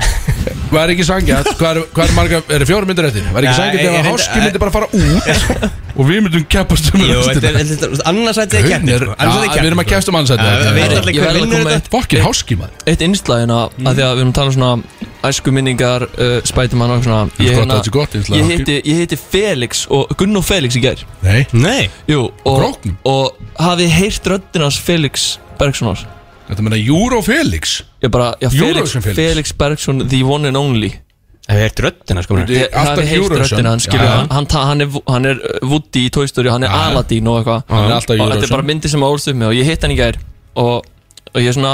[SPEAKER 1] Hvað er ekki sangjað? Hvað er, hvað er marga, er það fjóra myndir eftir? Hvað er ekki
[SPEAKER 4] Já,
[SPEAKER 1] sangjað
[SPEAKER 4] ég-
[SPEAKER 1] þegar
[SPEAKER 4] ég-
[SPEAKER 1] háski myndi bara fara út Og við myndum keppast um
[SPEAKER 4] Jú, þetta er-
[SPEAKER 1] restina?
[SPEAKER 4] þetta er annarsætti að
[SPEAKER 1] Hún
[SPEAKER 4] keppni
[SPEAKER 1] er-
[SPEAKER 4] sko.
[SPEAKER 1] Já,
[SPEAKER 4] Annars er þetta
[SPEAKER 1] Við erum að
[SPEAKER 4] keppni,
[SPEAKER 1] keppast um
[SPEAKER 4] sko. Það veit
[SPEAKER 1] ansætt
[SPEAKER 4] allir
[SPEAKER 9] Ég verð
[SPEAKER 4] hver
[SPEAKER 9] að
[SPEAKER 4] vinnur
[SPEAKER 9] koma
[SPEAKER 4] þetta
[SPEAKER 1] Fokkin háski maður
[SPEAKER 9] Eitt innslagina mm. að því að við erum að tala um svona æsku minningar, uh, Spiderman og svona
[SPEAKER 1] Ég gott að
[SPEAKER 9] Ég, hérna-
[SPEAKER 1] þetta er gott innslag,
[SPEAKER 9] ég,
[SPEAKER 1] ok.
[SPEAKER 9] hitti, ég hitti Felix og Gunn og Felix í gær
[SPEAKER 1] Nei
[SPEAKER 4] Nei,
[SPEAKER 9] Jú, og,
[SPEAKER 1] Króknum?
[SPEAKER 9] og hafið heyrt röddinans Felix Bergssonar
[SPEAKER 1] Þetta meina Júró Felix
[SPEAKER 9] Ég bara, já, Felix,
[SPEAKER 1] Eurovision Felix.
[SPEAKER 9] Felix Bergsson, the one and only
[SPEAKER 4] það er dröttina sko
[SPEAKER 1] Þetta er
[SPEAKER 9] Það
[SPEAKER 1] alltaf
[SPEAKER 9] hefði heilt
[SPEAKER 1] um Eurovision.
[SPEAKER 9] röddina, hann skilur
[SPEAKER 1] Já.
[SPEAKER 9] hann, hann, ta- hann, er, hann er uh, Woody í Toy Story, hann er
[SPEAKER 1] Já.
[SPEAKER 9] Aladdin og eitthvað
[SPEAKER 1] Hann er alltaf
[SPEAKER 9] Og þetta
[SPEAKER 1] Eurovision.
[SPEAKER 9] er bara myndi sem að ólst upp með og ég hitt hann í gær og,
[SPEAKER 1] Mm.
[SPEAKER 9] og ég svona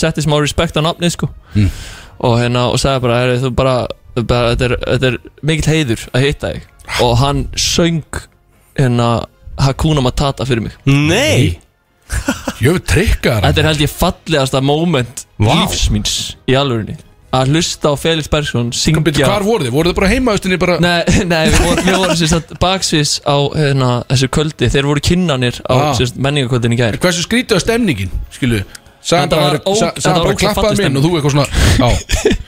[SPEAKER 9] setti smá respekt á nafnið sko og hérna og sagði bara, er, þú bara er bara- þetta er, þetta er mikill heiður að hitta þig og hann söng hérna Hakuna Matata fyrir mig
[SPEAKER 4] Nei
[SPEAKER 1] Ég hef trikkað
[SPEAKER 9] Þetta er held ég fallegasta moment
[SPEAKER 4] Vá.
[SPEAKER 9] lífs míns í alvörinni að hlusta á Felix Bergson syngja
[SPEAKER 1] Hvar voru þið? Voru þið bara heima austinni bara
[SPEAKER 9] Nei, nei, við vorum, við vorum sérst baksvís á hérna, þessu kvöldi Þeir voru kinnanir á
[SPEAKER 1] Ah.
[SPEAKER 9] sérst menningakvöldin í gær
[SPEAKER 1] Hversu skrítið var stemningin, skilu Sagan
[SPEAKER 9] Þetta var
[SPEAKER 1] bara,
[SPEAKER 9] ó-
[SPEAKER 1] sa,
[SPEAKER 9] þetta
[SPEAKER 1] sagan
[SPEAKER 9] var
[SPEAKER 1] bara
[SPEAKER 9] ógeðslega
[SPEAKER 1] klappaði
[SPEAKER 9] falleg
[SPEAKER 1] minn og þú eitthvað svona Já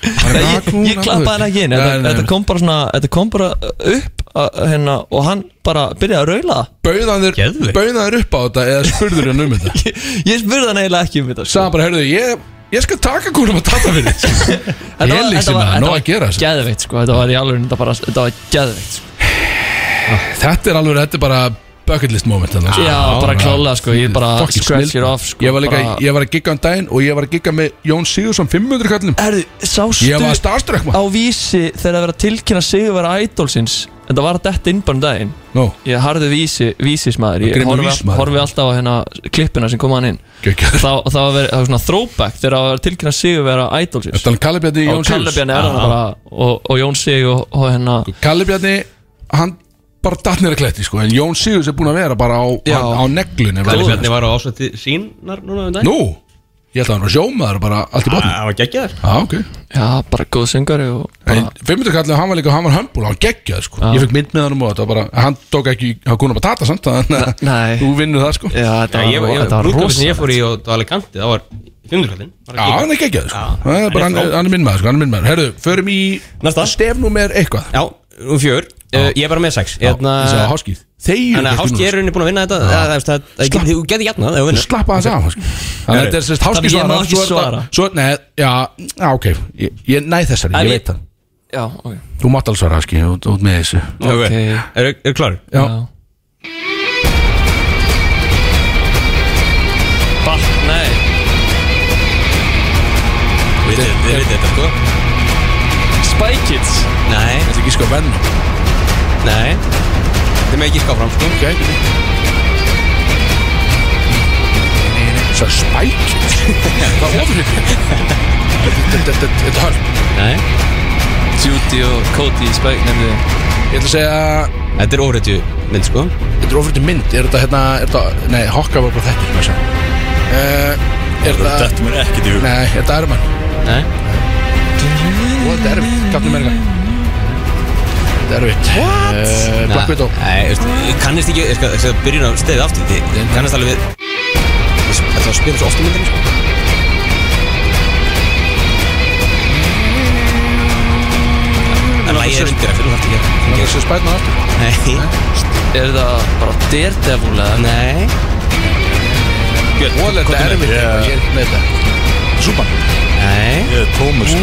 [SPEAKER 9] Nei, ég, ég klappaði hann ekki inn
[SPEAKER 1] Nei,
[SPEAKER 9] þetta,
[SPEAKER 1] nei,
[SPEAKER 9] þetta
[SPEAKER 1] nei.
[SPEAKER 9] kom bara svona, þetta kom bara upp að, hérna, og hann bara byrjaði að raula það.
[SPEAKER 1] Bauðanður
[SPEAKER 4] Geðveikt.
[SPEAKER 1] Bauðanður upp á þetta eða spurður hann um þetta
[SPEAKER 9] Ég spurði hann eiginlega ekki um þetta sko.
[SPEAKER 1] Sagan bara, heyrðu, ég, ég skal taka kúrum að tata fyrir þér.
[SPEAKER 9] Þetta var-
[SPEAKER 1] Elísi
[SPEAKER 9] þetta var-
[SPEAKER 1] maður,
[SPEAKER 9] þetta
[SPEAKER 1] nóg
[SPEAKER 9] var
[SPEAKER 1] að gera þessu.
[SPEAKER 9] Geðveikt sko, þetta var í alveg Þetta, bara, þetta var geðveikt sko.
[SPEAKER 1] Þetta er alveg, þetta er bara bucket list moment þarna, sko.
[SPEAKER 9] Já, bara klálega sko, ég bara
[SPEAKER 1] Fucking
[SPEAKER 9] scratch
[SPEAKER 1] snill.
[SPEAKER 9] it off sko,
[SPEAKER 1] Ég var líka,
[SPEAKER 9] bara-
[SPEAKER 1] ég var að gigga um daginn og ég var að gigga með Jón Sigursson 500 kallum
[SPEAKER 9] Herðu, sástu
[SPEAKER 1] Ég var starstruck
[SPEAKER 9] á
[SPEAKER 1] maður
[SPEAKER 9] vísi þegar að vera að tilkynna Sigurvera Idolsins Þetta var að detta inn bara um daginn
[SPEAKER 1] Nó,
[SPEAKER 9] Ég harði vísi, vísismæður Ég
[SPEAKER 1] Grimmur
[SPEAKER 9] horfi,
[SPEAKER 1] vísmaður.
[SPEAKER 9] horfi alltaf á hérna klippina sem koma hann inn
[SPEAKER 1] geggjaður
[SPEAKER 9] Þá, þá var verið, það var svona throwback þegar að vera að tilkynna Sigurvera Idolsins
[SPEAKER 1] Þetta er Kallabjarni
[SPEAKER 9] Og
[SPEAKER 1] Jón Sigurðsson
[SPEAKER 9] Kallabjarni er hann bara og, og Jón Sig og, og hérna
[SPEAKER 1] Kallabjarni, hann bara datt nýra kletti sko En Jón Sigurðs er búin að vera bara á,
[SPEAKER 9] Já.
[SPEAKER 1] hann, á neglun
[SPEAKER 4] Kalli Bjarni var á ásvætti sínar núna um dag
[SPEAKER 1] Nú, ég held að hann var sjómaður bara allt í botni
[SPEAKER 4] Það var geggjaður
[SPEAKER 1] Já, Ah, ok
[SPEAKER 9] Já, bara góð söngari og
[SPEAKER 1] En
[SPEAKER 9] bara,
[SPEAKER 1] 500 kallið, hann var líka, hann var hömbul, hann geggjað sko Ég fekk mynd með hann um og þetta var bara, hann tók ekki, hann kunum að tata samt Þannig að
[SPEAKER 9] Nei.
[SPEAKER 1] þú vinnur það sko Já,
[SPEAKER 9] Já, þetta
[SPEAKER 4] Ég
[SPEAKER 9] var,
[SPEAKER 4] var,
[SPEAKER 9] þetta var
[SPEAKER 4] brúðkaupið sem
[SPEAKER 9] rosa
[SPEAKER 4] ég fór í og það var alveg kanti, það var 500 kallinn
[SPEAKER 1] hann er geggjað sko Það er bara, hann
[SPEAKER 4] hann er
[SPEAKER 1] er- hann er minn maður sko, hann er minn maður Herðu, förum í
[SPEAKER 4] Næsta.
[SPEAKER 1] stefnúmer eitthvað
[SPEAKER 4] Já, um fjör, uh, ég er bara með Hérna, 6
[SPEAKER 1] Já, þessi á háskýð Þeir
[SPEAKER 4] Þannig að Háski eh, er rauninni búin að vinna þetta eða, þú veist, það- það
[SPEAKER 1] Slapp.
[SPEAKER 4] getur- Þú getur jafnað ef þú vinnur
[SPEAKER 1] slappa þess af Háski. þannig að þetta er sérst háski
[SPEAKER 9] Þannig ég má
[SPEAKER 1] svara
[SPEAKER 9] ekki
[SPEAKER 1] svo er
[SPEAKER 9] svara.
[SPEAKER 1] það- svo, nei, já, já, ok ég, ég næ þessari,
[SPEAKER 4] En
[SPEAKER 1] ég
[SPEAKER 4] ég-
[SPEAKER 1] veit það
[SPEAKER 9] Já, ok,
[SPEAKER 1] þú mátt alveg svara háski, út, út með þessu
[SPEAKER 9] ok
[SPEAKER 4] Er þú klar?
[SPEAKER 1] já,
[SPEAKER 9] Já. Bach, nei
[SPEAKER 4] Við veitum þetta sko
[SPEAKER 9] Spy Kids
[SPEAKER 4] Nei,
[SPEAKER 1] þetta er ekki sko venn
[SPEAKER 4] nei Þetta er með ekki skáfram sko
[SPEAKER 1] ok svo spæk það er ofrið þetta er hörn
[SPEAKER 4] Nei
[SPEAKER 9] Judy og Cody í Spy Nefnir
[SPEAKER 1] ég ætla að segja
[SPEAKER 4] Þetta er óreitju mynd sko
[SPEAKER 1] þetta er ofrið til mynd er þetta hérna er þetta nei, hokka var bara þetta hvað sem uh, er þetta
[SPEAKER 2] Þetta mér ekki djú
[SPEAKER 1] nei, er þetta Iron Man
[SPEAKER 4] Nei
[SPEAKER 1] og þetta er erfitt Captain America þetta er erfitt Eh, Black Widow
[SPEAKER 4] Nei, veistu, ég kannist ekki Ég skal- ég skal byrja á stefið aftur því ég Kannast alveg við Það var spyrir svo oft í myndinni sko En lægið er undir að fyrir hægt ekki
[SPEAKER 1] Þessi Spiderman aftur
[SPEAKER 4] Nei
[SPEAKER 9] Er það bara Daredevil eða?
[SPEAKER 4] Nei
[SPEAKER 1] Og þetta er erfitt
[SPEAKER 2] Yeah.
[SPEAKER 1] Ég er ekki með þetta Súpan
[SPEAKER 4] Nei
[SPEAKER 2] Ég er sko. Tómas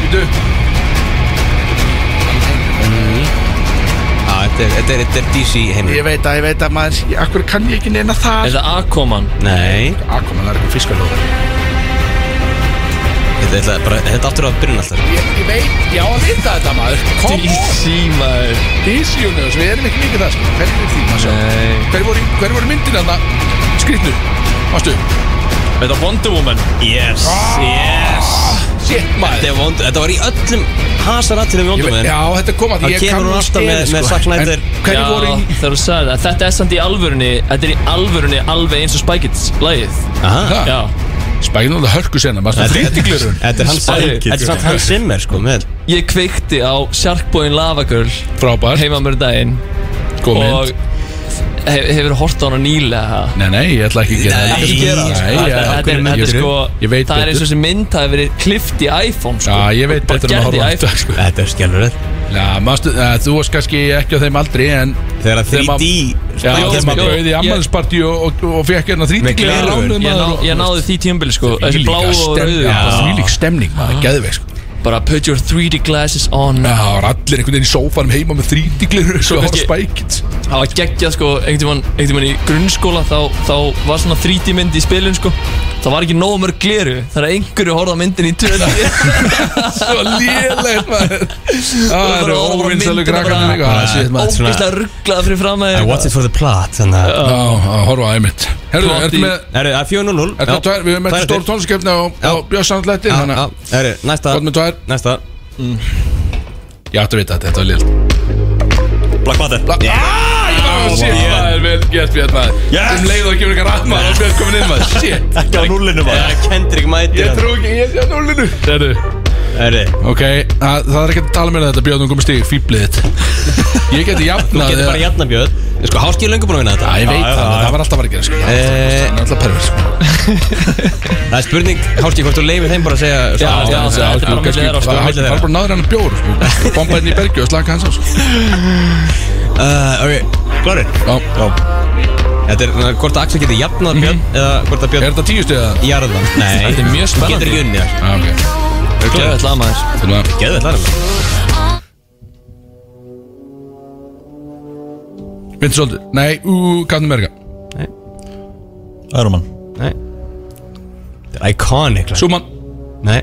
[SPEAKER 1] Býtu
[SPEAKER 4] Já, þetta er- þetta er- þetta er DC heimur
[SPEAKER 1] Ég veit að, ég veit að maður ég- Akkur kann ég ekki neina Ah, það
[SPEAKER 9] Er það Aquaman?
[SPEAKER 4] Nei,
[SPEAKER 1] Akkur maður er eitthvað fiskalóð
[SPEAKER 4] þetta er alltaf bara, þetta er aftur að byrjun alltaf
[SPEAKER 1] ég, ég veit, já að vita þetta maður Kom
[SPEAKER 9] DC maður
[SPEAKER 1] Dísi Juniors, við erum ekki mikið það sko Hver er því maður sjá
[SPEAKER 9] Nei
[SPEAKER 1] Hver voru, hver voru myndin þarna Skrýtnu Mástu
[SPEAKER 9] Er það Wonder Woman?
[SPEAKER 4] Yes,
[SPEAKER 1] Ah!
[SPEAKER 4] yes
[SPEAKER 1] Shit
[SPEAKER 4] Þetta
[SPEAKER 1] maður
[SPEAKER 4] er vond, þetta var í öllum hasar allir
[SPEAKER 1] Ég
[SPEAKER 4] um vondum
[SPEAKER 1] veit,
[SPEAKER 4] en
[SPEAKER 1] já, þetta kom að
[SPEAKER 4] Það kemur hún alltaf með- með Zack Snyder.
[SPEAKER 1] Hverju sko. voru í
[SPEAKER 9] Já, þegar þú sagði það Þetta er samt í alvörunni Þetta er í alvörunni alveg eins og Spy Kids lagið
[SPEAKER 4] Aha.
[SPEAKER 1] það?
[SPEAKER 9] Já
[SPEAKER 1] Spæðin og það hörku sena, maður
[SPEAKER 4] Þetta-
[SPEAKER 1] frítiglurun
[SPEAKER 4] Þetta er hans
[SPEAKER 9] Spike
[SPEAKER 4] Þetta er samt hans Zimmer sko með
[SPEAKER 9] Ég kveikti á Sharkboyin Lava Girl
[SPEAKER 1] Frábær,
[SPEAKER 9] heima mér um daginn
[SPEAKER 1] góð
[SPEAKER 9] og
[SPEAKER 1] mynd
[SPEAKER 9] hef, hefur hort á hana nýlega
[SPEAKER 1] Nei, nei, ég ætla ekki að gera það.
[SPEAKER 4] Ekki gera það, sko.
[SPEAKER 1] Nei,
[SPEAKER 9] Þetta
[SPEAKER 1] já,
[SPEAKER 9] þetta er,
[SPEAKER 1] hvernig
[SPEAKER 9] þetta er
[SPEAKER 1] myndirðu?
[SPEAKER 9] sko
[SPEAKER 1] Ég veit
[SPEAKER 9] Það er eins
[SPEAKER 1] betur
[SPEAKER 9] og sem mynd hafi verið klift í iPhone sko.
[SPEAKER 1] Já, ég veit
[SPEAKER 9] Bara
[SPEAKER 1] betur en að
[SPEAKER 9] gerð í
[SPEAKER 1] horfa á
[SPEAKER 9] iPhone.
[SPEAKER 1] þetta sko.
[SPEAKER 4] Þetta er skjálfur
[SPEAKER 1] Já, mástu, uh, þú varst kannski ekki á þeim aldri en
[SPEAKER 4] Þegar að
[SPEAKER 1] Þegar
[SPEAKER 4] 3D
[SPEAKER 1] Já,
[SPEAKER 9] Jó,
[SPEAKER 1] þegar maður
[SPEAKER 9] jó,
[SPEAKER 1] bauði í
[SPEAKER 9] ég-
[SPEAKER 1] ammælispartí og, og, og fekk hérna
[SPEAKER 4] Með
[SPEAKER 1] þrítiklega
[SPEAKER 4] gleraugun.
[SPEAKER 1] lánuð
[SPEAKER 9] Ég, ná, ég náði því tíumbili sko Þessi bláu og rauðu
[SPEAKER 1] Því lík stemning maður, geðveik sko.
[SPEAKER 9] Bara put your 3D glasses on
[SPEAKER 1] Já, það var allir einhvern veginn í sófanum heima með þrítiklega Svo horf
[SPEAKER 9] kannski-
[SPEAKER 1] spækitt
[SPEAKER 9] Það var geggjað sko Einhvern tímann- einhvern tímann í grunnskóla þá, þá var svona 3D mynd í spilin sko Það var ekki nóg mörg gleru Þannig að einhverju horfði á myndin í 2D
[SPEAKER 1] Svo léleg maður Ah, Það
[SPEAKER 9] bara
[SPEAKER 1] eru
[SPEAKER 9] horfa á
[SPEAKER 1] óvinnsælu
[SPEAKER 9] myndina
[SPEAKER 1] krakkarnir
[SPEAKER 9] bara-
[SPEAKER 1] hérna líka Það séð maður
[SPEAKER 9] Ógislega rugglað fyrir fram að
[SPEAKER 4] I watch it for the plot Þannig að
[SPEAKER 1] Já, að horfa á einmitt Herðu,
[SPEAKER 9] Plot
[SPEAKER 1] ertu
[SPEAKER 9] í-
[SPEAKER 1] með
[SPEAKER 4] Herru, það er 4-0
[SPEAKER 1] Ertu með tvær, við erum með hérna.
[SPEAKER 4] Tvær
[SPEAKER 1] stór tónlistkefni á, á
[SPEAKER 4] Já.
[SPEAKER 1] Björnsandletti Þannig að,
[SPEAKER 4] Herru, næsta
[SPEAKER 1] gott með tvær
[SPEAKER 4] Næsta
[SPEAKER 1] Ég átti að vita þetta, þetta var liðl
[SPEAKER 2] Black Panther
[SPEAKER 1] Bla- Ah, ég var að Shit, það er vel gert Björn maður
[SPEAKER 2] Yes!
[SPEAKER 1] Um leið og kemur eitthvað rafmar og Björn komin inn maður Shit,
[SPEAKER 2] Ekki á núllinu maður
[SPEAKER 4] Kendrick mætir
[SPEAKER 1] ég trú ekki, ég sé að núlinu Þetta
[SPEAKER 4] Herri,
[SPEAKER 1] Ok, það, það er ekki að tala mér um þetta Björn, hún komið stíg, fýblið þitt Ég geti jafnað
[SPEAKER 4] getur
[SPEAKER 1] eða-
[SPEAKER 4] bara jafnabjöð Sko, háskið er löngu búin að
[SPEAKER 1] Já,
[SPEAKER 4] vinna þetta
[SPEAKER 1] ég veit það,
[SPEAKER 2] já,
[SPEAKER 1] það var alltaf að vera að gera sko. Það
[SPEAKER 4] Eh,
[SPEAKER 1] var alltaf sko. pervers
[SPEAKER 4] Það er spurning, háskið, hvort þú leifir þeim bara að segja Já,
[SPEAKER 9] já,
[SPEAKER 1] Það
[SPEAKER 9] þetta er bara milli þeirra, sko,
[SPEAKER 1] var
[SPEAKER 4] milli þeirra.
[SPEAKER 1] bara náður hann að bjór sko. Bomba henni í bergi og slaka hans á sko.
[SPEAKER 4] Uh, Ok, klárið
[SPEAKER 1] Já.
[SPEAKER 4] Þetta er uh, hvort að Axel getur jafnað Björn Eða hvort að
[SPEAKER 1] Er
[SPEAKER 4] Björn
[SPEAKER 1] þetta tíu stuðið það?
[SPEAKER 4] jarðan Nei,
[SPEAKER 9] Þetta er mjög
[SPEAKER 4] Þú getur
[SPEAKER 9] spennandi.
[SPEAKER 4] ekki unni það
[SPEAKER 1] Já, ok
[SPEAKER 9] Gjöðvægt lag maður
[SPEAKER 1] Til að
[SPEAKER 4] Geðu þetta alveg
[SPEAKER 1] Vindur svolítið Nei, ú, Captain America
[SPEAKER 2] Iron Man
[SPEAKER 4] Þetta er iconic lag.
[SPEAKER 1] Súman
[SPEAKER 4] Nei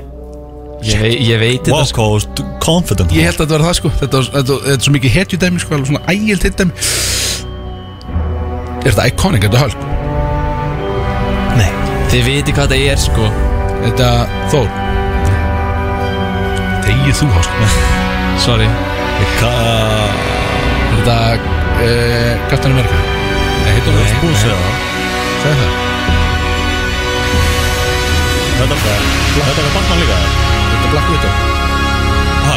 [SPEAKER 9] Ég, vei- ég veit
[SPEAKER 2] Wow,
[SPEAKER 9] þetta sko.
[SPEAKER 2] hvað þú ert confident
[SPEAKER 1] Ég held að þetta var það sko Þetta var þetta, þetta er svo mikið hetju dæmi sko Alveg svona ægild hitt dæmi Er þetta iconic, þetta hölk
[SPEAKER 9] Þið viti hvað þetta er sko
[SPEAKER 1] Þetta Þór Þegið þú hást
[SPEAKER 9] Sorry
[SPEAKER 2] Hvað
[SPEAKER 1] Er þetta eh, Captain America Nei, heitum við
[SPEAKER 2] Búin að segja það
[SPEAKER 1] Segðu það
[SPEAKER 2] Þetta var Þetta var Batman líka
[SPEAKER 1] Þetta er Black Widow
[SPEAKER 2] Ha,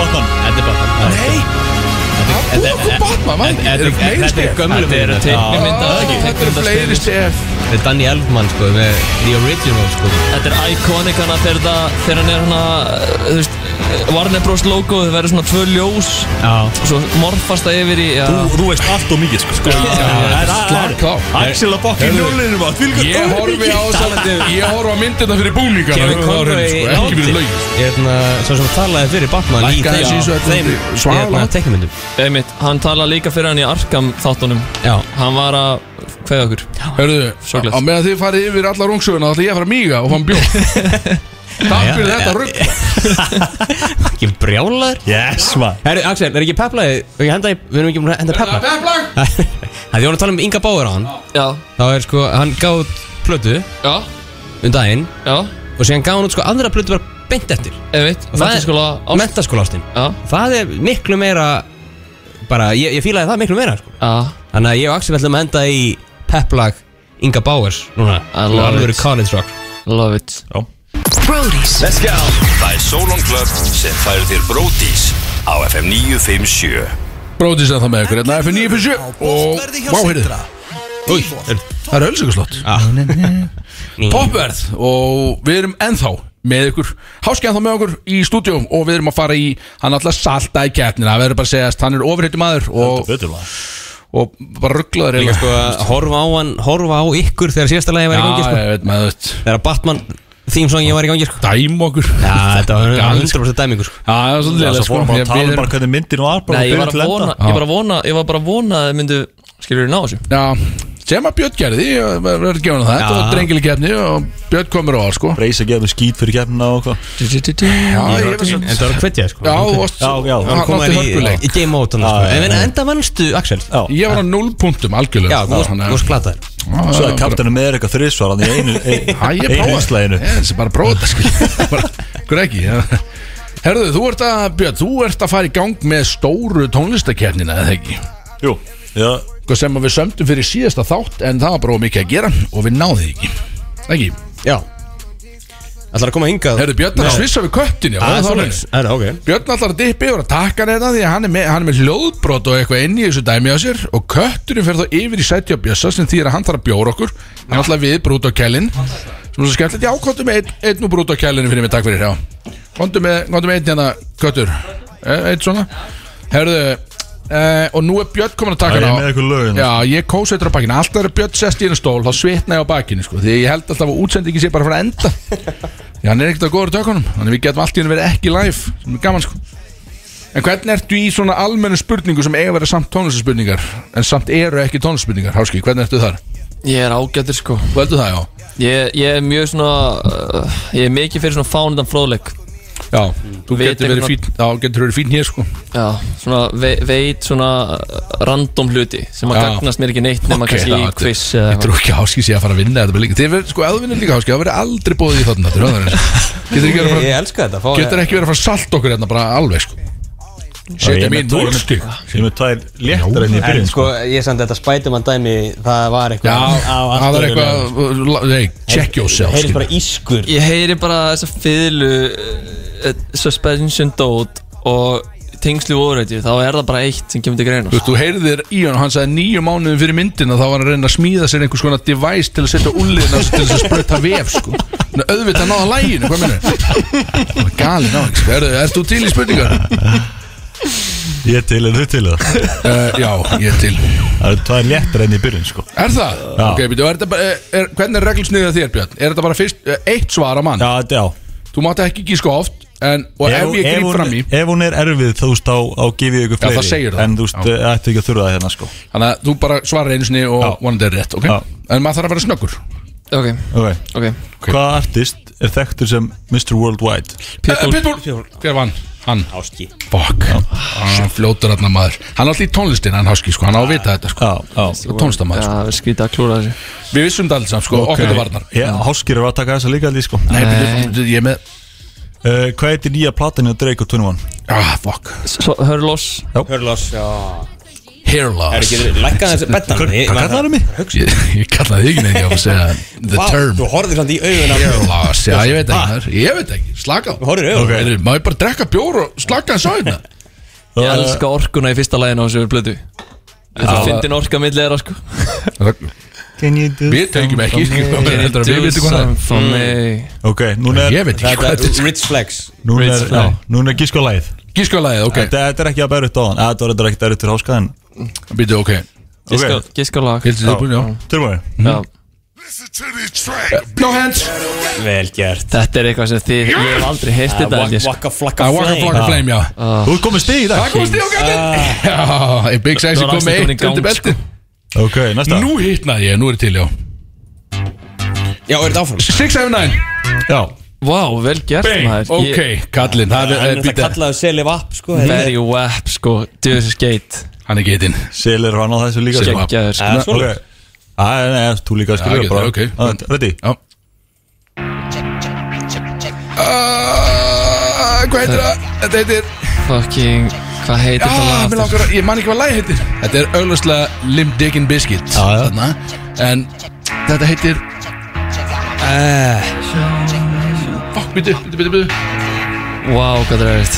[SPEAKER 2] Batman
[SPEAKER 4] Þetta er bara Nei
[SPEAKER 1] Það er okkur Batman, maður ekki Er þetta fleiri
[SPEAKER 4] Þetta er
[SPEAKER 1] stef?
[SPEAKER 4] gömlu
[SPEAKER 9] Þetta eru
[SPEAKER 4] myndir
[SPEAKER 9] teikni mynda
[SPEAKER 1] Þetta er fleiri stef
[SPEAKER 4] Þetta er Danny Elfman sko Með The Original sko
[SPEAKER 9] Þetta er iconic hana þegar það Þegar hann er hana eh, Þú veist Warner Bros logo Það verður svona tvö ljós
[SPEAKER 4] Já
[SPEAKER 9] Svo morfast það yfir í já.
[SPEAKER 2] Þú- Þú veist allt og mikið sko Sko
[SPEAKER 1] Slaka á
[SPEAKER 2] Axel að bokka í
[SPEAKER 1] Heyrðu.
[SPEAKER 2] núllinu maður Því líka
[SPEAKER 1] Ég horfi á sannandi Ég horfi á myndina fyrir búningar
[SPEAKER 4] Kevin Conroy
[SPEAKER 1] sko, Ekki fyrir laug
[SPEAKER 4] Ég er svona Svo sem talaði fyrir Batman í
[SPEAKER 1] Lækkaði
[SPEAKER 4] þeim-
[SPEAKER 1] sig svo þetta
[SPEAKER 4] Þeim
[SPEAKER 1] er svakalegt.
[SPEAKER 4] Hérna teknimyndum
[SPEAKER 9] Einmitt, hann tala líka fyrir hann í Arkham þáttunum
[SPEAKER 4] Já
[SPEAKER 9] Hann var að kveða okkur
[SPEAKER 1] Hörðu,
[SPEAKER 9] Sorglegt.
[SPEAKER 1] á meðan þið farið yfir alla rungsöguna þá ætla ég að fara að míga og fá hann bjóð Takk fyrir þetta rugg
[SPEAKER 4] Ekki brjálar
[SPEAKER 2] Yes maður
[SPEAKER 4] Herru, Axel, er ekki peplaði Við erum ekki að henda í pepla
[SPEAKER 1] Beflag
[SPEAKER 4] Það er að tala um Inga Bauer á hann
[SPEAKER 9] Já,
[SPEAKER 4] Þá er sko, hann gaf út plötu
[SPEAKER 9] já,
[SPEAKER 4] um daginn
[SPEAKER 9] já,
[SPEAKER 4] Og síðan gaf hann út sko aðra plötu bara beint eftir
[SPEAKER 9] einmitt
[SPEAKER 4] Og það er-
[SPEAKER 9] Mentaskóla ást
[SPEAKER 4] Mentaskóla ástinn
[SPEAKER 9] Já,
[SPEAKER 4] Það er miklu meira Bara, ég, ég fílaði það miklu meira sko
[SPEAKER 9] já,
[SPEAKER 4] Þannig að ég og Axel ætlum að enda í peplag Inga Bauers núna
[SPEAKER 9] I love
[SPEAKER 4] Alvöru
[SPEAKER 9] it.
[SPEAKER 4] college rock
[SPEAKER 9] love it
[SPEAKER 10] Brody's
[SPEAKER 8] Það er Solon Club sem færir þér Bródís á FM 957
[SPEAKER 1] Bróðis að það með ykkur, hérna FN 957 og vá, heyrðu Új, það er ölsökuslott Popverð og við erum ennþá með ykkur, háski ennþá með okkur í stúdíum og við erum að fara í hann alltaf salta í keppnina, það verður bara að segjast hann er ofurhittum aður og,
[SPEAKER 2] Betur maður
[SPEAKER 1] og bara rugglaður
[SPEAKER 4] Líka sko að horfa á hann, horfa á ykkur þegar síðasta lagi var í gangi
[SPEAKER 1] Já,
[SPEAKER 4] sko
[SPEAKER 1] ég veit maður, þú veist,
[SPEAKER 4] Þegar Batman theme song ég var í gangi sko
[SPEAKER 1] dæm okkur Já,
[SPEAKER 4] Já, þetta var
[SPEAKER 1] galið,
[SPEAKER 4] 100% dæmingu sko
[SPEAKER 1] það er svolítið
[SPEAKER 2] Það
[SPEAKER 1] leiðilegt,
[SPEAKER 2] er svo
[SPEAKER 1] sko.
[SPEAKER 2] vorum bara
[SPEAKER 1] Ég-
[SPEAKER 2] að tala
[SPEAKER 1] við
[SPEAKER 2] um bara hvernig myndin var bara
[SPEAKER 9] Nei, ég
[SPEAKER 2] frá
[SPEAKER 9] var
[SPEAKER 2] byrjun
[SPEAKER 9] að
[SPEAKER 2] til enda.
[SPEAKER 9] vona Ég var að vona, ég var bara að vona að þið myndu Skilur ná þessu
[SPEAKER 1] Já, sem að Björn gerði ég verður gefin á það, þetta
[SPEAKER 4] Já.
[SPEAKER 1] var drengileg gefni og Björn komur á það sko
[SPEAKER 2] Reis að gefa mér skít fyrir keppnina og hvað
[SPEAKER 1] Já, ég var
[SPEAKER 4] En
[SPEAKER 1] svo
[SPEAKER 4] þetta var hvetjað sko
[SPEAKER 1] Já, þú varst-
[SPEAKER 2] Já, já,
[SPEAKER 1] hann
[SPEAKER 2] hann
[SPEAKER 4] Koma
[SPEAKER 1] átti
[SPEAKER 4] þér í,
[SPEAKER 1] hörkuleik
[SPEAKER 4] í game mode hann
[SPEAKER 2] Já,
[SPEAKER 4] sko
[SPEAKER 2] já,
[SPEAKER 4] En
[SPEAKER 2] já.
[SPEAKER 4] enda vannstu Axel
[SPEAKER 2] Já.
[SPEAKER 1] Ég var á 0 punktum algjörlega sko,
[SPEAKER 4] Já, þú varst- þú varst glataður
[SPEAKER 2] Svo að kaptana með eitthvað þrissvar Þannig einu
[SPEAKER 1] Hæ, ég
[SPEAKER 2] Einu
[SPEAKER 1] prófa
[SPEAKER 2] einslæginu
[SPEAKER 1] Þessi bara prófa þetta sko Bara, Hver ekki ja. Herðu, þú ert að, Björn, þú ert að fara í gang með stóru tónlistakefnina eða ekki
[SPEAKER 2] Jú Já
[SPEAKER 1] Hvað sem að við sömdum fyrir síðasta þátt en það var bara of mikið að gera og við náðum því ekki Ekki,
[SPEAKER 4] Já Ætlar að koma hingað
[SPEAKER 1] herðu Björn er að
[SPEAKER 4] Nei.
[SPEAKER 1] svissa við köttin já, það
[SPEAKER 4] Ah,
[SPEAKER 1] er
[SPEAKER 4] svo
[SPEAKER 1] þá
[SPEAKER 4] leis
[SPEAKER 1] leið.
[SPEAKER 4] Það er ok
[SPEAKER 1] Björn allar að dippi yfir að taka hann þetta því að hann er með, hann er með hljóðbrot og eitthvað inn í þessu dæmi á sér og kötturinn fer þá yfir í sæti á Bjössa sem þýðir að hann þarf að bjóra okkur hann allar við brúta á kælinn sem er svo skemmtilegt, já, komdu með einn, einn og brúta á kælinn fyrir mig, takk fyrir, já komdu með, komdu með einn hérna, köttur e, einn svona, herðu e, og nú er Björn komin að taka
[SPEAKER 2] Já, ég er
[SPEAKER 1] hann á
[SPEAKER 2] með eitthvað lögin. sko.
[SPEAKER 1] já, ég kósa eitthvað á bakinu, alltaf er Björn sest í hennar stól þá svitna ég á bakinu, sko, því ég held alltaf að útsendingi sé bara að fara að enda Já, hann er ekkert á góður tökunum Þannig við getum allt í henni verið ekki live Sem er gaman sko En hvernig ertu í svona almennu spurningu sem eiga að vera samt tónlistaspurningar En samt eru ekki tónlistaspurningar Háski, hvernig ertu þar?
[SPEAKER 9] Ég er ágættur sko
[SPEAKER 1] Þú heldur það, já
[SPEAKER 9] Ég, ég er mjög svona uh, Ég er mikið fyrir svona fánundan fróðleik
[SPEAKER 1] Já, þú
[SPEAKER 9] Veit
[SPEAKER 1] getur verið
[SPEAKER 9] eitthvað-
[SPEAKER 1] fín Já, getur verið fín hér sko
[SPEAKER 9] Já, svona ve veit svona uh, random hluti sem að
[SPEAKER 1] Já.
[SPEAKER 9] gagnast mér ekki neitt nema
[SPEAKER 1] Ok,
[SPEAKER 9] kannski
[SPEAKER 1] já,
[SPEAKER 9] í
[SPEAKER 1] þetta-
[SPEAKER 9] quiz eða
[SPEAKER 1] Ég
[SPEAKER 9] eitthvað.
[SPEAKER 1] trú ekki að Háski sé að fara að vinna þetta bara líka Þið verður, sko, ef þú vinnur líka Háski Það verður aldrei bóðið í þarna þetta er ráðan eins. Getur ekki verið að
[SPEAKER 4] Ég
[SPEAKER 1] fara
[SPEAKER 4] elska þetta fá-
[SPEAKER 1] Getur ekki verið að fara að salta okkur hérna bara alveg sko Setja mín
[SPEAKER 2] tólf stík.
[SPEAKER 1] núlstík
[SPEAKER 2] Ég er með tvær léttar enn í
[SPEAKER 4] En
[SPEAKER 2] byrjun
[SPEAKER 4] sko, ég samt þetta Spiderman dæmi Það var
[SPEAKER 1] Já,
[SPEAKER 4] eitthvað á allt
[SPEAKER 1] það var
[SPEAKER 4] öðru level.
[SPEAKER 1] eitthvað uh, la- Nei, check yourself
[SPEAKER 4] Heyrðist
[SPEAKER 1] skilur.
[SPEAKER 4] bara ískur
[SPEAKER 9] Ég heyri bara þessa fiðlu uh, Suspension Dót og tengslu órætti þá er það bara eitt sem kemur til greina
[SPEAKER 1] Þú veist, þú heyrðir í hann, hann sagði nýju mánuðum fyrir myndina þá var hann að reyna að smíða sér einhvers konar device til að setja ulliðina til þess að sprauta vef sko. Ná, auðvitað náða læginu, hvað minnur Það var galið náðu, sko. Erðu- ert þú til í spurningar?
[SPEAKER 2] Ég er til en þú til það
[SPEAKER 1] Uh, já, ég er til
[SPEAKER 2] Það eru tvær léttar enn í byrjun sko
[SPEAKER 1] Er það?
[SPEAKER 2] Já.
[SPEAKER 1] Ok, býtu, er þetta bara, eh, er, hvernig er reglsniðið þér Björn? Er þetta bara fyrst, eh, eitt svar á mann?
[SPEAKER 2] Já, þetta já
[SPEAKER 1] Þú mátt ekki gíska oft en, og ef, ég grýp
[SPEAKER 2] hún,
[SPEAKER 1] fram í
[SPEAKER 2] ef hún er erfið þá, þú veist, þá, þá gef ég ykkur
[SPEAKER 1] Já,
[SPEAKER 2] fleiri
[SPEAKER 1] það segir það.
[SPEAKER 2] En þú veist,
[SPEAKER 1] Já.
[SPEAKER 2] það ætti ekki að þurfa það hérna sko
[SPEAKER 1] þannig að þú bara svarar einu sinni og
[SPEAKER 2] Já.
[SPEAKER 1] vonandi er rétt, ok?
[SPEAKER 2] Já.
[SPEAKER 1] En maður þarf að vera snöggur
[SPEAKER 9] Ok,
[SPEAKER 2] okay.
[SPEAKER 9] ok
[SPEAKER 2] Hvaða artist er þekktur sem Mr. Worldwide?
[SPEAKER 1] Eh, Pitbull, Pitbull. Hver vann? Hann
[SPEAKER 4] Áski
[SPEAKER 1] Fuck Ah, Hann fljótur hann maður Hann er alltaf í tónlistin hann háski sko Hann á að vita þetta sko
[SPEAKER 2] Já, já
[SPEAKER 1] Tónlistamæður sko
[SPEAKER 9] Já, við skrítið að klúra þessu
[SPEAKER 1] Við vissum þetta allir saman sko Okkur til varnar
[SPEAKER 2] Já, háskir er að taka þessa líka allir sko uh,
[SPEAKER 1] Nei, byrju, ég er með
[SPEAKER 2] Hvað heitir nýja platinu að Drake og 21?
[SPEAKER 1] Ah, fuck
[SPEAKER 9] Svo, Hör loss
[SPEAKER 4] Hörlás Já
[SPEAKER 1] Hair
[SPEAKER 4] Er
[SPEAKER 1] loss
[SPEAKER 4] ekki lækka þessu bettan
[SPEAKER 2] Hvað kallar það mig?
[SPEAKER 1] Ég, ég kallaði þig neitt Ég var að segja The term
[SPEAKER 4] Þú horfðir samt í augun á
[SPEAKER 1] Hair
[SPEAKER 4] mér
[SPEAKER 1] loss Já, ég veit ekki maður. Ég veit ekki Slaka á
[SPEAKER 4] Þú horfðir í augun á
[SPEAKER 1] Ok.
[SPEAKER 4] mér.
[SPEAKER 1] Heyrðu, Má ég bara drekka bjór og slaka hans á hérna
[SPEAKER 9] Ég
[SPEAKER 2] Eh,
[SPEAKER 9] elska orkuna í fyrsta læginu á þessu blödu Þetta fyndin orka milli er sko
[SPEAKER 1] Við tengjum ekki skilur, maður, heldur að Við veitum hvað það er.
[SPEAKER 9] for me
[SPEAKER 1] Mm.
[SPEAKER 2] Ok, núna er
[SPEAKER 1] Ég veit ekki
[SPEAKER 4] Þetta
[SPEAKER 1] hvað þetta
[SPEAKER 4] er Rich Flex
[SPEAKER 2] Núna
[SPEAKER 9] Ritz
[SPEAKER 2] er,
[SPEAKER 9] Fly.
[SPEAKER 2] já, núna er gísk á lagið
[SPEAKER 1] er Gískjólæðið, ok
[SPEAKER 2] þetta, þetta er ekki að bæra upp á hann Þetta var þetta ekki að bæra upp til háska en
[SPEAKER 1] Býtu, ok
[SPEAKER 9] Giska- Giska á Sko, lag
[SPEAKER 1] Hildur þið búin, já
[SPEAKER 2] Tilbúin
[SPEAKER 9] Já.
[SPEAKER 1] No hands
[SPEAKER 4] Vel gert
[SPEAKER 9] Þetta er eitthvað sem þið Ég hef aldrei heyrt þetta held ég, sko.
[SPEAKER 4] Ah, Waka flakka
[SPEAKER 1] Ah, Waka
[SPEAKER 4] flame
[SPEAKER 1] Flocka Flame, já
[SPEAKER 2] Þú ert komið stig í dag
[SPEAKER 1] Það komst ég á gættin Já, eh, Big Sexy
[SPEAKER 9] Það var
[SPEAKER 1] kom með
[SPEAKER 9] næstum komin í
[SPEAKER 1] eitt
[SPEAKER 9] gang,
[SPEAKER 1] undir beltin
[SPEAKER 2] Ok, næsta
[SPEAKER 1] Nú hitnaði ég, nú er ég til, já
[SPEAKER 4] Já, er þetta áfram?
[SPEAKER 1] 679
[SPEAKER 2] Já
[SPEAKER 9] Vá, vel gert maður
[SPEAKER 1] Ok,
[SPEAKER 9] Ég-
[SPEAKER 1] kallinn, það er- eh, er
[SPEAKER 4] Hann er það
[SPEAKER 1] býta
[SPEAKER 4] kallaðu Selif App sko þetta er-
[SPEAKER 9] Very wap sko Djöðu skeitt
[SPEAKER 1] Hann er getinn
[SPEAKER 2] Selir var annað þessu líka sko.
[SPEAKER 1] Wap.
[SPEAKER 9] Geggjaður sko
[SPEAKER 4] Já,
[SPEAKER 2] Ok
[SPEAKER 4] svoleiðis.
[SPEAKER 2] Æ, nei, þú líka
[SPEAKER 1] Já,
[SPEAKER 2] skilur
[SPEAKER 1] ok,
[SPEAKER 2] bara
[SPEAKER 1] ok.
[SPEAKER 2] Ah, Ready?
[SPEAKER 1] Já Ah, Hvað heitir það? Þetta heitir
[SPEAKER 9] Fucking Hvað heitir
[SPEAKER 1] Ah,
[SPEAKER 9] þetta lag
[SPEAKER 1] mér
[SPEAKER 9] aftur?
[SPEAKER 1] langar að Ég man ekki hvað lagi heitir Þetta er auglustlega Limp Dickin Biscuit
[SPEAKER 2] já.
[SPEAKER 1] Þarna En þetta heitir Eh. Fuck, býtu, býtu, býtu, býtu
[SPEAKER 9] Vá, hvað það er erfitt.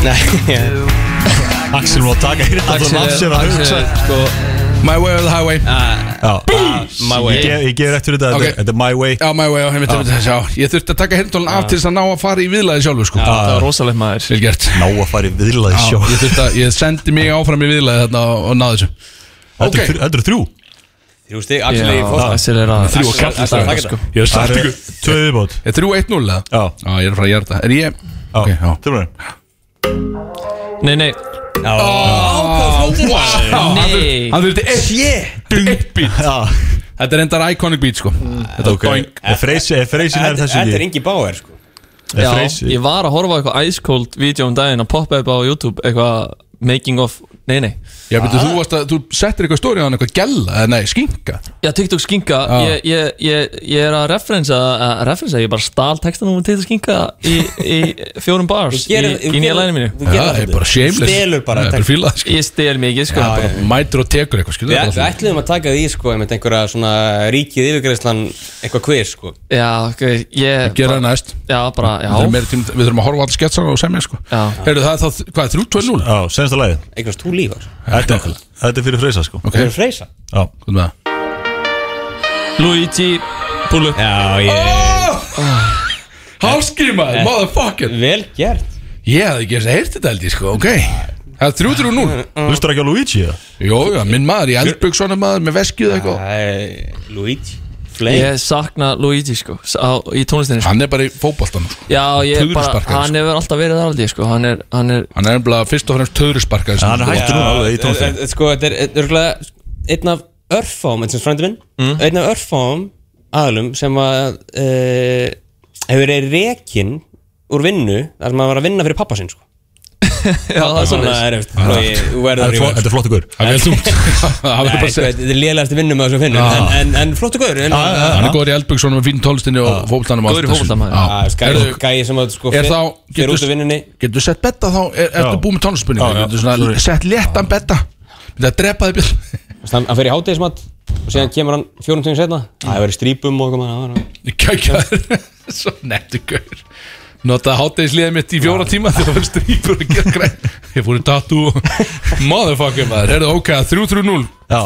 [SPEAKER 4] Nei
[SPEAKER 2] Axel var að taka hér Það var
[SPEAKER 9] Axel
[SPEAKER 2] sér að
[SPEAKER 9] er- Axel
[SPEAKER 2] hugsa
[SPEAKER 9] er, sko
[SPEAKER 1] My Way of the Highway
[SPEAKER 2] Já Ah,
[SPEAKER 4] My
[SPEAKER 2] Ég
[SPEAKER 4] way
[SPEAKER 2] gef- Ég gef rétt fyrir þetta
[SPEAKER 1] Ok.
[SPEAKER 2] þetta- Þetta er my way
[SPEAKER 1] Já, my way, já, einmitt, einmitt, já, ég þurfti að taka hirtólinn af til þess að ná að fara í viðlaði sjálfur, sko
[SPEAKER 9] Það var rosalegt maður
[SPEAKER 1] Vel gert
[SPEAKER 2] Ná að fara í viðlaði
[SPEAKER 1] Já,
[SPEAKER 2] sjó
[SPEAKER 1] Ég þurfti að, ég sendi mig áfram í viðlaði þarna og, og náði þessu
[SPEAKER 2] Þetta
[SPEAKER 1] ok.
[SPEAKER 2] eru þrjú- þetta eru þrjú
[SPEAKER 4] Þrjú stig, Axel er í
[SPEAKER 9] Já,
[SPEAKER 4] fór
[SPEAKER 9] Axel er að
[SPEAKER 1] Þrjú sko. og kallið
[SPEAKER 4] Axel,
[SPEAKER 1] strákar,
[SPEAKER 4] taka þetta.
[SPEAKER 1] Ég er
[SPEAKER 2] Það
[SPEAKER 1] sætt
[SPEAKER 2] eru
[SPEAKER 1] ykkur
[SPEAKER 2] tvö viðbót
[SPEAKER 1] Er 3-1-0 eða?
[SPEAKER 2] Já
[SPEAKER 1] Já, ég er að fara að gera það Er ég? Ok,
[SPEAKER 2] Já,
[SPEAKER 1] já
[SPEAKER 2] tilbúin
[SPEAKER 9] Nei, nei
[SPEAKER 1] Wow, hann þurfti-
[SPEAKER 9] Nei.
[SPEAKER 1] Hann þurfti eitt Dung Eitt beat
[SPEAKER 2] Já
[SPEAKER 1] Þetta er endar iconic beat, sko Þetta
[SPEAKER 2] Ok Ef freysin er freysin er þessu
[SPEAKER 4] Þetta er
[SPEAKER 2] ekki
[SPEAKER 4] Ingi Bauer sko
[SPEAKER 2] Ef
[SPEAKER 9] Já,
[SPEAKER 2] Freysi-
[SPEAKER 9] ég var að horfa á eitthvað ice cold vídeo um daginn að poppa upp á YouTube eitthvað making of, nei nei
[SPEAKER 1] Já, betur, þú varst að, þú settir eitthvað stóri á hann eitthvað gella, eða nei, skinka
[SPEAKER 9] Já, TikTok skinka, ég, ég, ég, ég er að referensa, að referensa, ég bara stál textanum um TikTok skinka í, í fjórum bars í,
[SPEAKER 4] Gerir-
[SPEAKER 9] í nýja læginu mínu
[SPEAKER 4] Þú gerir
[SPEAKER 1] Já,
[SPEAKER 4] þetta.
[SPEAKER 1] það er bara shameless
[SPEAKER 4] Stelur bara
[SPEAKER 1] Það er bara fílað, sko
[SPEAKER 9] Ég stel mikið sko
[SPEAKER 4] Já, já.
[SPEAKER 1] Mætir og tekur eitthvað, skilur
[SPEAKER 4] Við
[SPEAKER 1] þetta
[SPEAKER 4] við
[SPEAKER 1] allt.
[SPEAKER 4] ætluðum að taka því sko einmitt einhverja svona ríkið yfirgreðslan eitthvað quiz sko
[SPEAKER 9] já ok, ég
[SPEAKER 1] Gera það næst
[SPEAKER 9] Já, bara,
[SPEAKER 1] Það er
[SPEAKER 9] já,
[SPEAKER 1] meira tíma- Við þurfum að horfa á allt sketsana og semja sko
[SPEAKER 9] Já.
[SPEAKER 1] Heyrðu það, er þá, hvað er 3-2-0?
[SPEAKER 2] Já, senast að lagið
[SPEAKER 4] eignast þú lífar
[SPEAKER 2] Þetta er- þetta er fyrir freysa sko
[SPEAKER 1] Ok,
[SPEAKER 4] Það er freysa
[SPEAKER 2] Já
[SPEAKER 1] hvað með það?
[SPEAKER 9] Luigi Pull up
[SPEAKER 4] Já
[SPEAKER 1] Oh.
[SPEAKER 4] ég
[SPEAKER 1] Háski maður, motherfucker
[SPEAKER 4] Vel gert
[SPEAKER 1] Ég hafði ekki eins að heyrti þetta held ég sko, ok Það er 3-3-0
[SPEAKER 2] Þú veistur ekki á Luigi eða?
[SPEAKER 1] Jó, já, minn maður í eldbygg svona maður með veskið og eitthvað
[SPEAKER 4] Það er Luigi Flame
[SPEAKER 9] Ég sakna Luigi sko s- á, í tónlistinni sko.
[SPEAKER 1] Hann er bara í fótboltanum sko
[SPEAKER 9] Já, ég bara,
[SPEAKER 1] Töðrusparkari,
[SPEAKER 9] hann hefur alltaf verið þar aldrei sko Hann er, hann er
[SPEAKER 1] Hann er bara fyrst og fremst töðursparkað
[SPEAKER 2] Hann er hættur núna alveg í
[SPEAKER 4] Eh,
[SPEAKER 2] tónlistin
[SPEAKER 4] eh, Sko þetta er örgulega einn af örfám eins og frændi minn einn af örfám aðlum sem að e, eh, hefur verið rekinn úr vinnu þar sem að var að vinna fyrir pappa sinn sko
[SPEAKER 9] Já, það er
[SPEAKER 4] Þannig
[SPEAKER 9] svolítið
[SPEAKER 4] að það er eftir Logi, þú verður að
[SPEAKER 10] Þetta
[SPEAKER 4] rífa
[SPEAKER 10] er flott ykkur
[SPEAKER 1] Það er vel þungt Það verður
[SPEAKER 4] Nei, Ah,
[SPEAKER 1] bara að
[SPEAKER 4] sko,
[SPEAKER 1] segja
[SPEAKER 4] Þetta er lélegasti vinnum að þessum finnum en, en, en flottu gaur en-
[SPEAKER 1] Hann er góður í Eldbjörnssonum með fín tólstinni og fólktanum
[SPEAKER 9] Góður í fótboltanum, maður.
[SPEAKER 4] Já,
[SPEAKER 1] Erðu-
[SPEAKER 4] Gæi gæi Ah, sem að sko
[SPEAKER 1] Ah. Er
[SPEAKER 4] fer-
[SPEAKER 1] þá
[SPEAKER 4] fer út
[SPEAKER 1] getur-
[SPEAKER 4] af vinnunni
[SPEAKER 1] Getur þú sett betta þá Er þú búið með tónspunni
[SPEAKER 2] Já, já,
[SPEAKER 1] Getur svona sett léttan betta Myndi að drepa þig björn
[SPEAKER 4] Hann hann fer í hátegismat og síðan kemur hann fjórum tíðin setna Það verður í strípum og eitthvað
[SPEAKER 1] Kækjaður Svo nettu gaur Notaði hátæðisliðið mitt í fjóra tíma þegar það var strýpur að gera græn Ég fór í tattoo Motherfucker maður Erðu ok, 3-3-0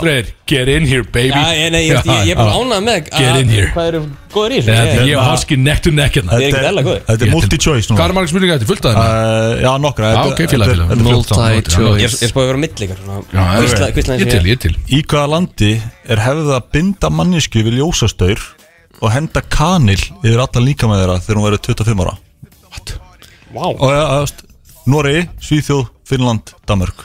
[SPEAKER 1] Freyr, get in here baby
[SPEAKER 4] Já, ég, nei, ég, ég, ég er bara ánað með að-
[SPEAKER 1] Get in here.
[SPEAKER 4] hvað eru góður í þessu
[SPEAKER 1] Þetta er
[SPEAKER 4] Ég-
[SPEAKER 1] ég og hanski nekk to nekk hérna
[SPEAKER 4] er ekkert eðlilega góður.
[SPEAKER 2] Þetta er multi-choice núna
[SPEAKER 1] Hvað er margir spurningar þetta? Fullt að þeim?
[SPEAKER 2] Uh, já, nokkra
[SPEAKER 1] Já,
[SPEAKER 2] Þetta-
[SPEAKER 1] ok, félag,
[SPEAKER 2] þetta-
[SPEAKER 1] félag.
[SPEAKER 2] þetta er fjórtán.
[SPEAKER 4] Ég
[SPEAKER 9] Multi-choice
[SPEAKER 4] er spáðið að vera á milli ykkar
[SPEAKER 1] Já, já,
[SPEAKER 4] Kvistla,
[SPEAKER 1] já.
[SPEAKER 4] kvistla
[SPEAKER 1] Ég til, ég til
[SPEAKER 2] Í hvaða landi er hefðið að binda mannisku við ljósastaur og henda kanil yfir alla líkamæð þeirra þegar hún verður 25 ára
[SPEAKER 4] Vá
[SPEAKER 2] og ja, ja, veist, Noregi, Svíþjóð, Finnland, Danmörk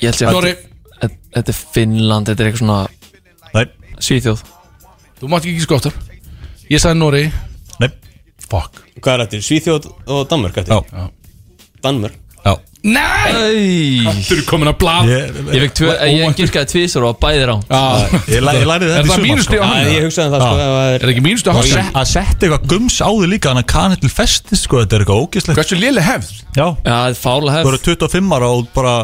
[SPEAKER 9] Ég held ég að
[SPEAKER 1] Snorri,
[SPEAKER 9] Þetta- Þetta er Finnland, þetta er eitthvað svona
[SPEAKER 2] Nei,
[SPEAKER 9] Svíþjóð
[SPEAKER 1] þú mátt ekki ekki skóttar Ég sagði Nóri
[SPEAKER 2] nei,
[SPEAKER 1] Fuck
[SPEAKER 4] Hvað er þetta? Svíþjóð og Danmörk eftir?
[SPEAKER 2] Já.
[SPEAKER 4] Danmörk
[SPEAKER 2] já
[SPEAKER 1] Nei
[SPEAKER 9] Æj
[SPEAKER 1] Þú eru komin að blað
[SPEAKER 2] Ég,
[SPEAKER 9] Ég fekk tvö, ég girkaði tvísar og bæðir á
[SPEAKER 1] Já.
[SPEAKER 2] ég, læ, ég lærði þetta
[SPEAKER 1] Er
[SPEAKER 2] í
[SPEAKER 1] það
[SPEAKER 2] sumar,
[SPEAKER 1] mínusti á
[SPEAKER 2] sko.
[SPEAKER 1] hann?
[SPEAKER 4] Já, ég hugsaði það sko ef það
[SPEAKER 1] Er það ekki mínusti á
[SPEAKER 2] Að
[SPEAKER 1] hann?
[SPEAKER 2] se- Að setja eitthvað gums á því líka þannig að kanil til festist sko, þetta er eitthvað ógislegt
[SPEAKER 1] Hversu léle hefð?
[SPEAKER 2] Já,
[SPEAKER 9] Já, það er fála
[SPEAKER 2] þú
[SPEAKER 9] hef
[SPEAKER 2] verður 25 ára og bara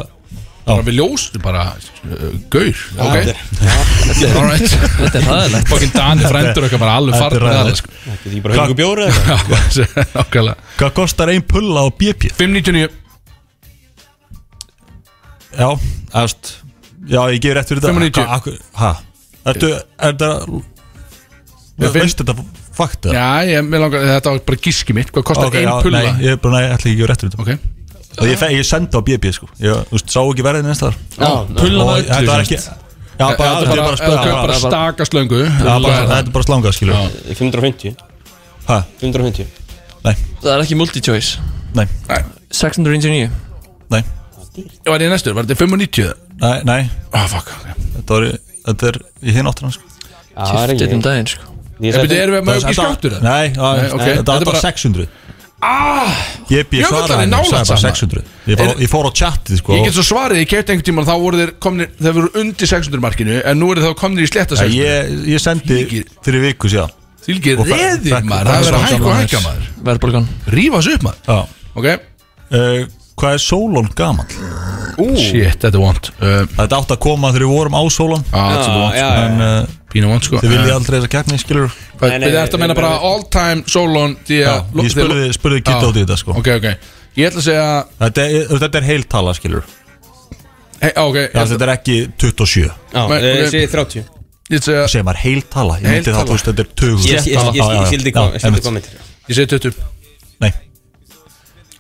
[SPEAKER 1] Bara við ljós Þú bara uh, Gaur Ok Alright
[SPEAKER 9] Þetta er ræðilegt
[SPEAKER 1] Fucking Dani frændur okkar bara alveg
[SPEAKER 2] Þetta er
[SPEAKER 1] farn
[SPEAKER 2] ræðilegt, sko.
[SPEAKER 4] Þetta er ekki bara huggu bjóri eða
[SPEAKER 1] Nákvæmlega
[SPEAKER 2] Hvað kostar ein pulla á BP?
[SPEAKER 1] 599
[SPEAKER 2] Já, eftir Já, ég gef rétt fyrir þetta
[SPEAKER 1] 590.
[SPEAKER 2] Hva- akkur- Hæ? Ertu, er þetta
[SPEAKER 1] Ég finn-
[SPEAKER 2] Veistu þetta fakt eða?
[SPEAKER 1] Já, ég mig langar Þetta var bara gíski mitt Hvað kostar
[SPEAKER 2] Ok,
[SPEAKER 1] ein
[SPEAKER 2] já,
[SPEAKER 1] pulla?
[SPEAKER 2] Nei, ég er bara, nei, ég ætla ekki að gefa rétt fyrir þetta
[SPEAKER 1] Ok
[SPEAKER 2] Og ég, fe- ég sendi á BP, sko Ég, þú veist, sá ekki verðin einstæðar
[SPEAKER 1] Pulla með
[SPEAKER 2] Og
[SPEAKER 1] öllu
[SPEAKER 2] þetta var ekki Já, bara,
[SPEAKER 1] Þetta er bara
[SPEAKER 2] spurning,
[SPEAKER 1] Þetta er bara stakaslöngu
[SPEAKER 2] Já, bara- Þetta er bara slanga, skilur
[SPEAKER 1] Já.
[SPEAKER 4] 550
[SPEAKER 2] Hæ?
[SPEAKER 4] 550
[SPEAKER 2] Nei,
[SPEAKER 9] Það er ekki multi-choice
[SPEAKER 2] nei,
[SPEAKER 9] 699
[SPEAKER 2] nei
[SPEAKER 1] Var ég næstur? Var þetta 590?
[SPEAKER 2] Nei, nei,
[SPEAKER 1] Ah, fuck ok.
[SPEAKER 2] þetta var Þetta er í hinn sko. áttur hans
[SPEAKER 4] Það er
[SPEAKER 9] Kiftit
[SPEAKER 4] ekki
[SPEAKER 9] um daginn, sko
[SPEAKER 1] Ég byrja, erum við með auki skáttur það?
[SPEAKER 2] Nei, já,
[SPEAKER 1] Nei, ok.
[SPEAKER 2] þetta
[SPEAKER 1] Þetta
[SPEAKER 2] var
[SPEAKER 1] bara-
[SPEAKER 2] 600 Ég býð
[SPEAKER 1] Jöfull, það er
[SPEAKER 2] svaraði henni,
[SPEAKER 1] nálægt
[SPEAKER 2] ég sagði bara
[SPEAKER 1] saman.
[SPEAKER 2] 600 Ég fór- Ég fór á chatið, sko
[SPEAKER 1] Ég get svo svarið, ég kefti einhvern tíman þá voru þeir komnir, þeir voru undir 600 markinu en nú eru þá komnir í sletta
[SPEAKER 2] Já,
[SPEAKER 1] 600
[SPEAKER 2] Ég, ég sendi
[SPEAKER 1] Þvílíkir-
[SPEAKER 2] fyrir viku síðan
[SPEAKER 1] Þýlgi
[SPEAKER 2] Og fe-
[SPEAKER 1] reðið
[SPEAKER 2] fe-
[SPEAKER 1] maður, það
[SPEAKER 2] fe-
[SPEAKER 1] verður að
[SPEAKER 2] fe-
[SPEAKER 1] hækka og
[SPEAKER 2] fe-
[SPEAKER 1] hækka maður
[SPEAKER 9] Verðbólgan
[SPEAKER 1] Rífa þessu upp maður
[SPEAKER 2] Já.
[SPEAKER 1] Ok,
[SPEAKER 2] uh, Hvað er Solon gamall?
[SPEAKER 1] shit, þetta er vond uh,
[SPEAKER 2] Þetta átt að koma þegar við vorum á Solon
[SPEAKER 1] á, Þetta er vond, sko.
[SPEAKER 4] já, já.
[SPEAKER 2] En uh,
[SPEAKER 1] pínu vond sko
[SPEAKER 2] þið vilja aldrei þess að keppni, skilur
[SPEAKER 1] Hvað-
[SPEAKER 4] nei,
[SPEAKER 1] Við ættum að
[SPEAKER 4] nei,
[SPEAKER 1] meina
[SPEAKER 4] nei,
[SPEAKER 1] bara all time Solon því
[SPEAKER 2] Já,
[SPEAKER 1] að
[SPEAKER 2] ég spurði, spurði
[SPEAKER 1] Já.
[SPEAKER 2] kitt á því þetta, sko
[SPEAKER 1] Ok, ok, ég ætla að segja
[SPEAKER 2] Þetta er, þetta er heiltala, skilur Já,
[SPEAKER 1] hey, á, Ok, ég ætla
[SPEAKER 2] Þetta er ekki 27
[SPEAKER 4] Já,
[SPEAKER 1] Men-
[SPEAKER 4] eh,
[SPEAKER 1] ok.
[SPEAKER 4] ég segi 30
[SPEAKER 1] ég ætla að segja,
[SPEAKER 2] Segir maður heiltala, ég myndi
[SPEAKER 1] Eh. Heiltala.
[SPEAKER 2] það, þú veist, þetta er 20
[SPEAKER 4] Ég ég- ég- ég skildi
[SPEAKER 2] Já,
[SPEAKER 4] hvað
[SPEAKER 2] einmitt.
[SPEAKER 4] myndir
[SPEAKER 1] ég segi 20
[SPEAKER 2] Nei,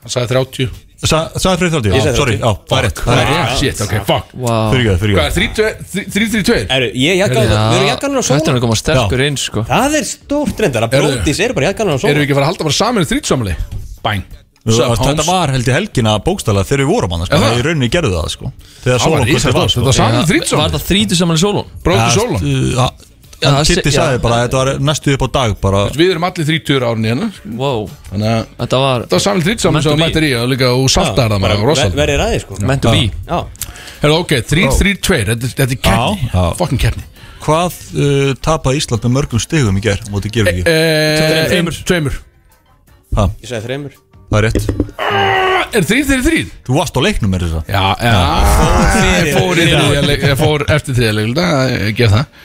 [SPEAKER 1] Hann sagði 30
[SPEAKER 2] Sa- sagði fyrir 30, já, sorry, já, það er rétt Það er rétt,
[SPEAKER 1] ah, Shit, ok, fuck
[SPEAKER 9] Vá
[SPEAKER 2] fyrir ekki, fyrir
[SPEAKER 1] Hvað er
[SPEAKER 2] ekki
[SPEAKER 1] 3-2?
[SPEAKER 4] Eru, ég jakkaði
[SPEAKER 9] Já,
[SPEAKER 4] það Við erum jakkaðan á
[SPEAKER 9] Þetta er
[SPEAKER 4] sólan
[SPEAKER 9] að koma sterkur inn, sko
[SPEAKER 4] Það er stórt reyndar að
[SPEAKER 1] Eru-
[SPEAKER 4] brótis eru bara jakkaðan á
[SPEAKER 1] Erum við
[SPEAKER 4] sólan
[SPEAKER 1] ekki að fara að halda bara saman í þrítsamli? Bæn
[SPEAKER 2] Þetta var held ég helgina bókstæla þegar við vorum hann,
[SPEAKER 1] Er
[SPEAKER 2] sko,
[SPEAKER 1] það?
[SPEAKER 2] þegar í rauninni gerðu það, sko
[SPEAKER 1] Það
[SPEAKER 2] Þegar
[SPEAKER 1] var
[SPEAKER 2] Solon
[SPEAKER 1] ísætt
[SPEAKER 2] var,
[SPEAKER 1] Þetta var saman í þrítsamli
[SPEAKER 9] Var það þrítu saman í sólun?
[SPEAKER 1] Bróti Sólon
[SPEAKER 9] Já, það
[SPEAKER 2] Hann
[SPEAKER 9] sé-
[SPEAKER 2] Kitty
[SPEAKER 9] já.
[SPEAKER 2] sagði bara að þetta var næstu upp á dag bara
[SPEAKER 1] Við erum allir 30 árni hérna
[SPEAKER 9] Wow
[SPEAKER 1] Þannig að þetta
[SPEAKER 9] Þetta var
[SPEAKER 1] var saman þrýtt saman sem þú
[SPEAKER 9] Meant to
[SPEAKER 1] mættir í og líka og saltar það maður rosalega
[SPEAKER 4] Verðið ræði sko
[SPEAKER 9] Meant to be
[SPEAKER 4] Já
[SPEAKER 1] Herra ok, 3-3-2 Þetta þetta er keppni
[SPEAKER 2] Já, já.
[SPEAKER 1] Fokkin keppni
[SPEAKER 2] Hvað uh, tapaði Ísland með mörgum stigum í gær á móti gerum ekki?
[SPEAKER 1] Eh, einn, Tveimur
[SPEAKER 4] Ég segi þreymur
[SPEAKER 2] Það er rétt
[SPEAKER 1] Ah, Er 3-3-3?
[SPEAKER 2] Þú varst á leiknum með þess að
[SPEAKER 1] Já, já Ég fór í þriðja leik- Ég fór eftir þriðja leik Gef það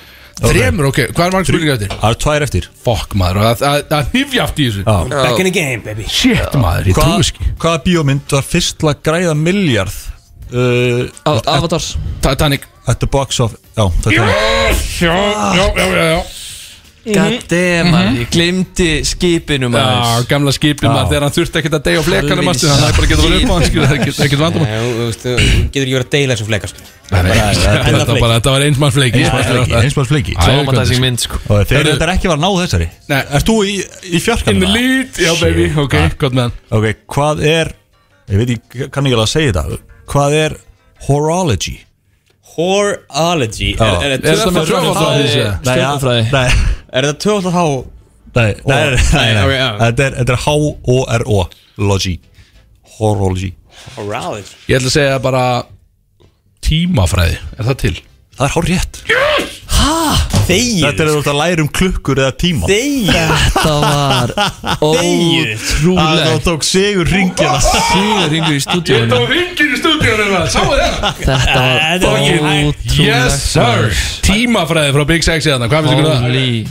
[SPEAKER 1] Þremur, ok, hvað er margt spurninga eftir?
[SPEAKER 2] Það er tvær eftir
[SPEAKER 1] Fokk maður, og það- það það hifja aftur í þessu
[SPEAKER 4] Back in the game baby
[SPEAKER 1] Shit maður, ég trúi
[SPEAKER 2] Hvað,
[SPEAKER 1] ekki
[SPEAKER 2] Hvaða bíómynd var fyrst til að græða miljard uh,
[SPEAKER 9] A- Avatars
[SPEAKER 1] Titanic
[SPEAKER 2] at the box of Já, þetta er
[SPEAKER 1] Já, já, já, já, já.
[SPEAKER 9] God damn, man Ég glemdi skipinu,
[SPEAKER 1] Mhm. Já,
[SPEAKER 9] maður
[SPEAKER 1] gamla skipið maður þegar hann þurfti ekkert að deyja á flekanum
[SPEAKER 9] Helvítis.
[SPEAKER 1] aftur, hann hefði bara getað verið upp á hann skilur, það er ekkert- ekkert vandamál
[SPEAKER 4] Nei, þú veist, þú getur ekki verið að deila þessum flekar
[SPEAKER 1] Þetta var bara, þetta var einsmann fleiki
[SPEAKER 2] Einsmanns fleiki
[SPEAKER 9] Traumatizing mynd, sko
[SPEAKER 2] Og þegar þetta er ekki var náð þessari
[SPEAKER 1] Nei.
[SPEAKER 2] Ert þú í, í
[SPEAKER 1] In the
[SPEAKER 2] fjarkanum?
[SPEAKER 1] lead, já baby,
[SPEAKER 2] Shit. Ah,
[SPEAKER 1] ok, gott með hann
[SPEAKER 2] Ok, hvað er Ég veit ekki, kann ekki alveg að segja þetta Hvað er horology?
[SPEAKER 4] Horology
[SPEAKER 2] Já.
[SPEAKER 4] Er
[SPEAKER 1] Er þetta með
[SPEAKER 4] tvöfaldahá-
[SPEAKER 1] tvöfaldahá?
[SPEAKER 9] Stjórnfræði
[SPEAKER 2] Nei,
[SPEAKER 4] Er þetta tvöfald há
[SPEAKER 2] nei,
[SPEAKER 1] Oh,
[SPEAKER 2] nei, nei, nei,
[SPEAKER 4] Nei, ok,
[SPEAKER 2] nei.
[SPEAKER 4] já.
[SPEAKER 2] Þetta er- þetta er H-O-R-O Logi Horology
[SPEAKER 4] Alright
[SPEAKER 1] Ég ætla að segja bara Tímafræði, er það til?
[SPEAKER 2] Það er hár rétt
[SPEAKER 4] Þegir
[SPEAKER 2] Þetta er þetta að læra um klukkur eða tíma
[SPEAKER 4] Þegir
[SPEAKER 9] Þetta var
[SPEAKER 2] Það
[SPEAKER 9] ótrúlegt
[SPEAKER 2] þá tók sigur ringina
[SPEAKER 9] Sigur yngur í stúdíóinu
[SPEAKER 1] ringir í hérna. stúdíunum Sáu það?
[SPEAKER 9] Þetta var
[SPEAKER 1] Fucking
[SPEAKER 9] ótrúlegt
[SPEAKER 1] Yes sir
[SPEAKER 9] maður.
[SPEAKER 1] Tímafræði frá Big Sexy þarna Hvað finnst ykkur um það?
[SPEAKER 9] Holy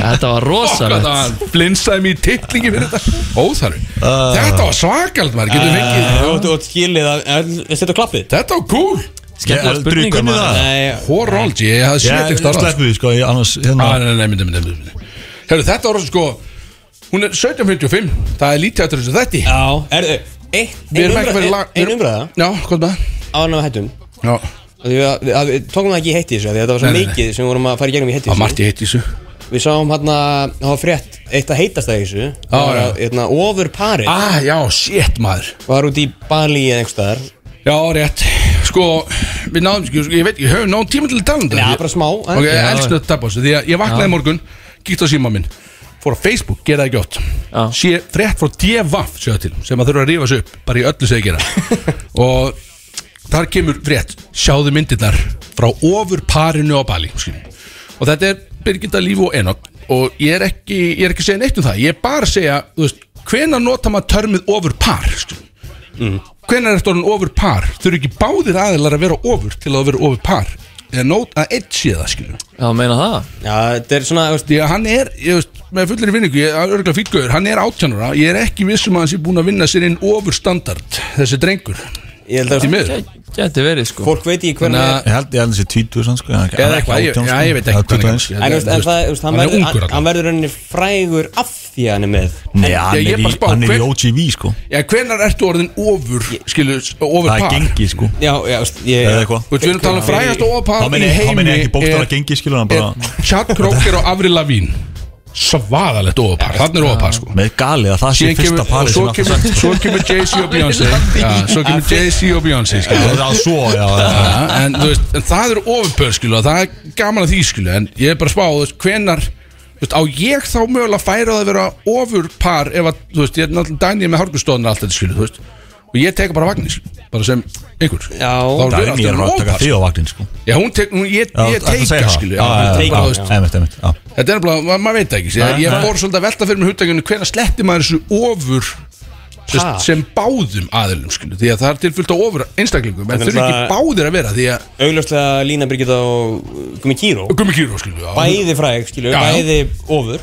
[SPEAKER 9] Þetta
[SPEAKER 1] Okkar
[SPEAKER 9] var rosalegt
[SPEAKER 1] það flinsaði mér í titlingi fyrir þetta Óþarfi
[SPEAKER 4] Uh.
[SPEAKER 1] Þetta var svakald maður Getur fengið
[SPEAKER 4] Og skilið að að Settu klappið
[SPEAKER 1] Þetta var cool
[SPEAKER 9] Skemmtilega spurning, maður.
[SPEAKER 4] Nei
[SPEAKER 1] Horald Ég hafði séð
[SPEAKER 2] Ég
[SPEAKER 1] ekki starað
[SPEAKER 2] sleppu því sko ég, annars,
[SPEAKER 1] Ah, Nei,
[SPEAKER 2] hérna,
[SPEAKER 1] nei, nei, myndi, myndi, myndi Herru, þetta var rosa sko Hún er 17.55 Það er lítið eftir þessu þætti
[SPEAKER 4] Já Erðu Eitt
[SPEAKER 1] Við
[SPEAKER 4] Ein
[SPEAKER 1] erum ekki verið
[SPEAKER 4] umræða
[SPEAKER 1] lag-
[SPEAKER 4] Ein umræða
[SPEAKER 1] Já, hvað með
[SPEAKER 4] Ánum að hættum
[SPEAKER 1] það? Já,
[SPEAKER 4] Af því að- við- að- Við tókum það ekki í heitti þessu af Því að þetta var svo
[SPEAKER 1] Nei, nei, nei.
[SPEAKER 4] mikið sem við vorum að fara í gegnum í heitti
[SPEAKER 1] það var margt í heitt í þessu
[SPEAKER 4] Við sáum hérna Það var frétt Eitt að heitast það í þessu Það var
[SPEAKER 1] já.
[SPEAKER 4] að, Hérna ofur parið
[SPEAKER 1] Ah, já, shit maður
[SPEAKER 4] Var út í Bali eða einhvers staðar
[SPEAKER 1] Já, rétt Sko, við náðum ekki, sko, ég veit ekki, höfum náðum tíma til að tala um þetta
[SPEAKER 4] Já, bara smá, en-
[SPEAKER 1] Ok, ég
[SPEAKER 4] Já.
[SPEAKER 1] elsku þetta tapos Því að ég vaknaði í morgun, kíkt á síma minn Fór á Facebook, gera það ekki oft
[SPEAKER 9] Já.
[SPEAKER 1] Sé frétt frá D.V.A.F. sjöða til Sem að þurfa að rífa sig upp, bara í öllu segi gera Og þar kemur frétt Sjáðu myndirnar frá ofurparinu á Bali skilur. Og þetta er Birgitta Líf og Enoch Og ég er ekki, ég er ekki að segja neitt um það Ég er bara að segja, þú veist, hvenær nota maður törmið ofurpar, skilur hvenær er þetta orðin ofur par þurfi ekki báðir aðilar að vera ofur til að vera ofur par eða nót að eitt sé það skilur
[SPEAKER 9] Já, meina það
[SPEAKER 4] Já þetta er svona þú veist,
[SPEAKER 1] því að hann er, ég veist, með fullir vinningu ég er örgulega fýtgöður, hann er átjánara ég er ekki vissum að hann sé búin að vinna sér inn ofur standard þessi drengur
[SPEAKER 4] Ég held að
[SPEAKER 1] því miður
[SPEAKER 9] Gæ- Gæti verið sko
[SPEAKER 4] Fólk veit ekki hvernig
[SPEAKER 1] Þannig
[SPEAKER 4] er
[SPEAKER 1] að-
[SPEAKER 2] Ég held ég held þessi tvítur sann sko Eða
[SPEAKER 1] Ah, eða eitthvað, ég, já, ég veit ekki
[SPEAKER 2] hvað hann
[SPEAKER 1] hann
[SPEAKER 4] En,
[SPEAKER 2] er
[SPEAKER 4] þú veist, en það, þú veist, hann,
[SPEAKER 1] hann er
[SPEAKER 4] verður-
[SPEAKER 1] ungur
[SPEAKER 4] hann- hann
[SPEAKER 1] allan
[SPEAKER 4] verður henni frægur af því að hann er með
[SPEAKER 2] Nei, hann
[SPEAKER 1] Ég- ég
[SPEAKER 2] er
[SPEAKER 1] bara
[SPEAKER 2] í-
[SPEAKER 1] spá,
[SPEAKER 2] hann er í
[SPEAKER 1] hver-
[SPEAKER 2] OGV sko
[SPEAKER 1] já, hvenær ertu orðin ofur skilur, ofur
[SPEAKER 2] Það er
[SPEAKER 1] par
[SPEAKER 2] gengi sko
[SPEAKER 4] Já, já, þú veist, ég
[SPEAKER 2] Eða eitthvað
[SPEAKER 1] Þú veist, við erum talað um frægast og
[SPEAKER 2] Þá
[SPEAKER 1] ofar í
[SPEAKER 2] meina ég- þá
[SPEAKER 1] heimi
[SPEAKER 2] meina ég ekki bókstala
[SPEAKER 1] er-
[SPEAKER 2] gengi skilur hann
[SPEAKER 1] er
[SPEAKER 2] bara
[SPEAKER 1] Chad Kroger og Avril Lavín svaðalegt ofar, þannig er ofar sko
[SPEAKER 2] Með gali að það sé
[SPEAKER 1] Síðan
[SPEAKER 2] fyrsta
[SPEAKER 1] kemur-
[SPEAKER 2] pari
[SPEAKER 1] svo
[SPEAKER 2] sem átti
[SPEAKER 1] kemur,
[SPEAKER 2] sagt.
[SPEAKER 1] svo kemur Jay-Z og Beyoncé Já, Svo kemur Jay-Z og Beyoncé skilur
[SPEAKER 2] Það er svo, já, já
[SPEAKER 1] Já, en, þú veist, en það eru ofurpör skilu og það er gaman að því skilu en ég er bara að spá, þú veist, hvenar þú veist, á ég þá mögulega að færa það að vera ofurpar ef að, þú veist, ég er náttúrulega dænið með hárgustóðunar allt þetta skilu, þú veist og ég teka bara vagnir, skilu, bara sem ykkur
[SPEAKER 4] Já.
[SPEAKER 1] þá er
[SPEAKER 2] Dagný er
[SPEAKER 1] við
[SPEAKER 2] að
[SPEAKER 1] alltaf
[SPEAKER 2] taka
[SPEAKER 1] ofar
[SPEAKER 2] því
[SPEAKER 1] skilu.
[SPEAKER 2] á vaktin sko
[SPEAKER 1] Já, hún tek, hún, ég,
[SPEAKER 2] Já,
[SPEAKER 1] ég
[SPEAKER 2] ertu að segja
[SPEAKER 1] teika
[SPEAKER 2] það?
[SPEAKER 1] skilu
[SPEAKER 2] Já,
[SPEAKER 1] já,
[SPEAKER 2] já,
[SPEAKER 1] bara,
[SPEAKER 2] já,
[SPEAKER 1] þú veist,
[SPEAKER 2] já, einmitt, einmitt, já.
[SPEAKER 1] Þetta er bara, maður veit það ekki ég, ég fór svolítið að velta fyrir mig hugtakinu hvenær sletti maður þessu ofur sem, sem báðum aðilum skilu, því að það er tilfyllt á ofur einstaklingum en
[SPEAKER 4] er
[SPEAKER 1] þurfi ekki
[SPEAKER 4] náttúrulega-
[SPEAKER 1] báðir að vera því að
[SPEAKER 4] Augljóslega Lína Birgitta og Gumi Kíró
[SPEAKER 1] Gummi Kíró skilu já, hún-
[SPEAKER 4] Bæði fræg, skilju,
[SPEAKER 1] Já.
[SPEAKER 4] bæði ofur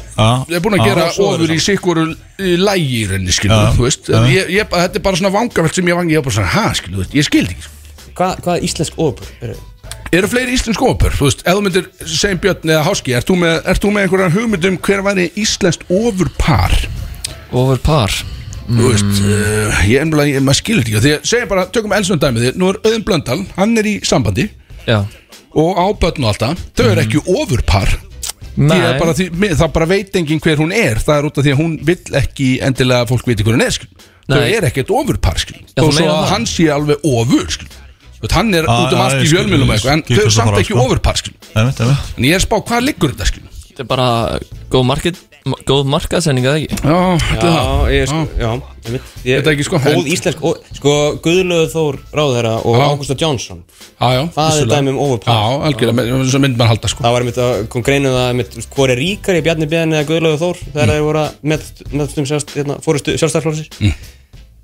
[SPEAKER 1] Ég er búin að gera
[SPEAKER 4] svo er
[SPEAKER 1] ofur í sikkur eh, lægi í rauninni skilu,
[SPEAKER 2] Já.
[SPEAKER 1] þú veist En ég, ég, þetta er bara svona vangavelt sem ég vangi ég er bara svona, ha skilu, þú veist, ég skildi ekki sko.
[SPEAKER 4] Hvað hva íslensk ofur eru?
[SPEAKER 1] Eru fleiri íslensk ofur, þú veist, ef þú myndir segjum Björn eða Háski, ert þú með, ert þú með einhverja hugmyndum hver væri íslenskt ofurpar
[SPEAKER 9] Over par
[SPEAKER 1] þú veist, uh, ég ennbúinlega, ég, maður skilur þetta ekki Því að segjum bara, tökum Elsson dæmið því, nú er Öðum Blöndal, hann er í sambandi
[SPEAKER 9] Já
[SPEAKER 1] og á börn og alltaf, þau eru ekki ofurpar Því að
[SPEAKER 9] Nei
[SPEAKER 1] bara því, mi- það bara veit enginn hver hún er það er út af því að hún vill ekki endilega að fólk veit hver hún er skil. þau
[SPEAKER 9] Nei.
[SPEAKER 1] er ekkert ofurpar skil.
[SPEAKER 9] Já,
[SPEAKER 1] og
[SPEAKER 9] þú
[SPEAKER 1] svo
[SPEAKER 9] meinar
[SPEAKER 1] að
[SPEAKER 9] það.
[SPEAKER 1] hann sé alveg ofur skil. Þú veist, hann er
[SPEAKER 2] Já,
[SPEAKER 1] út um
[SPEAKER 2] já,
[SPEAKER 1] allt í
[SPEAKER 2] ég skil-
[SPEAKER 1] fjölmjölum
[SPEAKER 2] ég
[SPEAKER 1] en þau er
[SPEAKER 2] skil hvað þú
[SPEAKER 1] samt
[SPEAKER 2] fara,
[SPEAKER 1] ekki
[SPEAKER 2] sko.
[SPEAKER 1] ofurpar skil.
[SPEAKER 2] Einmitt, einmitt
[SPEAKER 1] en ég er að spá hvað liggur þetta skil.
[SPEAKER 9] Þetta er bara góð markið Góð markaðsending eða ekki
[SPEAKER 1] já, þetta er það.
[SPEAKER 4] ég, sko,
[SPEAKER 1] Já.
[SPEAKER 4] já, ég veit ég,
[SPEAKER 1] Þetta er ekki, sko,
[SPEAKER 4] Góð
[SPEAKER 1] en-
[SPEAKER 4] íslensk, ó, sko, Guðlöðu Þór Ráðherra og
[SPEAKER 1] Já.
[SPEAKER 4] Ágústa Jónsson
[SPEAKER 1] Já, já,
[SPEAKER 4] Það er
[SPEAKER 1] vissulega.
[SPEAKER 4] dæmi um ofurpar.
[SPEAKER 1] já, algjörlega, svo mynd maður halda sko.
[SPEAKER 4] Það var einmitt að kom greinu um það einmitt, þú veist, Hvor er ríkari, Bjarni Bjarni eða Guðlöðu Þór
[SPEAKER 1] Mm.
[SPEAKER 4] Þegar þeir voru að met- meðstum sjálfst, hérna, fórustu sjálfstæðarflóðsir
[SPEAKER 1] Mm.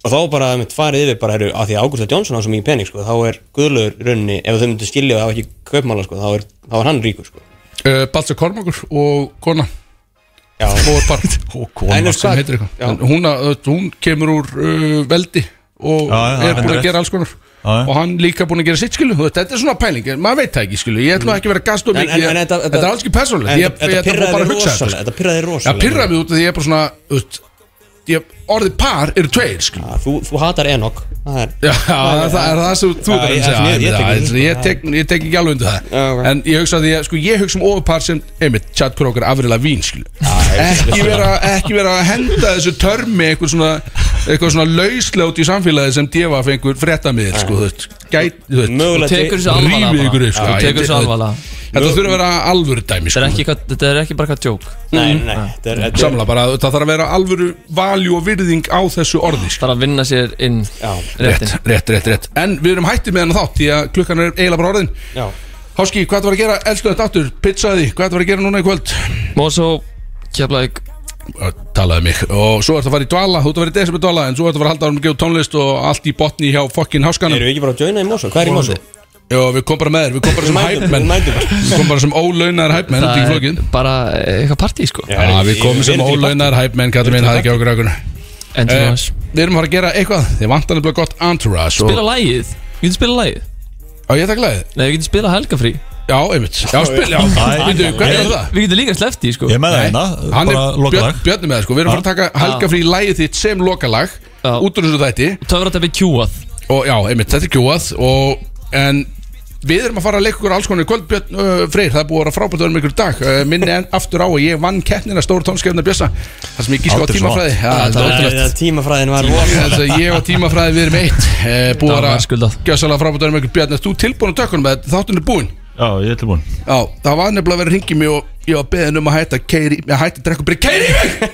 [SPEAKER 4] Og þá bara einmitt farið yfir bara, heru, að því að Ágústa Jónsson á svo mikið pening sko, Þá er Guðlöður rauninni, ef þau myndu skilja það á ekki kaupmála sko, þá, er, þá er hann ríkur sko.
[SPEAKER 1] uh, Balsa Kormakur og kona
[SPEAKER 4] Já,
[SPEAKER 1] ofurpar
[SPEAKER 2] Og kona
[SPEAKER 4] En er-
[SPEAKER 1] sem heitir eitthvað
[SPEAKER 4] Já.
[SPEAKER 1] En hún, að- þú veist, hún kemur úr uh, veldi og
[SPEAKER 2] Já, já,
[SPEAKER 1] er búin
[SPEAKER 2] hendur
[SPEAKER 1] að
[SPEAKER 2] rétt.
[SPEAKER 1] gera alls konar
[SPEAKER 2] já.
[SPEAKER 1] og hann líka búin að gera sitt skilu Þú veist, þetta er svona pæling, en maður veit það ekki skilu ég ætlum ekki að vera gast og
[SPEAKER 4] En- en-
[SPEAKER 1] mikið
[SPEAKER 4] en þetta-
[SPEAKER 1] þetta,
[SPEAKER 4] þetta-
[SPEAKER 1] er alls ekki persónulegt
[SPEAKER 4] En
[SPEAKER 1] Ég-
[SPEAKER 4] þetta-
[SPEAKER 1] ég
[SPEAKER 4] þetta
[SPEAKER 1] ætla bara
[SPEAKER 4] pirraði
[SPEAKER 1] að hugsa
[SPEAKER 4] rosalega
[SPEAKER 1] þetta
[SPEAKER 4] Þetta pirraði
[SPEAKER 1] Það
[SPEAKER 4] rosalega
[SPEAKER 1] pirraði mig út af því ég er bara svona þú veist, ég, orðið par eru tveir skilu
[SPEAKER 4] Já, Þú, þú hatar Enoch Það er
[SPEAKER 1] Já, það er það, er það sem þú
[SPEAKER 4] Já,
[SPEAKER 1] þarf að
[SPEAKER 4] ég-
[SPEAKER 1] segja
[SPEAKER 4] ég- ég
[SPEAKER 1] Já,
[SPEAKER 4] tek
[SPEAKER 1] ég-
[SPEAKER 4] undir
[SPEAKER 1] ég tek- Ég tek ekki alveg undir
[SPEAKER 4] Já,
[SPEAKER 1] það
[SPEAKER 4] ok.
[SPEAKER 1] En ég hugsa að ég, sko, ég hugsa um ofurpar sem einmitt, Chad Kroger, Avril Lavín, skilu Ekki vera, ekki vera að henda þessu törmi einhver svona eitthvað svona lauslega út í samfélagi sem djefa fengur fréttamiðir sko, þú veist, gæt, þú veist
[SPEAKER 9] Þú
[SPEAKER 3] Mögulega
[SPEAKER 9] tekur þessu alvarlega
[SPEAKER 1] rífið
[SPEAKER 9] bara.
[SPEAKER 1] ykkur upp sko.
[SPEAKER 9] Þú tekur þessu alvarlega
[SPEAKER 1] þetta þurfa að vera alvöru dæmi
[SPEAKER 9] Þetta
[SPEAKER 1] sko.
[SPEAKER 9] er ekki eitthvað- Þetta er ekki bara eitthvað djók
[SPEAKER 3] Nei,
[SPEAKER 1] Mm.
[SPEAKER 3] nei,
[SPEAKER 1] Ah,
[SPEAKER 3] nei, þetta er, þetta er
[SPEAKER 1] samla bara, það þarf að vera alvöru valjú og virðing á þessu orði sko.
[SPEAKER 9] Það er að vinna sér inn
[SPEAKER 1] rétt,
[SPEAKER 9] réttin
[SPEAKER 1] rétt, rétt, rétt en við erum hættið með hennar þátt því að klukkan er eiginlega bara orðin
[SPEAKER 3] Já,
[SPEAKER 1] Háski, hvað var að gera, elsku þetta aftur, pizzaði hvað var að gera núna í kvöld
[SPEAKER 9] Mosó Keflæk
[SPEAKER 1] Að talaði mig og svo ertu að fara í dvala, þú ert að fara í desember dvala en svo ertu að fara að halda árum að gefa út tónlist og allt í botni hjá fokkin háskanum
[SPEAKER 3] erum við ekki bara að joina í Mosó? Hvað er í Mosó?
[SPEAKER 1] Já, við komum bara með þér, við komum bara sem
[SPEAKER 3] mætum,
[SPEAKER 1] hæpmenn
[SPEAKER 3] við mætum bara.
[SPEAKER 1] Við komum bara sem ólaunar hæpmenn út í
[SPEAKER 9] Það
[SPEAKER 1] flokkin
[SPEAKER 9] er bara eitthvað partí sko
[SPEAKER 3] Já.
[SPEAKER 1] Já, við komum
[SPEAKER 3] Við
[SPEAKER 1] sem
[SPEAKER 3] erum til í
[SPEAKER 1] ólaunar hæpmenn, kallum minn, hafði ekki okkur okkur
[SPEAKER 9] Endur
[SPEAKER 1] Eh,
[SPEAKER 9] náttúrulega
[SPEAKER 1] Við erum að fara að gera eitthvað, þið vantar nefnilega gott entourage
[SPEAKER 9] Spila
[SPEAKER 1] og-
[SPEAKER 9] lagið Við getum spila lagið
[SPEAKER 1] Já, ég takk leið
[SPEAKER 9] Nei, við getum spila helgafrí
[SPEAKER 1] Já, einmitt, já, spila, já, býttu, hvað er það?
[SPEAKER 9] Við getum líka sleppt í sko
[SPEAKER 2] Ég er með það hérna,
[SPEAKER 1] Hann
[SPEAKER 2] bara
[SPEAKER 1] er
[SPEAKER 2] lokalag
[SPEAKER 1] björn, björn með það sko Við erum að fara að taka helgafrí lægið þitt sem lokalag
[SPEAKER 9] Já.
[SPEAKER 1] Út úr þessu þætti
[SPEAKER 9] Töfratæpi kjúað
[SPEAKER 1] og já, einmitt, þetta er kjóað og en við erum að fara að leika ykkur alls konar í kvöld Björn uh, Freyr, það er búið að vera frábært að vera með ykkur í dag uh, minni en aftur á að ég vann keppnina stóru tónskefna Björsa þar sem ég gíska á
[SPEAKER 2] Aldrei svona.
[SPEAKER 1] tímafræði ja, það er ótrúlegt.
[SPEAKER 3] Þetta tímafræðin var
[SPEAKER 1] Þess að ég og tímafræði við erum eitt uh, búið að
[SPEAKER 9] Það var
[SPEAKER 1] vera
[SPEAKER 9] skuldað.
[SPEAKER 1] gjössalega frábært að vera með ykkur Björn, er þú tilbúin að tökunum með þáttun er búin
[SPEAKER 2] Já, ég er tilbúin
[SPEAKER 1] Já, það var nefnilega að vera að ringi mig og ég var beðin um að hætta keiri, að hætta að drekka bara keiri mig